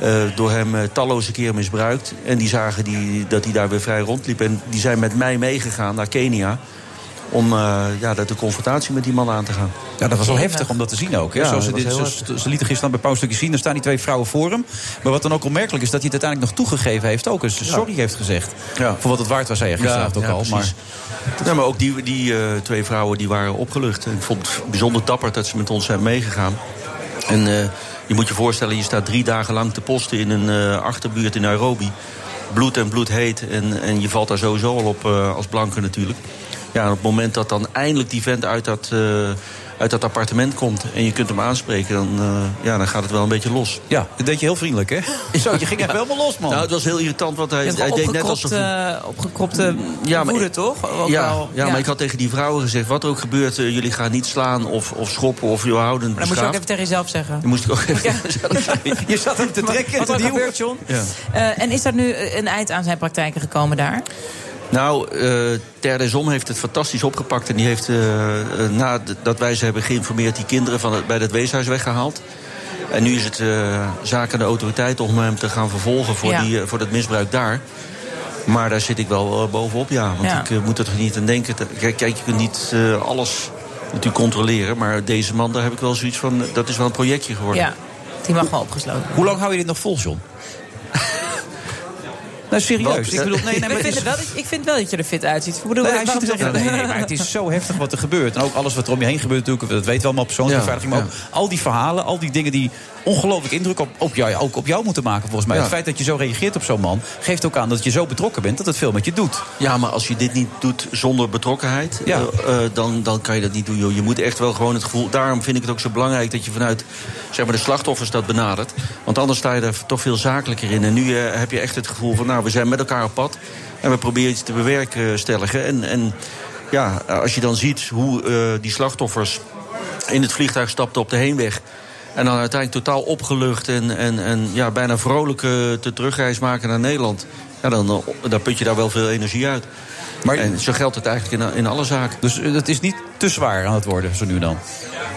eh, door hem eh, talloze keer misbruikt. En die zagen die, dat hij daar weer vrij rondliep. En die zijn met mij meegegaan naar Kenia om eh, ja, dat de confrontatie met die man aan te gaan.
Ja, dat was wel heftig om dat te zien ook. Hè?
Ja,
Zoals ze,
dat was
dit,
heel
ze, ze lieten gisteren bij Pauw een stukje zien. Daar staan die twee vrouwen voor hem. Maar wat dan ook onmerkelijk is, dat hij het uiteindelijk nog toegegeven heeft ook. Dus sorry heeft gezegd. Voor wat het waard was, zei je gisteravond ook al. Maar...
Maar... Ja, maar ook die, die eh, twee vrouwen die waren opgelucht. En ik vond het bijzonder dapper dat ze met ons zijn meegegaan. En eh, Je moet je voorstellen, je staat drie dagen lang te posten in een eh, achterbuurt in Nairobi. Bloed en bloed heet. En, en je valt daar sowieso al op eh, als blanke natuurlijk. Ja, en op het moment dat dan eindelijk die vent uit dat, eh, uit dat appartement komt... en je kunt hem aanspreken, dan, eh, ja, dan gaat het wel een beetje los.
Ja, dat deed je heel vriendelijk, hè? Zo, je ging echt helemaal los, man.
Nou, het was heel irritant, want hij,
Je hebt eh,
hij deed net
opgekropte-
alsof... hij-
opgekropte woede, toch? Ook
ja,
wel,
ja, maar ik had tegen die vrouwen gezegd... wat er ook gebeurt, eh, jullie gaan niet slaan of, of schoppen of je houden
Maar dat moet je ook even tegen jezelf zeggen.
Dat moest ik ook even... (laughs)
je zat hem te trekken.
Wat er
Deal.
gebeurt, John?
Ja.
Eh, en is daar nu een eind aan zijn praktijken gekomen daar?
Nou, eh Ter de Zon heeft het fantastisch opgepakt. En die heeft, eh, eh, nadat wij ze hebben geïnformeerd... die kinderen van het, bij het weeshuis weggehaald. En nu is het eh, zaak aan de autoriteit om hem te gaan vervolgen... voor,
Ja.
die, eh, voor dat misbruik daar. Maar daar zit ik wel eh, bovenop, ja. Want
Ja.
ik eh, moet er niet aan denken. Te- Kijk, kijk je kunt niet eh, alles natuurlijk controleren. Maar deze man, daar heb ik wel zoiets van... eh, dat is wel een projectje geworden.
Ja, die mag wel opgesloten.
Hoe lang hou je dit nog vol, John? (laughs) nou, serieus. Ik bedoel, (laughs) nee, nee, maar
ik,
het
vind
is-
het wel, dat- ik vind wel dat je er fit uitziet. Ik bedoel,
Nee,
waarom
hij ziet er
zeg (laughs)
wel-
je dat?
nee, maar het is zo heftig wat er gebeurt. En ook alles wat er om je heen gebeurt natuurlijk. Dat weten we allemaal, persoonsbeveiliging. maar ook al die verhalen, al die dingen die ongelooflijk indruk op, op jou, ook op jou moeten maken volgens mij.
Ja.
Het feit dat je zo reageert op zo'n man... geeft ook aan dat je zo betrokken bent dat het veel met je doet.
Ja, maar als je dit niet doet zonder betrokkenheid, eh, eh, dan, dan kan je dat niet doen. Joh. Je moet echt wel gewoon het gevoel. Daarom vind ik het ook zo belangrijk dat je vanuit zeg maar, de slachtoffers dat benadert. Want anders sta je daar toch veel zakelijker in. En nu eh, heb je echt het gevoel van, nou, we zijn met elkaar op pad. En we proberen iets te bewerkstelligen. En, en ja, als je dan ziet hoe eh, die slachtoffers in het vliegtuig stapten op de heenweg. En dan uiteindelijk totaal opgelucht en, en, en ja, bijna vrolijk eh, de terugreis maken naar Nederland. Ja, dan, eh, dan put je daar wel veel energie uit. en zo geldt het eigenlijk in, in alle zaken.
Dus eh, dat is niet te zwaar aan het worden, zo nu en dan.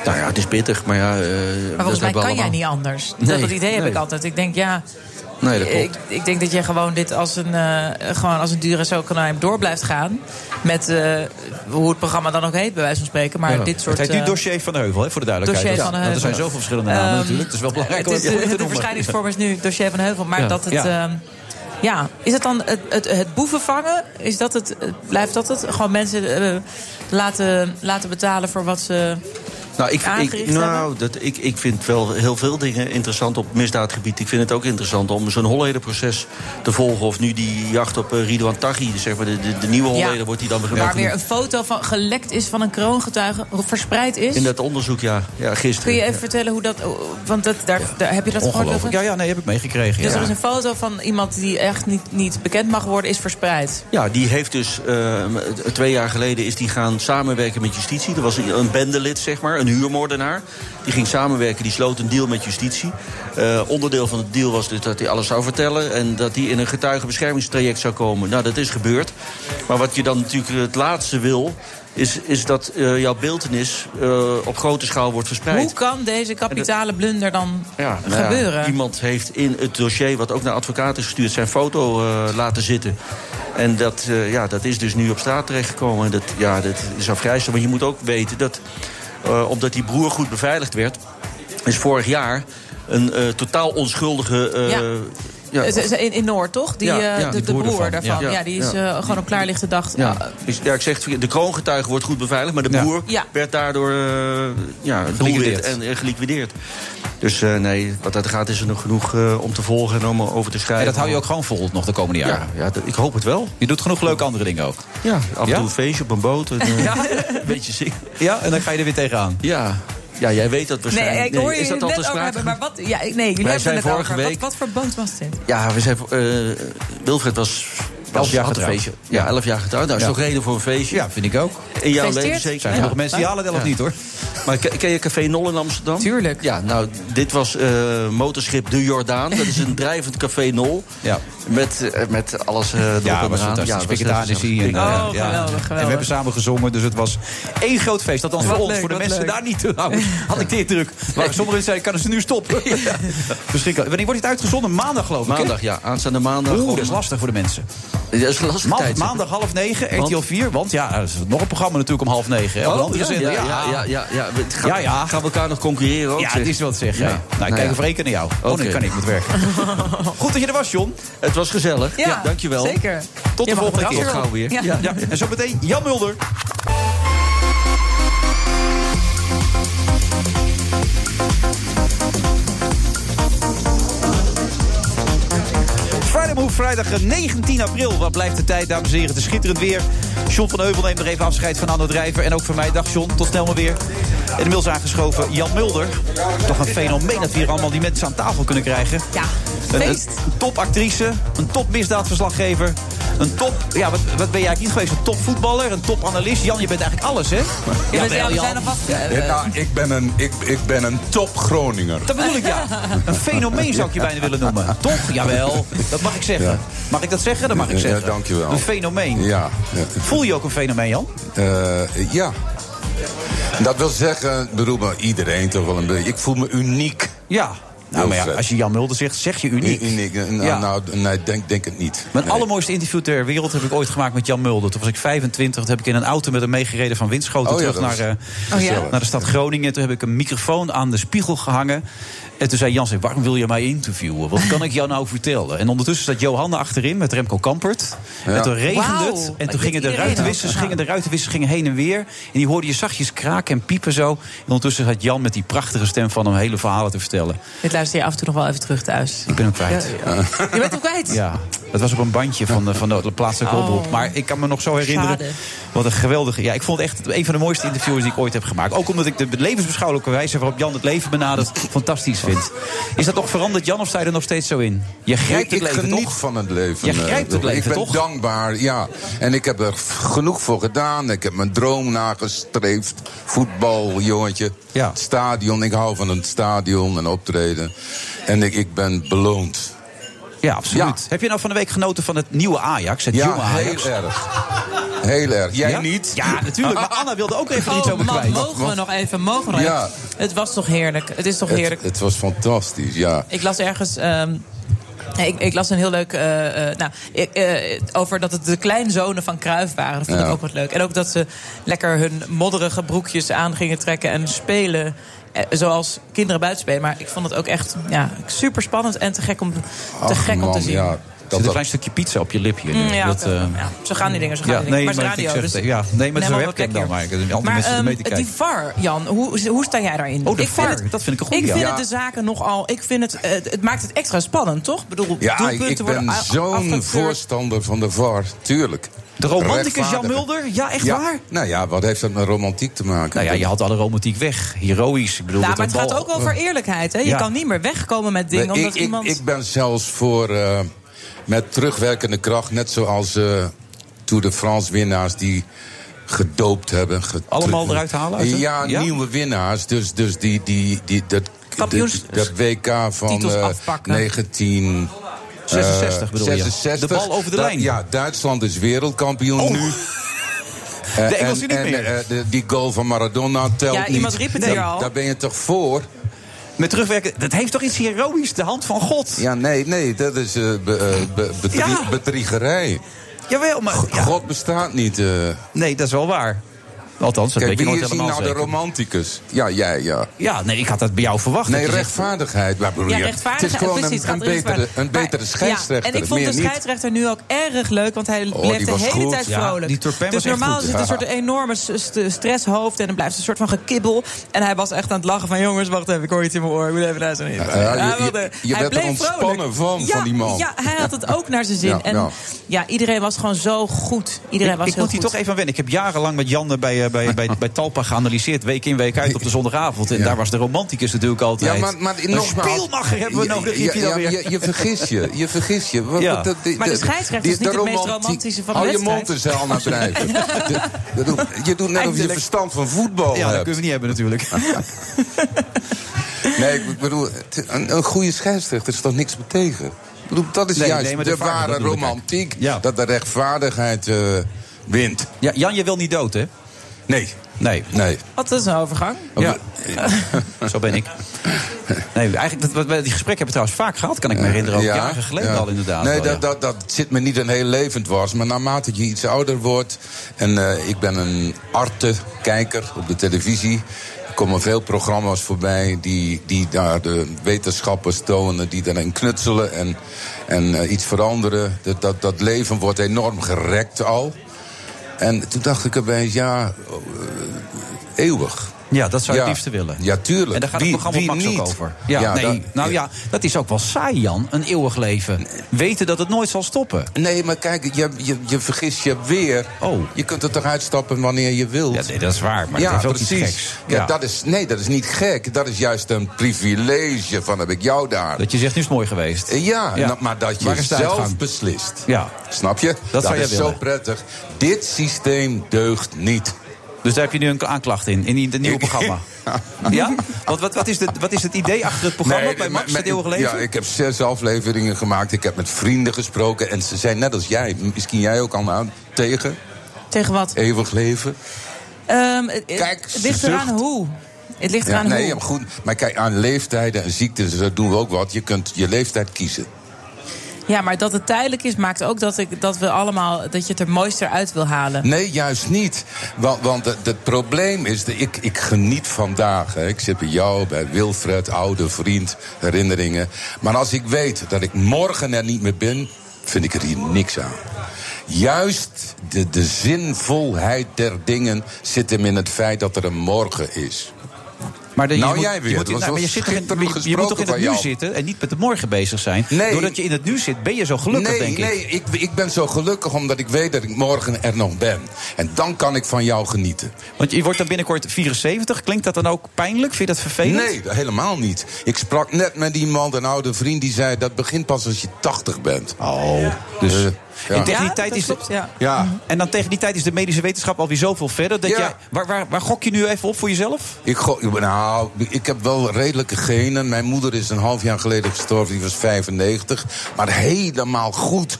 Nou ja, het is pittig, maar ja... eh, dat
Maar volgens mij
hebben we
kan jij
allemaal.
niet anders.
Nee,
dat, dat idee heb
nee.
ik altijd. Ik denk, ja...
Nee, dat klopt.
Ik, ik denk dat je gewoon dit als een, eh gewoon als een dure zokanijm door blijft gaan. Met eh, hoe het programma dan ook heet, bij wijze van spreken. Maar
Ja.
dit soort...
het heet nu
eh,
dossier van de Heuvel, hè, voor de duidelijkheid.
Dossier
Ja,
van de
want
Heuvel.
er zijn zoveel verschillende namen
Ehm,
natuurlijk. dus Het is wel belangrijk
het is, eh,
om goed te
de
noemen.
verschijningsvorm is nu dossier van de Heuvel. Maar
Ja.
dat het...
Ja.
ehm, ja, is het dan het, het, het boeven vangen? Is dat het, eh, blijft dat het? Gewoon mensen eh, laten, laten betalen voor wat ze...
Nou, ik, ik,
aangericht
nou dat, ik, ik vind wel heel veel dingen interessant op misdaadgebied. Ik vind het ook interessant om zo'n Hollederproces te volgen. Of nu die jacht op eh, Ridouan Taghi, zeg maar, de, de, de nieuwe Holleder wordt die dan
Waar
begrepen.
weer een foto van gelekt is van een kroongetuige, verspreid is.
In dat onderzoek, ja. ja gisteren.
Kun je even
ja.
vertellen hoe dat. Want dat, daar, daar- heb je dat gehoord? Wilfred?
Ongelooflijk. Ja, ja, nee, heb ik meegekregen.
Dus
ja.
er is een foto van iemand die echt niet, niet bekend mag worden, is verspreid.
Ja, die heeft dus eh, twee jaar geleden is die gaan samenwerken met justitie. Er was een bendelid, zeg maar, een huurmoordenaar. Die ging samenwerken, die sloot een deal met justitie. Eh, onderdeel van het deal was dus dat hij alles zou vertellen... en dat hij in een getuigenbeschermingstraject zou komen. Nou, dat is gebeurd. Maar wat je dan natuurlijk het laatste wil... is, is dat eh, jouw beeltenis eh, op grote schaal wordt verspreid.
Hoe kan deze kapitale blunder dan
Ja, nou ja,
gebeuren?
iemand heeft in het dossier, wat ook naar advocaat is gestuurd, zijn foto eh, laten zitten. En dat, eh, ja, dat is dus nu op straat terechtgekomen. En dat, ja, dat is afgrijzelijk. Maar je moet ook weten dat, eh, omdat die broer goed beveiligd werd, is vorig jaar een eh, totaal onschuldige. eh,
Ja.
ja,
Ze- ze- In, in Noord, toch? Die,
Ja,
eh,
ja,
de,
die
de
broer
broer
daarvan,
daarvan. Ja,
ja.
die is
Ja.
eh, gewoon op klaarlichte dag.
ja.
eh,
Dus, ja, ik zeg, het verkeerd. de kroongetuige wordt goed beveiligd, maar de broer
Ja.
werd daardoor eh, ja, een
Geliquideerd.
doelwit en eh, geliquideerd. Dus eh, nee, wat dat gaat is er nog genoeg eh, om te volgen en om over te schrijven.
En dat hou je ook gewoon vol nog de komende jaren.
Ja, ik hoop het wel.
Je doet genoeg leuke andere dingen ook.
(laughs)
Ja, af en
Ja?
toe een feestje op een boot. En, eh, Een beetje ziek.
Ja, en dan ga je er weer tegenaan.
Ja, ja jij weet dat
Nee,
waarschijnlijk.
ik hoor
is dat
jullie net
al te
over
sprake
hebben, maar wat... Ja, ik- nee, jullie hebben
zijn
het net
vorige
over. Wat,
week-
wat voor boot was dit?
Ja, we zijn. voor- eh, Wilfred was. was
Elf jaar
had een
getrouwd.
feestje. Ja, elf jaar getrouwd. Nou, is
Ja.
toch reden voor een feestje?
Ja, vind ik
In
ook.
jouw
Gefeliciteerd.
leven zeker.
Zijn er nog mensen die halen wel of niet, hoor.
Maar ke- ken je Café Nol in Amsterdam?
Tuurlijk.
Ja, nou, dit was eh, motorschip De Jordaan. Dat is
(laughs)
een drijvend Café Nol.
Ja.
Met, eh, met alles eh erop
Ja,
en
het was
eraan.
fantastisch.
was Oh,
Piketanis
heel
hier en,
gezellig.
eh,
Oh,
ja. En we hebben samen gezongen, dus het was één groot feest. Althans
Wat
voor ons,
leuk,
voor de
wat
mensen
leuk.
daar niet. Nou,
(laughs)
had ik dit druk. Maar sommigen zeiden, kan ze nu stoppen? Verschrikkelijk. Wanneer wordt dit uitgezonden? Maandag geloof ik, hè?
Maandag, ja. Aanstaande maandag.
Oeh, dat is lastig voor de mensen.
Dat is een lastig
Ma-
tijd.
maandag half negen,
Want- Oh,
RTL 4. Want ja, er is nog een programma natuurlijk om half negen. hè, op een andere
ja,
zender.
ja, ja, ja, ja, ja. We- het gaat-
Ja, ja.
Gaan we elkaar nog concurreren ook?
Ja,
zeg.
het is wat zeg. hè.
Ja.
Nou, ik
Nou
kijk
ja.
even rekenen naar jou. Oh, nee,
Oké.
kan ik moet
(laughs)
werken. Goed dat je er was, John.
Het was gezellig.
Ja,
dankjewel.
Zeker.
Tot de
Je mag
volgende
het
keer.
terras
Tot gauw weer.
Ja.
Ja. Ja. En zo meteen Jan Mulder. vrijdag eh, 19 april. Wat blijft de tijd, dames en heren? Het is schitterend weer. John van Heuvel neemt er even afscheid van Anno Drijver. En ook van mij. Dag John, tot snel maar weer. En inmiddels aangeschoven Jan Mulder. Toch een fenomeen dat we hier allemaal die mensen aan tafel kunnen krijgen.
Ja,
Een, een
feest.
topactrice, een topmisdaadverslaggever. Een top, ja, wat, wat ben jij eigenlijk niet geweest? Een topvoetballer, een topanalist. Jan, je bent eigenlijk alles, hè?
bent-
Jawel,
ja, we
Jan.
zijn alvast, eh,
Eh, nou, ik ben een, ik, ik ben een top Groninger.
Dat bedoel ik, ja.
(laughs)
Een fenomeen zou ik je bijna willen
(laughs)
noemen. Toch? Jawel. Dat mag ik zeggen. Mag ik dat zeggen? Dat mag ik
Ja,
zeggen.
dankjewel.
Een fenomeen.
Ja.
Voel je ook een fenomeen, Jan?
Eh, ja. Dat wil zeggen, ik bedoel maar iedereen toch wel een beetje. Ik voel me uniek.
Ja. Nou, maar ja, als je Jan Mulder zegt, zeg je uniek.
Uniek. eh, Nou,
Ja.
nou, nee, denk, denk het niet.
Mijn allermooiste interview ter wereld heb ik ooit gemaakt met Jan Mulder. Toen was ik 25, toen heb ik in een auto met hem meegereden van Winschoten...
Oh ja,
terug
dat was
naar, eh,
gezellig.
naar de stad Groningen. Toen heb ik een microfoon aan de spiegel gehangen. En toen zei Jan, zeg, waarom wil je mij interviewen? Wat kan ik jou nou vertellen? En ondertussen zat Johanna achterin met Remco Kampert.
Ja.
En toen regende
Wauw,
het. En toen
dat deed
gingen de
iedereen
ruitenwissers,
ook.
gingen, de ruitenwissers gingen heen en weer. En die hoorde je zachtjes kraken en piepen zo. En ondertussen had Jan met die prachtige stem van hem hele verhalen te vertellen.
Dit luister je af en toe nog wel even terug thuis.
Ik ben hem kwijt.
Ja, Je bent hem kwijt?
Ja, het was op een bandje van de, van de plaatselijke
Oh.
oproep. Maar ik kan me nog zo herinneren.
Schade.
Wat een geweldige. Ja, ik vond het echt een van de mooiste interviews die ik ooit heb gemaakt. Ook omdat ik de levensbeschouwelijke wijze waarop Jan het leven benadert fantastisch vind. Is dat nog veranderd, Jan, of sta je er nog steeds zo in? Je grijpt het
ik,
leven
ik geniet
toch?
van het leven.
Je
eh,
grijpt het
toch?
leven,
Ik ben
toch?
dankbaar, ja. En ik heb er genoeg voor gedaan. Ik heb mijn droom nagestreefd. Voetbal, jongetje. Het stadion. Ik hou van het stadion en optreden. En ik, ik ben beloond.
Ja, absoluut. Heb je nou van de week genoten van het nieuwe Ajax? Het
Ja,
jonge Ajax?
heel erg. Heel erg. Jij
Ja?
niet?
Ja, natuurlijk. Maar Anna wilde ook even iets
Oh,
over
man,
kwijt.
mogen we nog even, mogen we nog
Ja.
even? Het was toch heerlijk. Het is toch heerlijk.
Het, het was fantastisch, ja.
Ik las ergens. ehm, ik, ik las een heel leuk. eh, eh, nou, ik, eh, over dat het de kleinzonen van Kruif waren. Dat vond
Ja.
ik ook wat leuk. En ook dat ze lekker hun modderige broekjes aan gingen trekken en spelen. eh, Zoals kinderen buiten spelen. Maar ik vond het ook echt ja, super spannend en te gek om, te, gek om te zien.
Er zit een klein stukje pizza op je lip hier. nu.
Mm, ja,
dat,
oké.
eh,
Ja, zo gaan die dingen. Zo gaan
ja,
die
nee,
dingen. maar het is
maar ik
radio.
zeg het,
dus
ja, nee, maar het
neem wel
is een webcam
wat
dan.
plek
Maar
hier.
er zijn andere
Maar,
mensen dus
ehm,
mee te kijken.
die VAR, Jan, hoe, hoe sta jij daarin?
Oh, de
ik vind
VAR,
het,
dat vind ik
Ik
een goeie,
vind
ja.
het de zaken nogal... Ik vind het, eh, het maakt het extra spannend, toch? Ik bedoel,
Ja, ik,
doelpunten
ik
worden
ben
a-
zo'n
afgekeurd.
voorstander van de VAR, tuurlijk.
De romanticus Jan
Rechtvaardiger.
Mulder? Ja, echt
Ja,
waar?
Nou ja, wat heeft dat met romantiek te maken?
Nou ja, je had alle romantiek weg. Heroïs. Ik bedoel,
Nou,
dat
maar het
een
gaat
bal-
ook over eerlijkheid. Hè? Je
Ja.
kan niet meer wegkomen met dingen
Nee,
omdat
ik,
iemand...
ik, ik ben zelfs voor eh, met terugwerkende kracht, net zoals eh Tour de France winnaars die gedoopt hebben. getru-
Allemaal eruit halen uit de-
ja,
ja?
nieuwe winnaars. Dus, dus die, die, die, dat,
Kampioens-
dat- dat WK van
titels
eh,
afpakken.
19... eh,
66 bedoel je?
66.
De bal over de
Dat-
lijn. Oh.
Ja, Duitsland is wereldkampioen nu. Eh,
(laughs) De Engelsen
en,
niet meer.
en, eh, de- die goal van Maradona telt
Ja,
niet.
iemand riep het
Daar-
hier al.
Daar ben je toch voor?
Met terugwerken, dat heeft toch iets heroïs, de hand van God?
Ja, nee, nee, dat is eh, be- eh, be- bedrie-
Ja.
bedriegerij.
Jawel, maar...
God bestaat niet. eh.
Nee, dat is wel waar. Althans, dat
Kijk,
weet je
wie
nooit
is hier
helemaal
nou de
zeker.
romanticus? Ja, jij, ja.
Ja, nee, ik had dat bij jou verwacht.
Nee,
dat je zegt-
rechtvaardigheid. waar bedoel
Ja,
je?
rechtvaardigheid,
Het is gewoon
precies,
een,
gaat
een
er iets
betere,
waar.
een betere scheidsrechter.
Ja, en ik vond
meer
de
niet. Oh,
scheidsrechter nu ook erg leuk, want hij
die
bleef de
was
hele
goed.
tijd
Ja,
vrolijk.
die Turpin
dus
was echt
normaal
goed.
zit een
Ja.
soort enorme s- st- stresshoofd en dan blijft een soort van gekibbel. En hij was echt aan het lachen van jongens, wacht even, ik hoor iets in mijn oor. Ik moet even naar zijn
Ja, ja, je-
Hij
je-
wilde-
je
hij
werd er
bleef
ontspannen
vrolijk.
van,
ja,
van die man.
Ja, hij had het ook naar zijn zin.
Ja,
en
ja.
ja. iedereen was gewoon zo goed. Iedereen
ik,
was
ik
heel
moet hier
goed.
toch even aan wennen. Ik heb jarenlang met Jan eh, bij, eh, bij, bij, bij Talpa geanalyseerd. Week in, week uit op de zondagavond. En daar was de romanticus natuurlijk altijd.
Ja, maar, maar
Een
nogmaals...
speelmacher hebben we
Ja,
nodig.
ja,
riep je dan
ja,
weer.
je, je vergis je, je vergis je. Wat-
Ja.
wat- dat- die-
Maar de
dat-
scheidsrechter
die-
is niet
de
het meest
romantie-
romantische van de
Oh,
Hou je
wedstrijd.
mond eens,
(laughs)
Elna Drijven. De- (laughs) je doet- Je doet net of je
Eindelijk.
verstand van voetbal
Ja, dat
hebt.
kunnen we niet hebben natuurlijk.
(laughs) Nee, ik bedoel, het- een, een goede scheidsrechter is toch niks tegen? Ik bedoel, dat is
Nee,
juist
nee, maar
de,
de vader,
ware
dat bedoel ik
romantiek. Dat de rechtvaardigheid eh, wint.
Ja, Jan, je wil niet dood, hè?
Nee.
Nee.
Nee.
(laughs) Wat is een overgang?
Ja. Zo ben ik. Nee, eigenlijk, dat, wat wij die gesprekken hebben we trouwens vaak gehad, kan ik me herinneren. Ook jaren geleden
ja.
al inderdaad.
Nee,
wel, ja.
dat, dat, dat zit me niet een heel levend was. Maar naarmate je iets ouder wordt... en eh, ik ben een arte-kijker op de televisie... er komen veel programma's voorbij die, die daar de wetenschappers tonen... die daarin knutselen en, en eh, iets veranderen. Dat, dat, dat leven wordt enorm gerekt al. En toen dacht ik erbij, ja, eh, eeuwig.
Ja, dat zou je
Ja.
het liefste willen.
Ja, tuurlijk.
En daar gaat
Wie-
het programma
wie
Max
niet?
ook over. Ja,
Ja,
nee,
dat-
nou ja, dat is ook wel saai, Jan. Een eeuwig leven. Weten dat het nooit zal stoppen.
Nee, maar kijk, je, je, je vergist je weer. Oh. Je kunt er toch uitstappen wanneer je wilt. Ja,
nee, dat is waar, maar
ja,
het is ook iets
precies.
geks.
Ja,
Ja.
Dat is, nee, dat is niet gek. Dat is juist een privilege van heb ik jou daar.
Dat je zegt, nu is het mooi geweest.
Ja,
Ja.
nou, maar dat
Waar
je
is de
zelf
uitgang?
beslist.
Ja.
Snap je?
Dat zou jij
is zo
willen.
prettig. Dit systeem deugt niet.
Dus daar heb je nu een aanklacht in, in het nieuwe
(laughs)
programma. Ja? Want wat, wat, is de, wat is het idee achter het programma
Nee,
bij
maar-
Max
maar
het eeuwige
ik-
leven?
Ja, ik heb zes afleveringen gemaakt. Ik heb met vrienden gesproken. En ze zijn net als jij, misschien jij ook al aan, tegen.
Tegen wat?
Eeuwig leven.
Ehm, het, het ligt eraan hoe. Het ligt
Ja,
eraan
nee,
hoe.
ja, maar goed. Maar kijk, aan leeftijden en ziektes, dat doen we ook wat. Je kunt je leeftijd kiezen.
Ja, maar dat het tijdelijk is, maakt ook dat, ik, dat we allemaal dat je het er mooister uit wil halen.
Nee, juist niet. Want, want het, het probleem is, dat ik, ik geniet vandaag. Hè. Ik zit bij jou, bij Wilfred, oude vriend, herinneringen. Maar als ik weet dat ik morgen er niet meer ben, vind ik er hier niks aan. Juist de, de zinvolheid der dingen zit hem in het feit dat er een morgen is.
Maar de- je
nou,
moet-
jij weer.
Je
Het
moet,
was
nou, maar
wel
je, zit toch in,
schitterend
je, je moet toch in
gesproken
het nu
van jou.
zitten en niet met de morgen bezig zijn.
Nee.
Doordat je in het nu zit, ben je zo gelukkig,
nee,
denk ik.
nee, ik. ik. ben zo gelukkig omdat ik weet dat ik morgen er nog ben. En dan kan ik van jou genieten.
Want je wordt dan binnenkort 74. Klinkt dat dan ook pijnlijk? Vind je dat vervelend?
Nee, helemaal niet. Ik sprak net met iemand, een oude vriend, die zei... dat begint pas als je 80 bent. Eh,
Oh, dus...
ja.
En tegen die
Ja,
tijd
dat
is Mhm. de-
klopt, ja. Ja.
En dan tegen die tijd is de medische wetenschap alweer zoveel verder. Dat
Ja.
jij, waar, waar, waar gok je nu even op voor jezelf?
Ik, go- nou, ik heb wel redelijke genen. Mijn moeder is een half jaar geleden gestorven, die was 95. Maar helemaal goed.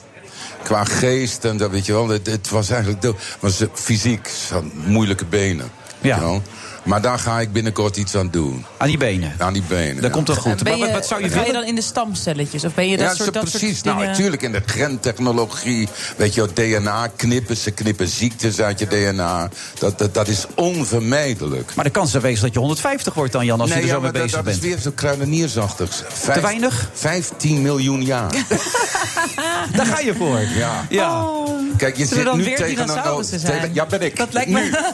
Qua geest en dat weet je wel. Het, het was eigenlijk de, was eh, fysiek. Ze had moeilijke benen.
Ja.
You know? Maar daar ga ik binnenkort iets aan doen.
Aan die benen?
Aan die benen.
Dat komt wel goed.
Eh, Ben je, ga je dan in de stamcelletjes? Of ben je dat
ja,
soort,
zo
dat soort
precies.
dingen?
nou, natuurlijk in de gentechnologie. Weet je, wat DNA knippen. Ze knippen ziektes uit je DNA. Dat, dat, dat is onvermijdelijk.
Maar de kans is wezen dat je 150 wordt dan, Jan, als
nee,
je er zo
ja,
mee
maar dat,
bezig
dat
bent.
is weer zo kruideniersachtigs. Vijf-
Te weinig?
15 miljoen jaar.
Daar ga je voor.
Ja.
Ja.
(laughs)
Kijk, je
Zullen we
zit
dan
nu
weer
tegen een...
dinosaurussen zijn?
tegen- ja, ben ik.
Dat lijkt me. (laughs)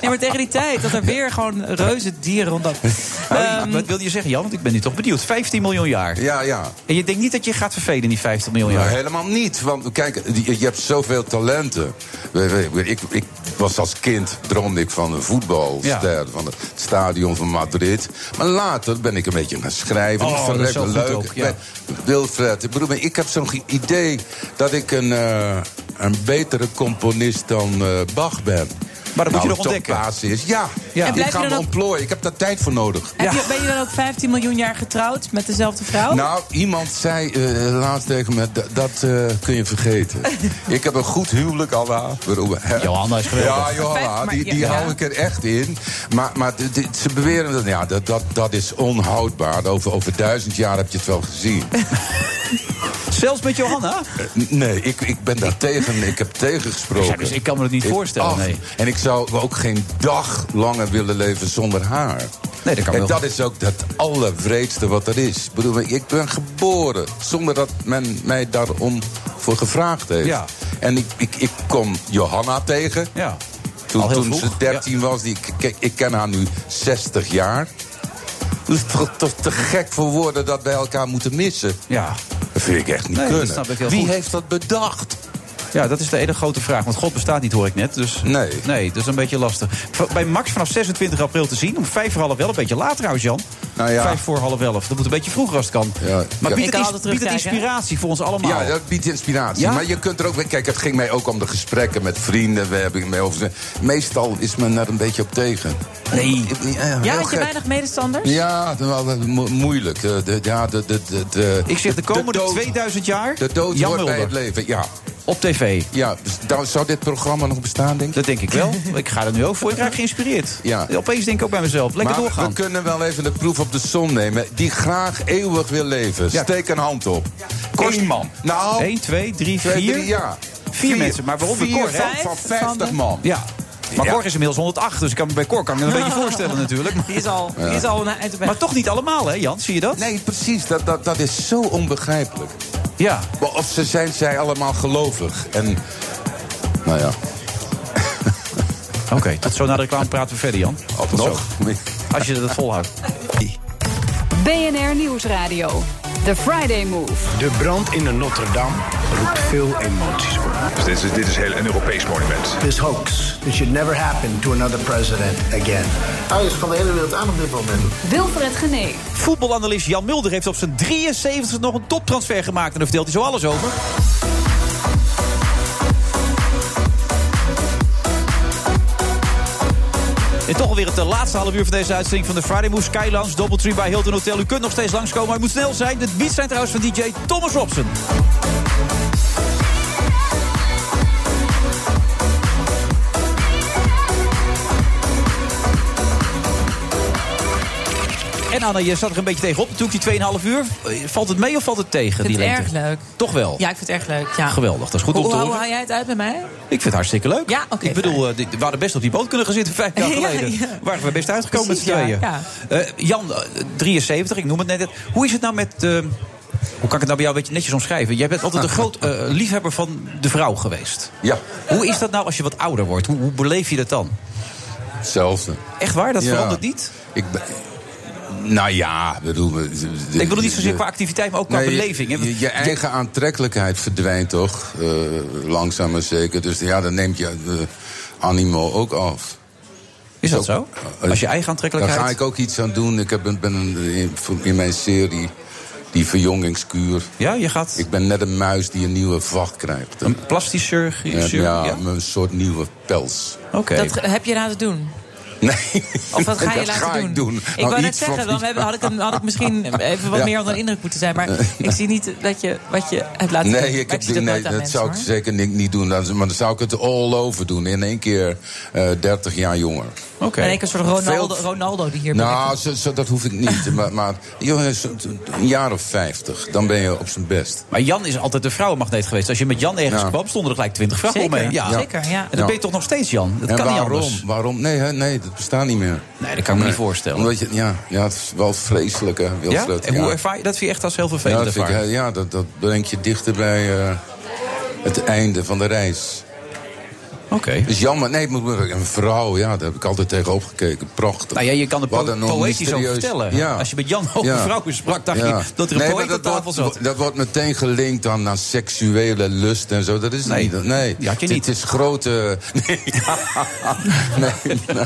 nee, maar tegen die tijd dat er weer gewoon reuze dieren rondom.
(laughs) Hey, wat wil je zeggen, Jan? Want ik ben nu toch benieuwd. 15 miljoen jaar.
Ja, ja.
En je denkt niet dat je gaat vervelen in die 50 miljoen jaar?
Nou, helemaal niet. Want kijk, je, je hebt zoveel talenten. We- we- we- Ik, ik was als kind, droomde ik van een voetbalster. Van het stadion van Madrid. Maar later ben ik een beetje gaan schrijven.
Oh,
ik vond
dat
het
is
lekker
zo goed
leuk.
ook, ja.
Nee, Wilfred, ik bedoel, maar ik heb zo'n ge- idee dat ik een, eh, een betere componist dan eh, Bach ben. Maar
dat moet je nog ontdekken.
Basis. Ja,
En
ik
blijf je
ga me
dan ook-
ontplooien. Ik heb daar tijd voor nodig.
Heb je, ben je dan ook 15 miljoen jaar getrouwd met dezelfde vrouw?
Nou, iemand zei eh, laatst tegen me, "Da- dat eh, kun je
(laughs)
vergeten. ik heb een goed huwelijk, Anna. Waarom- hè?
Johanna is geweldig.
Ja,
Vijf,
Johanna,
maar-
die, die
ja.
hou ik er echt in. Maar, maar dit- dit- ze beweren dat, ja, dat, dat, dat is onhoudbaar. Over, over duizend jaar heb je het wel gezien.
Zelfs met Johanna?
Eh, Nee, ik, ik ben daar tegen. Ik heb tegengesproken.
Ja, dus ik kan me dat niet voorstellen, nee.
En ik zou ook geen dag langer willen leven zonder haar.
Nee, dat kan
en
wel.
dat is ook het allervreedste wat er is. Ik bedoel, ik ben geboren zonder dat men mij daarom voor gevraagd heeft.
Ja.
En ik, ik, ik kom Johanna tegen.
Ja.
Toen,
Al heel
toen ze
vroeg,
13 was, die, kijk, ik ken haar nu 60 jaar. Dat is toch, toch te gek voor woorden dat wij elkaar moeten missen.
Ja.
Dat vind ik echt niet
Nee, dat
kunnen.
snap ik heel
Wie
goed.
heeft dat bedacht?
Ja, dat is de ene grote vraag. Want God bestaat niet, hoor ik net. Dus nee. Nee, dat is een beetje lastig. V- Bij Max vanaf 26 april te zien. Om vijf voor half elf. Een beetje later trouwens, Jan.
Nou ja.
Vijf voor half elf. Dat moet een beetje vroeger als het kan. Maar
Ja.
biedt
Ik kan
het,
altijd
ins- biedt het
terugkijken, hè?
inspiratie voor ons allemaal?
Ja, dat biedt inspiratie.
Ja?
Maar je kunt er ook weer. Kijk, het ging mij ook om de gesprekken met vrienden. We hebben mee over. Meestal is men daar een beetje op tegen.
Nee.
ja, had je weinig medestanders?
Ja, dat was wel eh, mo- moeilijk. De, de, ja, de, de, de, de-
Ik zeg de komende
dood-
2000 jaar.
De dood
Jan
hoort bij
Mulder.
het leven, ja.
Op tv.
Ja, dus daar- zou dit programma nog bestaan, denk je?
Dat denk ik
(laughs)
wel. ik ga er nu ook voor. Ik raak geïnspireerd.
Ja.
Opeens denk ik ook bij mezelf. Lekker
maar
doorgaan.
we kunnen wel even de proef op de som nemen. Die graag eeuwig wil leven.
Ja.
Steek een hand op. Eén man. Nou.
1, 2, 3,
Twee,
4.
drie, ja.
Vier
Vier.
mensen, maar waaronder
Vier
Cor, hè?
van- van 50 man.
Ja. Maar
Ja.
Cor is inmiddels 108, dus ik kan me bij Cor kan ik me een
(laughs)
beetje voorstellen natuurlijk.
Die is al, Oh, die is al een eind op weg.
Maar toch niet allemaal, hè Jan? Zie je dat?
Nee, precies. Dat, dat, dat is zo onbegrijpelijk.
Ja.
Maar of ze zijn zij allemaal gelovig. En, nou ja.
Oké, tot zo na de reclame praten we verder, Jan.
Oh, Nog?
Als je dat
(laughs)
volhoudt.
BNR Nieuwsradio. The Friday Move.
De brand in de Notre-Dame roept veel emoties op.
Dus dit, is, dit is heel een Europees monument.
This hoax, it should never happen to another president again. Hij is van de hele wereld aan op dit moment.
Wilfred Genee.
Voetbalanalist Jan Mulder heeft op zijn 73 nog een toptransfer gemaakt. En daar vertelt hij zo alles over. En toch alweer het eh, laatste half uur van deze uitzending van de Friday Move Skylands. Doubletree bij Hilton Hotel. U kunt nog steeds langskomen, maar u moet snel zijn. De beats zijn trouwens van DJ Thomas Robson. En Anna, je zat er een beetje tegenop. Natuurlijk die 2,5 uur. Eh, Valt het mee of valt het tegen?
Ik vind
die
het
lente?
erg leuk.
Toch wel?
Ja, ik vind het erg leuk. Ja.
Oh. Geweldig, dat is goed
hoe,
om te
hoe-
horen.
Hoe haal jij het uit met mij?
Ik vind het hartstikke leuk.
Ja, oké,
Ik bedoel, eh, dit- we hadden best op die boot kunnen gaan zitten vijf
(laughs)
jaar
Ja,
geleden.
ja.
Waren we best uitgekomen
Precies,
met z'n
ja,
tweeën.
ja.
Eh, Jan, eh, 73, ik noem het net. Hoe is het nou met... eh, hoe kan ik het nou bij jou een beetje netjes omschrijven? Jij bent
(laughs)
altijd een groot eh, liefhebber van de vrouw geweest.
Ja.
Hoe is dat nou als je wat ouder wordt? Hoe, hoe beleef je dat dan?
Hetzelfde.
Echt waar? Dat
Ja.
verandert niet?
Ik ben- nou ja, ik bedoel... Ik
ik bedoel niet zozeer qua activiteit, maar ook qua beleving. hè?
Je, je eigen aantrekkelijkheid verdwijnt toch? eh, langzaam maar zeker. Dus ja, dan neemt je eh, animo ook af.
Is dat
Ook-
zo? Als je eigen aantrekkelijkheid...
Daar ga ik ook iets aan doen. Ik heb, een- ben een- in, in mijn serie die verjongingskuur.
Ja, je gaat...
Ik ben net een muis die een nieuwe vacht krijgt. Een
plastisch chirurg?
Ja,
ja?
een soort nieuwe pels.
Oké.
Dat ge- heb je laten doen.
Nee.
Of
(laughs)
wat ga je
dat
laten
ga
doen?
Ik, doen.
Ik
Nou,
wou net
iets van
zeggen, dan
iets.
heb- had ik, hem- had ik misschien even wat
(laughs) Ja.
meer onder de indruk moeten zijn. Maar
(laughs)
ik zie niet dat je wat je hebt laten doen.
Nee,
Maar
ik heb,
zie
die-
nooit
nee
aan
dat
mensen,
zou ik
hoor.
zeker niet, niet doen. Dat is- maar dan zou ik het all over doen. In één keer eh 30 jaar jonger.
En ik een soort Ronaldo,
Veel-
Ronaldo die hier
nou, zo, zo- dat hoef ik niet. (laughs) maar maar joh, zo- een jaar of 50, dan ben je op zijn best.
Maar Jan is altijd de vrouwenmagneet geweest. Als je met Jan ergens
Ja.
kwam, stonden er gelijk twintig vrouwen
Zeker,
omheen.
zeker, ja.
En dan ben je toch nog steeds Jan. Dat
en
kan
waarom?
niet anders.
Waarom? Nee, hè? nee, dat bestaat niet meer.
Nee, dat kan ik me niet voorstellen.
Omdat je, ja, ja, het is wel vreselijk, hè,
Ja?
Wilfred.
En hoe
ja.
ervaar je dat? Vind je echt als heel
Ja,
vervelend
dat, vind ik,
ervaren?
hè, ja, dat, dat brengt je dichter bij eh, het einde van de reis.
Oké.
Dus jammer, nee, moet- moet- een vrouw, ja, daar heb ik altijd tegenop gekeken. Prachtig.
Nou ja, je kan het
Wat
po-
een
poëtisch over
mysterieus-
vertellen.
Ja.
Als je met Jan over
Ja.
vrouwen sprak, dacht
Ja.
je dat er een
Nee, maar
poëet aan
dat
tafel
wordt-
zat.
Dat wordt meteen gelinkt aan, aan seksuele lust en zo. Dat is
Nee,
niet. Nee,
die had je
Het-
niet.
Het is grote. (laughs) Nee. nee.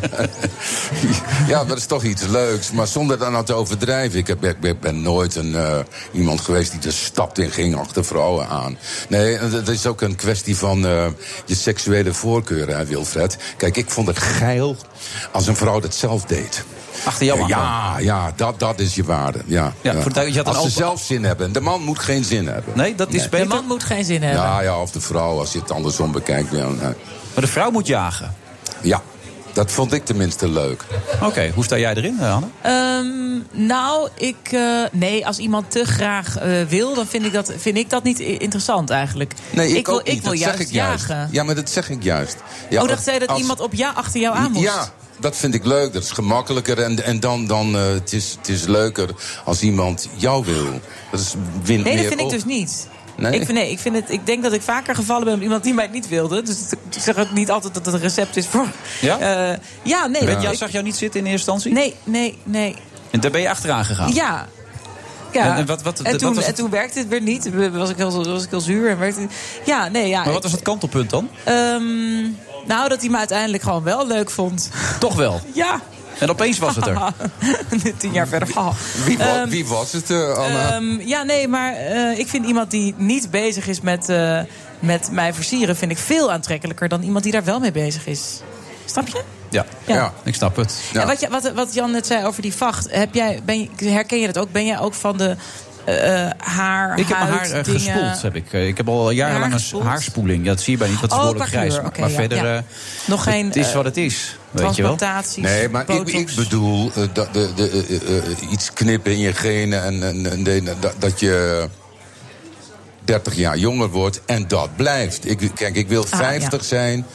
ja, maar dat is toch iets leuks. Maar zonder daar nou te overdrijven. Ik, heb, ik ben- ik ben nooit een, eh, iemand geweest die de stad in ging achter vrouwen aan. Nee, dat is ook een kwestie van eh, je seksuele voorkeuren, hè, Wilfred. Kijk, ik vond het geil als een vrouw dat zelf deed.
Achter jou aan
Ja, ja dat, dat is je waarde. Ja,
Ja, voor het duidelijk, je had
als
een
ze
open-
zelf zin hebben. De man moet geen zin hebben.
Nee, dat is
Nee.
De
beter.
man moet geen zin hebben.
Ja, ja, of de vrouw, als je het andersom bekijkt. Ja, nee.
Maar de vrouw moet jagen.
Ja, dat vond ik tenminste leuk.
Oké, hoe sta jij erin, Hanne?
Ehm, nou, ik. eh, nee, als iemand te graag eh, wil, dan vind ik, dat, vind ik dat niet i- interessant eigenlijk.
Nee, ik,
wil,
ook niet.
Ik wil
dat
juist,
zeg ik juist.
jagen.
Ja, maar dat zeg ik juist. Ja,
oh, dacht jij dat
als-
iemand op ja, achter jou aan moest?
Ja, dat vind ik leuk. Dat is gemakkelijker. En, en dan, dan eh, het is het is leuker als iemand jou wil. Dat is win
Nee, dat
meer
vind ik
op.
dus niet.
Nee?
Ik, vind, nee, ik, vind het, ik denk dat ik vaker gevallen ben op iemand die mij niet wilde. Dus het- ik zeg ook niet altijd dat het een recept is voor.
Ja?
Eh, ja, nee.
Bent
ik-
jou, zag jou niet zitten in eerste instantie?
Nee, nee, nee.
En daar ben je achteraan gegaan?
Ja. Ja.
Ah. En- en wat- wat- wat
toen,
was het?
en toen werkte het weer niet. Was ik heel, was ik heel zuur. En werkte, ja, nee, ja.
Maar
ik-
wat was het kantelpunt dan?
Ehm, nou, dat hij me uiteindelijk gewoon wel leuk vond. (laughs)
Toch wel.
Ja.
En opeens was het er.
(laughs) Tien jaar verder. Oh.
Wie, wa-
Ehm,
wie was het, eh, Anna?
ehm, ja, nee, maar eh, ik vind iemand die niet bezig is met, eh, met mij versieren... vind ik veel aantrekkelijker dan iemand die daar wel mee bezig is. Snap je?
Ja.
ja.
ik snap het.
En wat, je, wat, wat Jan net zei over die vacht, heb jij, ben je, herken je dat ook? Ben jij ook van de eh, eh, haar,
Ik heb mijn haar
huid,
eh,
dingen?
gespoeld, heb ik. Eh, Ik heb al jarenlang een s- haarspoeling. Ja, dat zie je bij niet, dat is
Oh,
behoorlijk
qua kleur,
grijs. Maar,
oké,
maar
ja,
verder,
ja.
eh,
Nog geen,
het is
eh,
wat het is. Weet je wel?
transplantaties,
Nee, maar ik,
botox.
ik bedoel eh, dat de, de, eh, eh, eh, iets knippen in je genen en, en, en de- dat, dat je 30 jaar jonger wordt en dat blijft. Ik, kijk, ik wil
Ah,
50
ja.
zijn,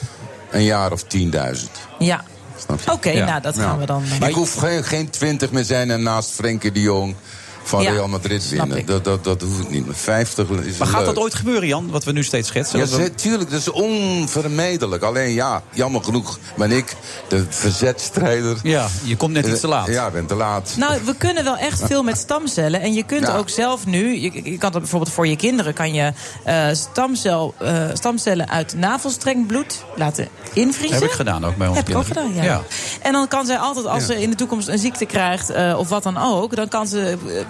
een jaar of 10.000.
Ja.
Snap je?
Oké, nou, dat gaan we dan... eh,
Ik hoef geen, geen 20 meer zijn en naast Frenkie de Jong. van
Ja,
Real Madrid
snap
winnen.
ik.
Dat, dat, dat hoeft niet. Maar 50 is
Maar gaat
leuk.
dat ooit gebeuren, Jan? Wat we nu steeds schetsen?
Ja,
Dat we-
ze- tuurlijk, dat is onvermijdelijk. Alleen ja, jammer genoeg ben ik de verzetstrijder. Eh,
Ja, je komt net iets te laat.
Ja, ik ben te laat.
Nou, we kunnen wel echt veel met stamcellen. En je kunt
Ja.
ook zelf nu, je, je kan dat bijvoorbeeld voor je kinderen, kan je eh, stamcel, eh, stamcellen uit navelstrengbloed laten invriezen.
Heb ik gedaan ook bij ons
Heb ik ook
kinderen.
gedaan, ja.
Ja.
En dan kan zij altijd, als
Ja.
ze in de toekomst een ziekte krijgt eh, of wat dan ook, dan kan ze eh,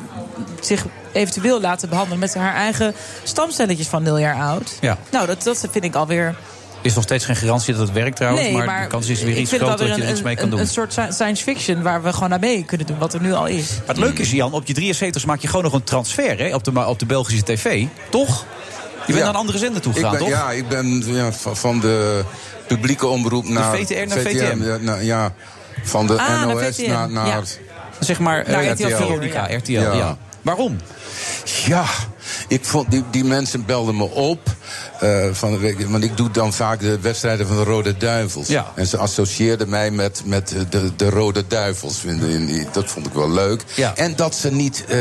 zich eventueel laten behandelen met haar eigen stamcelletjes van nul jaar oud.
Ja.
Nou, dat, dat vind ik alweer.
Is nog steeds geen garantie dat het werkt trouwens. maar, de kans is weer
ik
iets
vind het
groter
alweer
dat je er
een-
iets mee kan
een-
doen.
Een soort sci- science fiction waar we gewoon naar mee kunnen doen, wat er nu al is.
Maar het leuke is, Jan, op je 73 maak je gewoon nog een transfer hè, op, de, ma- op de Belgische tv. Toch? Je bent
Ja.
naar een andere zender toe
Ik
gegaan,
ben-
toch?
Ja, ik ben ja, van van de publieke omroep naar...
VTR naar VTM.
Ja, nou, ja, van de
Ah, naar
NOS
VTM,
naar... naar
ja. Zeg maar eh,
Naar
RTL
RTL,
Veronica,
ja.
RTL,
Ja.
ja. Waarom?
Ja, ik vond, die, die mensen belden me op. eh, van de week, want ik doe dan vaak de wedstrijden van de Rode Duivels. En ze associeerden mij met, met de, de Rode Duivels. vinden in die- Dat vond ik wel leuk. En dat ze niet eh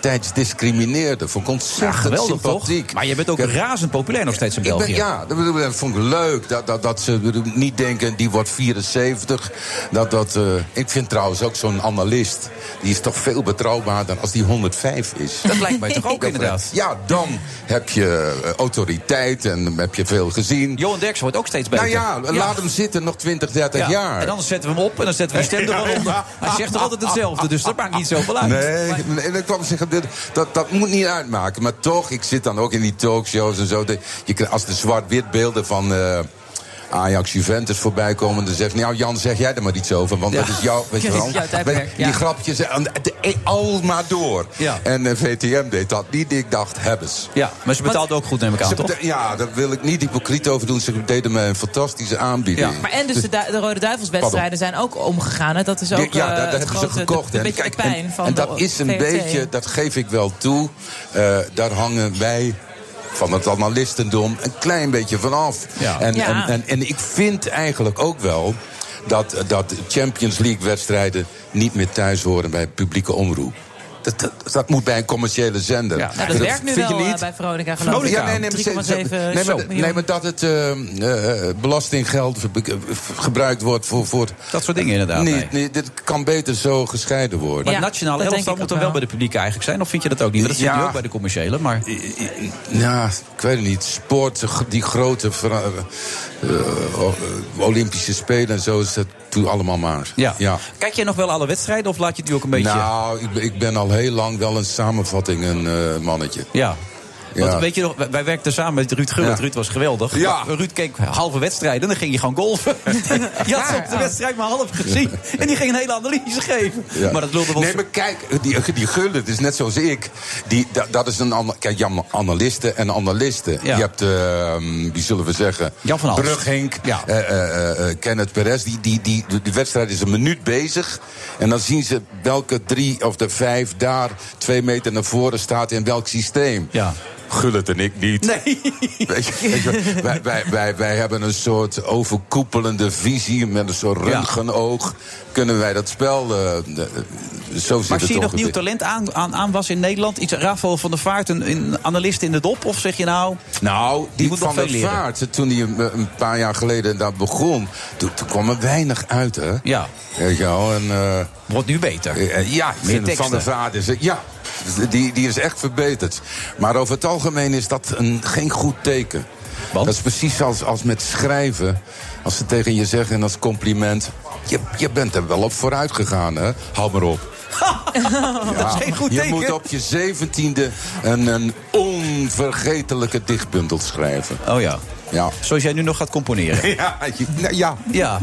leeftijdsdiscrimineerden. Vond ik
Ja,
ontzettend
geweldig
sympathiek.
toch? Maar je bent ook
Ik heb-
razend populair nog steeds in
ik
België.
ben- ja, dat, bedoel- dat vond ik leuk. Dat, dat, dat ze bedoel, niet denken, die wordt 74. Dat, dat, eh, ik vind trouwens ook zo'n analist... die is toch veel betrouwbaarder als die 105 is.
Dat lijkt
(laughs)
mij toch ook
Dat-
inderdaad.
Ja, dan heb je eh, autoriteit en heb je veel gezien.
Johan Derks wordt ook steeds beter.
Nou ja, laat hem zitten nog 20, 30
Ja,
jaar.
En anders zetten we hem op en dan zetten we die stem er wel
(laughs)
onder. Hij zegt toch altijd hetzelfde, dus dat maakt niet zoveel uit.
Nee, en dan kwam zeggen, dit, dat, dat moet niet uitmaken. Maar toch, ik zit dan ook in die talkshows en zo. De, je, krijgt- als de zwart-wit beelden van eh, Ajax Juventus voorbij komen... dan zegt nou Jan, zeg jij er maar iets over, want
Ja.
dat is jouw... Weet je
Dat is
wel,
jouw tijdperk,
Weet- die
ja.
grapjes, en, de- eh, al maar door.
Ja.
En eh, VTM deed dat niet, ik dacht, hebben ze.
Ja, maar ze betaalden ook goed, neem ik aan,
Ze
toch?
beta- Ja, daar wil ik niet hypocriet over doen. Ze deden me een fantastische aanbieding.
Maar en dus de, du- de Rode Duivelswedstrijden zijn ook omgegaan. Hè? Dat is ook
ja,
eh,
dat, dat
het
hebben ze
grote-
gekocht.
De,
hè.
een beetje de
Kijk,
pijn
en,
van
en
de
dat is een
VRT.
beetje, dat geef ik wel toe. eh, daar hangen wij van het analistendom een klein beetje vanaf.
Ja.
En,
Ja.
En, en, en ik vind eigenlijk ook wel dat, dat Champions League-wedstrijden niet meer thuis horen bij publieke omroep. Dat, dat, dat moet bij een commerciële zender.
Nou, dat, werkt nu
vind
wel
je
eh,
niet?
bij Veronica, geloof ik.
Ja, nee, nee, maar ze- ze-
3,7
nee, maar,
miljoen.
(laughs) nee, maar dat het eh, eh, belastinggeld ver- be- gebruikt wordt voor, voor...
Dat soort dingen inderdaad,
Nee,
nee.
nee, dit kan beter zo gescheiden worden.
Maar het nationale elftal moet dan wel bij de publieke eigenlijk zijn? Of vind je dat ook niet? Want dat zit
Ja.
nu ook bij de commerciële, maar...
Ja, ik weet het niet. Sport, die grote vera- eh, eh, Olympische Spelen en zo is dat toen allemaal maar.
Ja.
ja.
Kijk jij nog wel alle wedstrijden of laat je het nu ook een beetje...
Nou, ik, ben- ik ben al heel lang wel een samenvatting, een eh, mannetje.
Ja. Want
Ja.
weet je nog, wij- wij werkten samen met Ruud Gullit.
Ja.
Ruud was geweldig. Maar Ruud keek halve wedstrijden en dan ging je gewoon
(laughs)
golfen. (laughs) je had ze op de wedstrijd maar half gezien. En die ging een hele analyse geven.
Ja.
Maar dat lulde wel
Nee, maar kijk, die, die gulden, het is net zoals ik. Die, dat, dat is een. ana- Kijk, Jan, analisten en analisten. Je hebt, ehm, wie zullen we zeggen.
Jan van Hals.
Brughink, eh, eh, eh, eh, Kenneth Perez. Die, die, die, de- de wedstrijd is een minuut bezig. En dan zien ze welke drie of de vijf daar twee meter naar voren staat in welk systeem.
Ja.
Gullit en ik niet. (laughs)
Nee.
Weet je, weet je, wij, wij, wij, wij hebben een soort overkoepelende visie met een soort röntgenoog. Kunnen wij dat spel. eh, eh, zo zit
Maar
het
zie je nog
ongeveer.
nieuw talent aan, aan, aanwas in Nederland? Iets Rafael van der Vaart, een, een analist in de dop? Of zeg je nou...
Nou,
Die
die,
moet nog
van
veel
de
leren.
vaart, toen hij een- een paar jaar geleden daar begon, toen, toen kwam er weinig uit, hè?
Ja.
Weet je wel, en, eh,
Wordt nu beter.
eh, eh, ja, ik
Meer
vind
teksten.
van de vaart is. Ja, die, die is echt verbeterd. Maar over het algemeen is dat een, geen goed teken. Dat is precies als, als met schrijven. Als ze tegen je zeggen als compliment. Je, je bent er wel op vooruit gegaan, hè? Hou maar op.
dat is
Ja,
geen goed
je
teken.
moet op je zeventiende een, een onvergetelijke dichtbundel schrijven.
Oh ja.
Ja.
Zoals jij nu nog gaat componeren.
(laughs) Ja, je- nou ja.
Ja,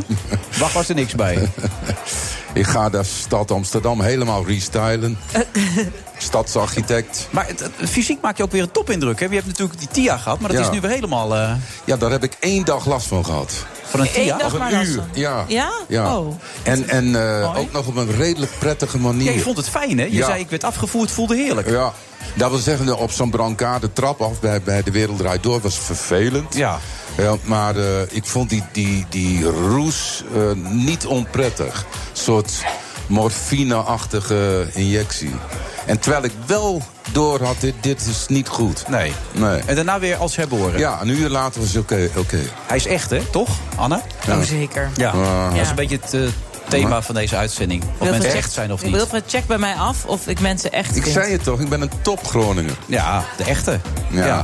wacht was er niks bij.
(laughs) Ik ga de stad Amsterdam helemaal
(laughs)
restylen.
Eh.
Stadsarchitect.
Maar het, het- fysiek maak je ook weer een topindruk. Hè? Je hebt natuurlijk die TIA gehad, maar dat
Ja.
is nu weer helemaal... eh,
Ja, daar heb ik één dag last van gehad.
Van een Eén TIA? dag
Of
maar
een
last
uur.
van?
Ja.
Ja? Oh.
En, en eh, ook nog op een redelijk prettige manier.
ja, je vond het fijn, hè? Je
Ja.
zei, ik werd afgevoerd, voelde heerlijk.
Ja. Dat wil zeggen, op zo'n brancade trap af bij, bij De Wereld Draait Door was vervelend. Ja. maar eh, ik vond die, die, die roes eh, niet onprettig. Een soort morfine-achtige injectie. En terwijl ik wel door had, dit, dit is niet goed.
Nee.
nee.
En daarna weer als herboren.
Ja, een uur later was het oké. oké.
Hij is echt, hè? Toch, Anne?
Ja.
Oh, zeker.
Ja.
Ja.
Dat is een beetje het eh, thema van deze uitzending. Of
Wilfred,
mensen
check-
echt zijn of niet.
Wilfred, check bij mij af of ik mensen echt
Ik
vind.
zei het toch, ik ben een top Groninger.
Ja, de echte. Ja.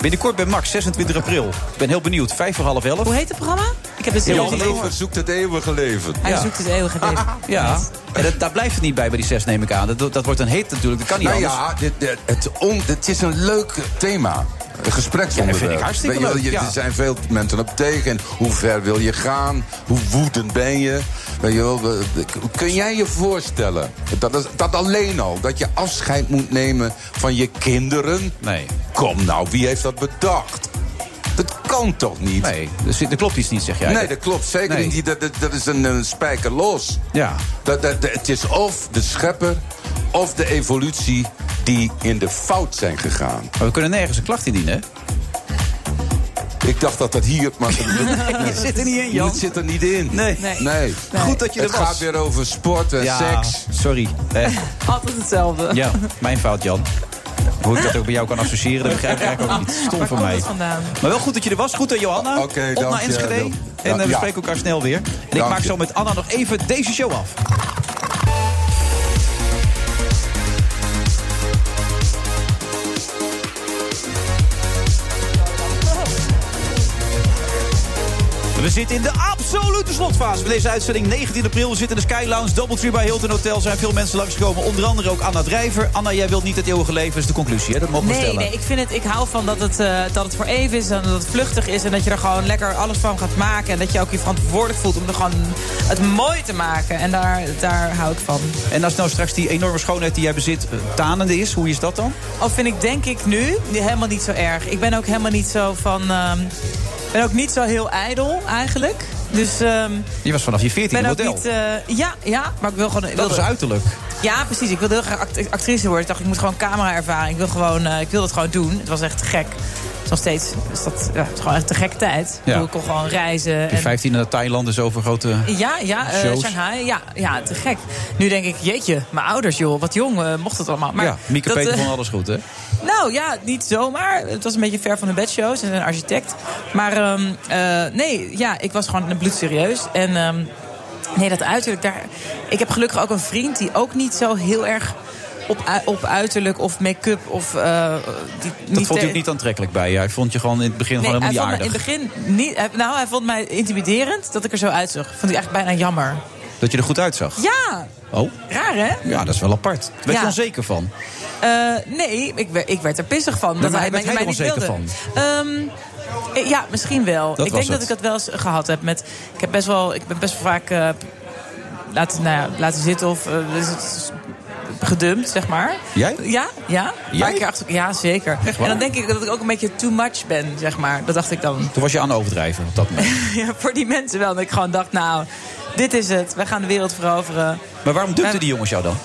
Binnenkort bij Max, 26 april. Ik ben heel benieuwd. Vijf voor half elf.
Hoe heet het programma? Ik heb het
Heel
heel
leven.
zoekt het eeuwige leven.
Hij
Ja.
zoekt het eeuwige leven.
(laughs)
Ja. En dat, daar blijft het niet bij, bij die zes neem ik aan. Dat, dat wordt een hit natuurlijk, dat kan niet
Nou
anders.
ja, dit, dit- het, on, het is een leuk thema. Een gespreksonderwerp.
Ja, dat vind ik hartstikke
Weet je wel,
leuk,
je-
ja.
Er zijn veel mensen op tegen. En Hoe ver wil je gaan? Hoe woedend ben je? Weet je wel, we- we- kun jij je voorstellen dat, is- dat alleen al, dat je afscheid moet nemen van je kinderen?
Nee.
Kom nou, wie heeft dat bedacht? Dat kan toch niet?
Nee, er, zit- er klopt iets niet, zeg jij.
Nee, dat klopt zeker
Nee.
niet. Dat, dat, dat is een, eh, spijker los.
Ja.
Dat, dat, dat- het is of de schepper of de evolutie die in de fout zijn gegaan.
Maar we kunnen nergens een klacht indienen, hè?
Ik dacht dat dat hier...
(laughs)
Maar
Je zit er niet in, Jan.
Het zit er niet in.
Nee.
nee.
Goed dat je er
het
was.
gaat weer over sport en
Ja,
seks.
sorry. Eh,
Altijd hetzelfde.
ja, mijn fout, Jan. Hoe ik dat ook bij jou kan associëren, dat begrijp ik eigenlijk ook niet. Stom van mij.
vandaan?
Maar wel goed dat je er was. Goed aan Johanna.
Oké,
Op
dank
naar
je.
Enschede.
Dank-
En eh, we
Ja.
spreken elkaar snel weer. En ik
Dank
maak
je.
zo met Anna nog even deze show af. We zitten in de absolute slotfase van deze uitzending. 19 april, we zitten in de Sky Lounge, Doubletree bij Hilton Hotel. Er zijn veel mensen langsgekomen, onder andere ook Anna Drijver. Anna, jij wilt niet het eeuwige leven, is de conclusie, hè? Dat mogen we
Nee,
stellen.
nee, ik vind het. Ik hou van dat het, eh, dat het voor even is en dat het vluchtig is en dat je er gewoon lekker alles van gaat maken en dat je ook je verantwoordelijk voelt om er gewoon het mooi te maken. En daar, daar hou ik van.
En als nou straks die enorme schoonheid die jij bezit eh, tanende is, hoe is dat dan?
Al vind ik denk ik nu helemaal niet zo erg. Ik ben ook helemaal niet zo van. ehm, Ik ben ook niet zo heel ijdel eigenlijk. Dus ehm,
Je was vanaf je
ik
14
ben ook
model.
niet. eh, ja, ja, maar ik wil gewoon. ik
dat is
wilde-
uiterlijk.
Ja, precies. Ik wilde heel graag act- actrice worden. Ik dacht, ik moet gewoon camera-ervaring. Ik wil, gewoon, eh, ik wil dat gewoon doen. Het was echt te gek. Het is nog steeds is dat, ja, het is gewoon echt te gekke tijd. Ik, bedoel, ik kon gewoon reizen.
Die
En,
15 naar Thailand is over grote...
ja, ja, eh,
Shows.
Shanghai. Ja, ja, te gek. Nu denk ik, jeetje, mijn ouders, joh, wat jong, eh, mocht het allemaal. Maar
ja, Mieke
dat,
Peter
eh,
vond alles goed, hè?
nou ja, niet zomaar. Het was een beetje ver van de bedshow. Ze is een architect. Maar ehm, eh, nee, ja, ik was gewoon bloedserieus. En ehm, nee, dat uiterlijk daar... Ik heb gelukkig ook een vriend die ook niet zo heel erg op, ui- op uiterlijk of make-up of... eh, die,
Dat vond hij
te-
ook niet aantrekkelijk bij je. Hij vond je gewoon in het begin gewoon
eh, Nee, hij
helemaal
vond
niet
me in
aardig.
het begin niet... hij- Nou, hij vond mij intimiderend dat ik er zo uitzag. Vond hij echt bijna jammer.
Dat je er goed uitzag.
Ja,
Oh,
raar hè?
ja, dat is wel apart. Daar ben je
Ja.
onzeker van.
Eh, nee, ik, wer- ik werd er pissig van.
Nee,
dat
maar
hij mij,
werd hij
mij
er
niet
onzeker
wilde. Ehm, eh, ja, misschien wel.
Dat
ik
was
denk dat
het.
ik dat wel eens gehad heb. Met, ik, heb best wel, ik ben best wel vaak eh, laten, nou ja, laten zitten of eh, is het gedumpt, zeg maar.
Jij?
Ja, ja.
Jij?
Maar ik keer achter, ja, zeker.
Echt waar?
En dan denk ik dat ik ook een beetje too much ben, zeg maar. Dat dacht ik
(laughs)
dan.
Toen was je aan het overdrijven op dat moment.
ja, voor die mensen wel. Dat ik gewoon dacht, nou, dit is het. Wij gaan de wereld veroveren.
Maar waarom dukten
Maar-
die jongens jou dan?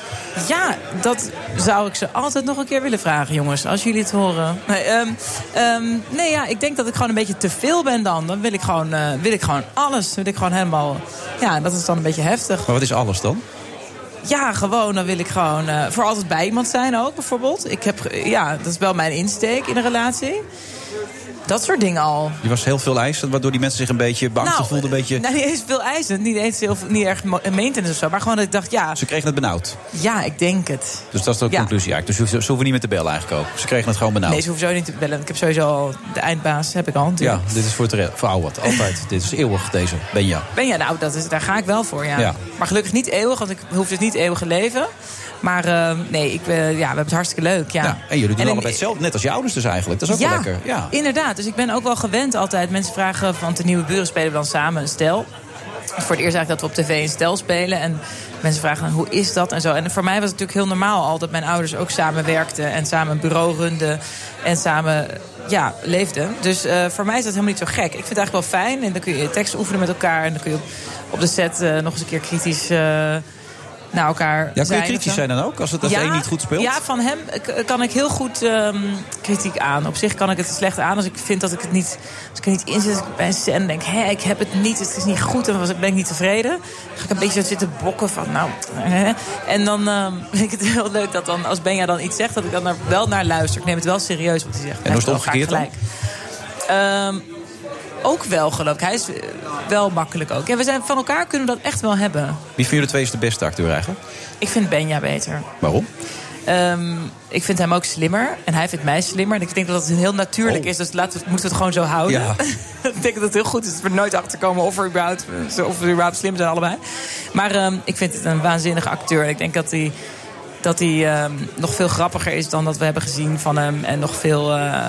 Ja, dat zou ik ze altijd nog een keer willen vragen, jongens. Als jullie het horen. Nee, ehm, ehm, nee ja, ik denk dat ik gewoon een beetje te veel ben dan. Dan wil ik gewoon, eh, wil ik gewoon alles. Wil ik gewoon helemaal... Ja, dat is dan een beetje heftig.
Maar wat is alles dan?
Ja, gewoon, dan wil ik gewoon eh, voor altijd bij iemand zijn ook, bijvoorbeeld. Ik heb, ge- ja, dat is wel mijn insteek in een relatie. Dat soort dingen al.
Je was heel veel eisend, waardoor die mensen zich een beetje beangstigd voelden. Een beetje...
Nou, niet eens veel eisend. Niet eens heel, niet erg mo- maintenance of zo. Maar gewoon dat ik dacht, ja,
Ze kregen het benauwd.
ja, ik denk het.
Dus dat is de
Ja.
conclusie eigenlijk. Dus je hoeft- ze hoeven niet meer te bellen eigenlijk ook. Ze kregen het gewoon benauwd.
Nee, ze hoeven zo niet te bellen. want Ik heb sowieso al de eindbaas, heb ik al natuurlijk.
ja, dit is voor, het re- voor
(laughs)
Auwat. Altijd. dit is eeuwig, deze Benja.
Ben je nou, dat is, daar ga ik wel voor, ja.
Ja.
Maar gelukkig niet eeuwig, want ik hoef dus niet eeuwig leven. Maar eh, nee, ik, eh, ja, we hebben het hartstikke leuk, ja.
Ja, en jullie doen
in-
allebei hetzelfde. Net als je ouders dus eigenlijk. Dat is ook wel lekker. Ja.
inderdaad. Dus ik ben ook wel gewend altijd. Mensen vragen, want de nieuwe buren spelen we dan samen een stel. Het is voor het eerst eigenlijk dat we op tv een stel spelen. En mensen vragen dan, hoe is dat en zo. En voor mij was het natuurlijk heel normaal al dat mijn ouders ook samen werkten. En samen een bureau runden. En samen, ja, leefden. Dus eh, voor mij is dat helemaal niet zo gek. Ik vind het eigenlijk wel fijn. En dan kun je tekst oefenen met elkaar. En dan kun je op, op de set eh, nog eens een keer kritisch... eh, naar elkaar
Ja, kun
zijn
je
of
kritisch
zo.
zijn dan ook? Als het als de een niet goed speelt?
Ja, van hem k- kan ik heel goed ehm, kritiek aan. Op zich kan ik het slecht aan als ik vind dat ik het niet... Als ik er niet in zit bij een scène en denk... hé, ik heb het niet, het is niet goed en dan ben ik niet tevreden. Dan ga ik een beetje zo zitten bokken van... nou, hè. En dan ehm, (laughs) vind ik het heel leuk dat dan als Benja dan iets zegt... dat ik dan er wel naar luister. Ik neem het wel serieus wat hij zegt.
En hoe is het
Hij heeft
omgekeerd
wel
dan?
vaak Ehm, ook wel geloof ik. Hij is eh, wel makkelijk ook. Ja, we zijn van elkaar kunnen we dat echt wel hebben.
Wie van jullie twee is de beste acteur eigenlijk?
Ik vind Benja beter.
Waarom?
Ehm, ik vind hem ook slimmer. En hij vindt mij slimmer. En ik denk dat het heel natuurlijk is. Dus laten we, moeten we het gewoon zo houden.
Oh. Ja.
(laughs) ik denk dat het heel goed is. Dat we er nooit achter komen of, we überhaupt, of we überhaupt slim zijn allebei. Maar ehm, ik vind het een waanzinnige acteur. En ik denk dat hij... Dat hij ehm, nog veel grappiger is dan dat we hebben gezien van hem. En nog veel eh,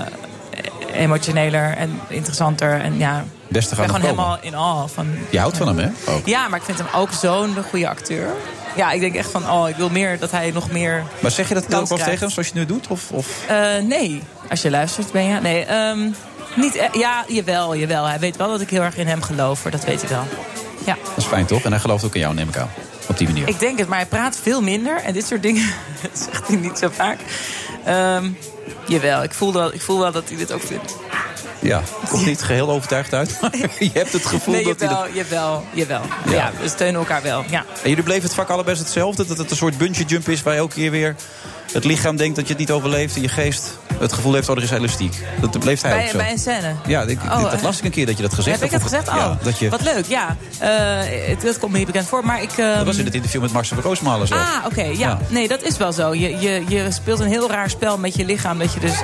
emotioneler en interessanter. En ja,
Beste
ik
gaan
ben gewoon
nog komen.
helemaal in awe van
Je houdt van hem, hè? Oh. Ook.
ja, maar ik vind hem ook zo'n goede acteur. Ja, ik denk echt van, oh, ik wil meer dat hij nog meer...
Maar zeg je dat
Loos
ook wel
krijgt.
tegen hem, zoals je nu doet? Of, of...
Eh, nee, als je luistert, ben je... Nee, ehm, niet... e- ja, jawel, jawel. Hij weet wel dat ik heel erg in hem geloof, hoor. Dat weet hij wel. Ja.
Dat is fijn, toch? En hij gelooft ook in jou, neem ik aan. Op die manier.
Ik denk het, maar hij praat veel minder. En dit soort dingen (laughs) zegt hij niet zo vaak. Ehm, jawel, ik voel, wel, ik voel wel dat hij dit ook vindt.
Ja, komt niet geheel overtuigd uit.
(laughs)
Maar je hebt het gevoel
nee,
dat hij dat...
jawel, jawel, jawel.
Ja.
Ja. we steunen elkaar wel, ja.
En jullie bleven het vak allebei best hetzelfde? Dat het een soort bungee jump is waar je elke keer weer het lichaam denkt dat je het niet overleeft... en je geest het gevoel heeft, oh, er is elastiek. Dat bleef hij ook
Bij,
zo.
bij een scène.
Ja, ik-
Oh,
dat
eh.
las ik een keer dat je dat gezegd
Heb ik dat
Of-
gezegd? Oh,
ja, dat je,
wat leuk, ja. Eh, het- dat komt me niet bekend voor, maar ik... ehm,
Dat was in het interview met Max van Roosmalen zo.
Ah, oké, ja.
Ja.
Nee, dat is wel zo. Je, je, je speelt een heel raar spel met je lichaam... dat je dus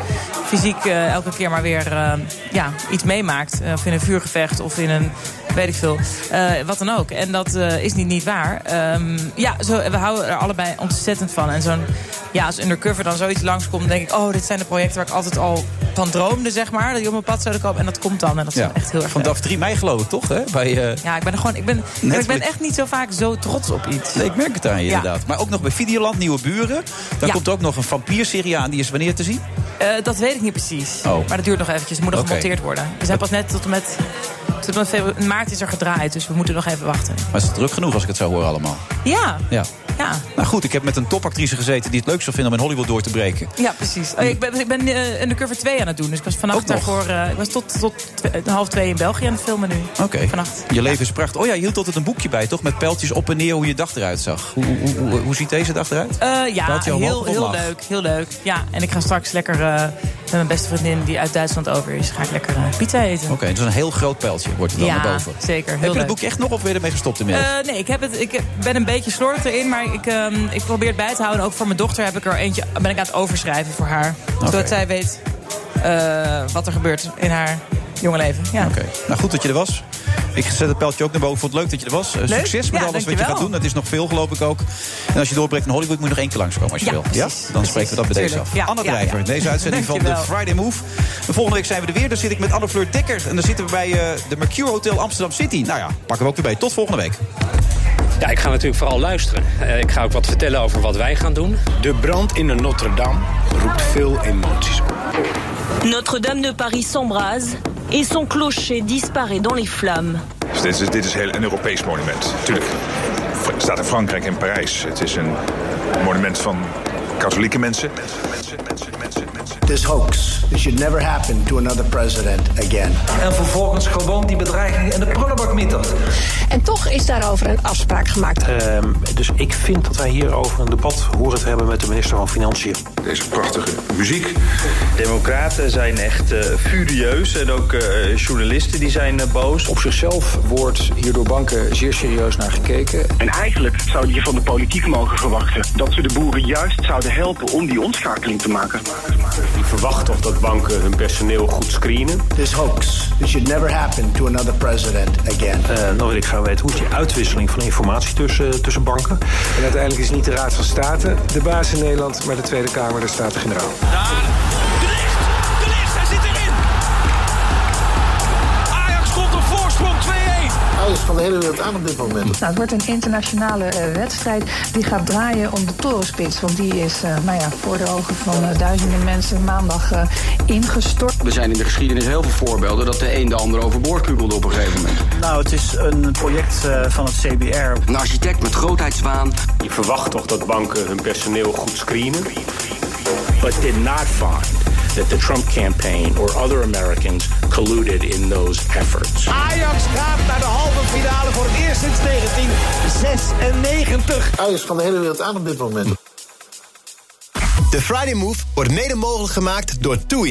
fysiek eh, elke keer maar weer eh, ja, iets meemaakt. Eh, of in een vuurgevecht of in een... weet ik veel. Eh, wat dan ook. En dat eh, is niet, niet waar. Ehm, ja, zo, we houden er allebei ontzettend van. En zo'n... Ja, als undercover dan zoiets langskomt... dan denk ik, oh, dit zijn de projecten waar ik altijd al van droomde, zeg maar. Dat die op mijn pad zouden komen. En dat komt dan. En dat is
Ja.
dan echt heel erg leuk.
Vanaf 3 mei geloof ik, toch? Hè? Bij, eh,
Ja, ik ben er gewoon. Ik ben, maar ik ben echt niet zo vaak zo trots op iets.
Nee, ik merk het aan je
Ja.
inderdaad. Maar ook nog bij Videoland, Nieuwe Buren. Daar
Ja.
komt ook nog een vampierserie aan. Die is wanneer te zien?
Eh, dat weet ik niet precies.
Oh.
Maar dat duurt nog eventjes. Het moet nog
Oké.
gemonteerd worden. We zijn pas net tot en met. Tot en met febru- maart is er gedraaid, dus we moeten nog even wachten.
Maar is het druk genoeg als ik het zo hoor allemaal?
Ja,
Ja.
ja.
Nou goed, ik heb met een topactrice gezeten die het leuk zou vinden om in Hollywood door te breken.
Ja, precies. Oh, ik ben, ik ben eh, Undercover 2 aan het doen. Dus ik was vannacht daarvoor... eh, ik was tot, tot twe- eh, half twee in België aan het filmen nu.
Oké. Je leven is prachtig. Oh ja, je hield altijd een boekje bij, toch? Met pijltjes op en neer hoe je dag eruit zag. Hoe, hoe, hoe, hoe ziet deze dag eruit?
Eh, ja,
Pijltje omhoog
heel,
of
heel
omlaag?
leuk. Heel leuk. Ja, en ik ga straks lekker eh, met mijn beste vriendin die uit Duitsland over is... ga ik lekker eh, pizza eten.
Oké, dus een heel groot pijltje wordt er dan
Ja,
naar boven.
zeker. Heel
heb je het
leuk.
boek echt nog of weer ermee gestopt inmiddels?
Eh, nee, ik, heb het, ik ben een beetje slordig erin, maar ik, ehm, ik probeer het bij te houden. Ook voor mijn dochter heb ik er eentje, ben ik aan het overschrijven voor haar. Zodat zij weet eh, wat er gebeurt in haar jonge leven. Ja.
Oké. Nou, goed dat je er was. Ik zet het pijltje ook naar boven. Vond het leuk dat je er was. Eh,
Leuk.
Succes met
Ja,
alles wat je
dankjewel.
gaat doen. Het is nog veel, geloof ik ook. En als je doorbreekt naar Hollywood, moet je nog één keer langskomen als je
Ja,
wil.
precies.
ja? Dan spreken we dat bij deze
Tuurlijk.
af.
Ja,
Anne
ja,
Drijver,
ja.
deze uitzending van de
Dankjewel.
Friday Move. De volgende week zijn we er weer. Dan zit ik met Anne-Fleur Dekker. En dan zitten we bij eh, de Mercure Hotel Amsterdam City. Nou ja, pakken we ook weer bij. Tot volgende week.
Ja, ik ga natuurlijk vooral luisteren. Eh, ik ga ook wat vertellen over wat wij gaan doen. De brand in de Notre-Dame roept veel emoties op.
Notre-Dame de Paris s'embrase et son clocher disparaît dans les flammes.
Dus dit, is, dit is heel een Europees monument. Tuurlijk. Fr- Het staat in Frankrijk en Parijs. Het is een monument van katholieke mensen.
This hoax. This should never happen to another president again.
En vervolgens gewoon die bedreiging in de prullenbak mietert.
En toch is daarover een afspraak gemaakt.
Ehm, dus ik vind dat wij hierover een debat horen te hebben met de minister van Financiën.
Deze prachtige muziek.
Democraten zijn echt eh, furieus en ook eh, journalisten die zijn eh, boos. Op zichzelf wordt hier door banken zeer serieus naar gekeken.
En eigenlijk zou je van de politiek mogen verwachten dat ze de boeren juist zouden helpen om die omschakeling te maken.
Ik verwacht toch dat banken hun personeel goed screenen.
This hoax. This should never happen to another president again.
Eh, dan wil ik graag weten hoe is die uitwisseling van informatie tussen, eh, tussen banken.
En uiteindelijk is niet de Raad van State de baas in Nederland, maar de Tweede Kamer de Staten-Generaal.
Ajax komt op voorsprong 2-1.
Ajax van de hele wereld aan op dit moment.
Nou, het wordt een internationale eh, wedstrijd die gaat draaien om de torenspits. Want die is eh, nou ja, voor de ogen van eh, duizenden mensen maandag eh, ingestort.
Er zijn in de geschiedenis heel veel voorbeelden dat de een de ander overboord kubelde op een gegeven moment.
Nou, het is een project eh, van het CBR.
Een architect met grootheidswaan.
Je verwacht toch dat banken hun personeel goed screenen? But did not find that the Trump campaign or other Americans colluded in those efforts.
Ajax gaat naar de halve finale voor het eerst sinds 1996.
Ajax van de hele wereld aan op dit moment.
De Friday Move wordt mede mogelijk gemaakt door TUI.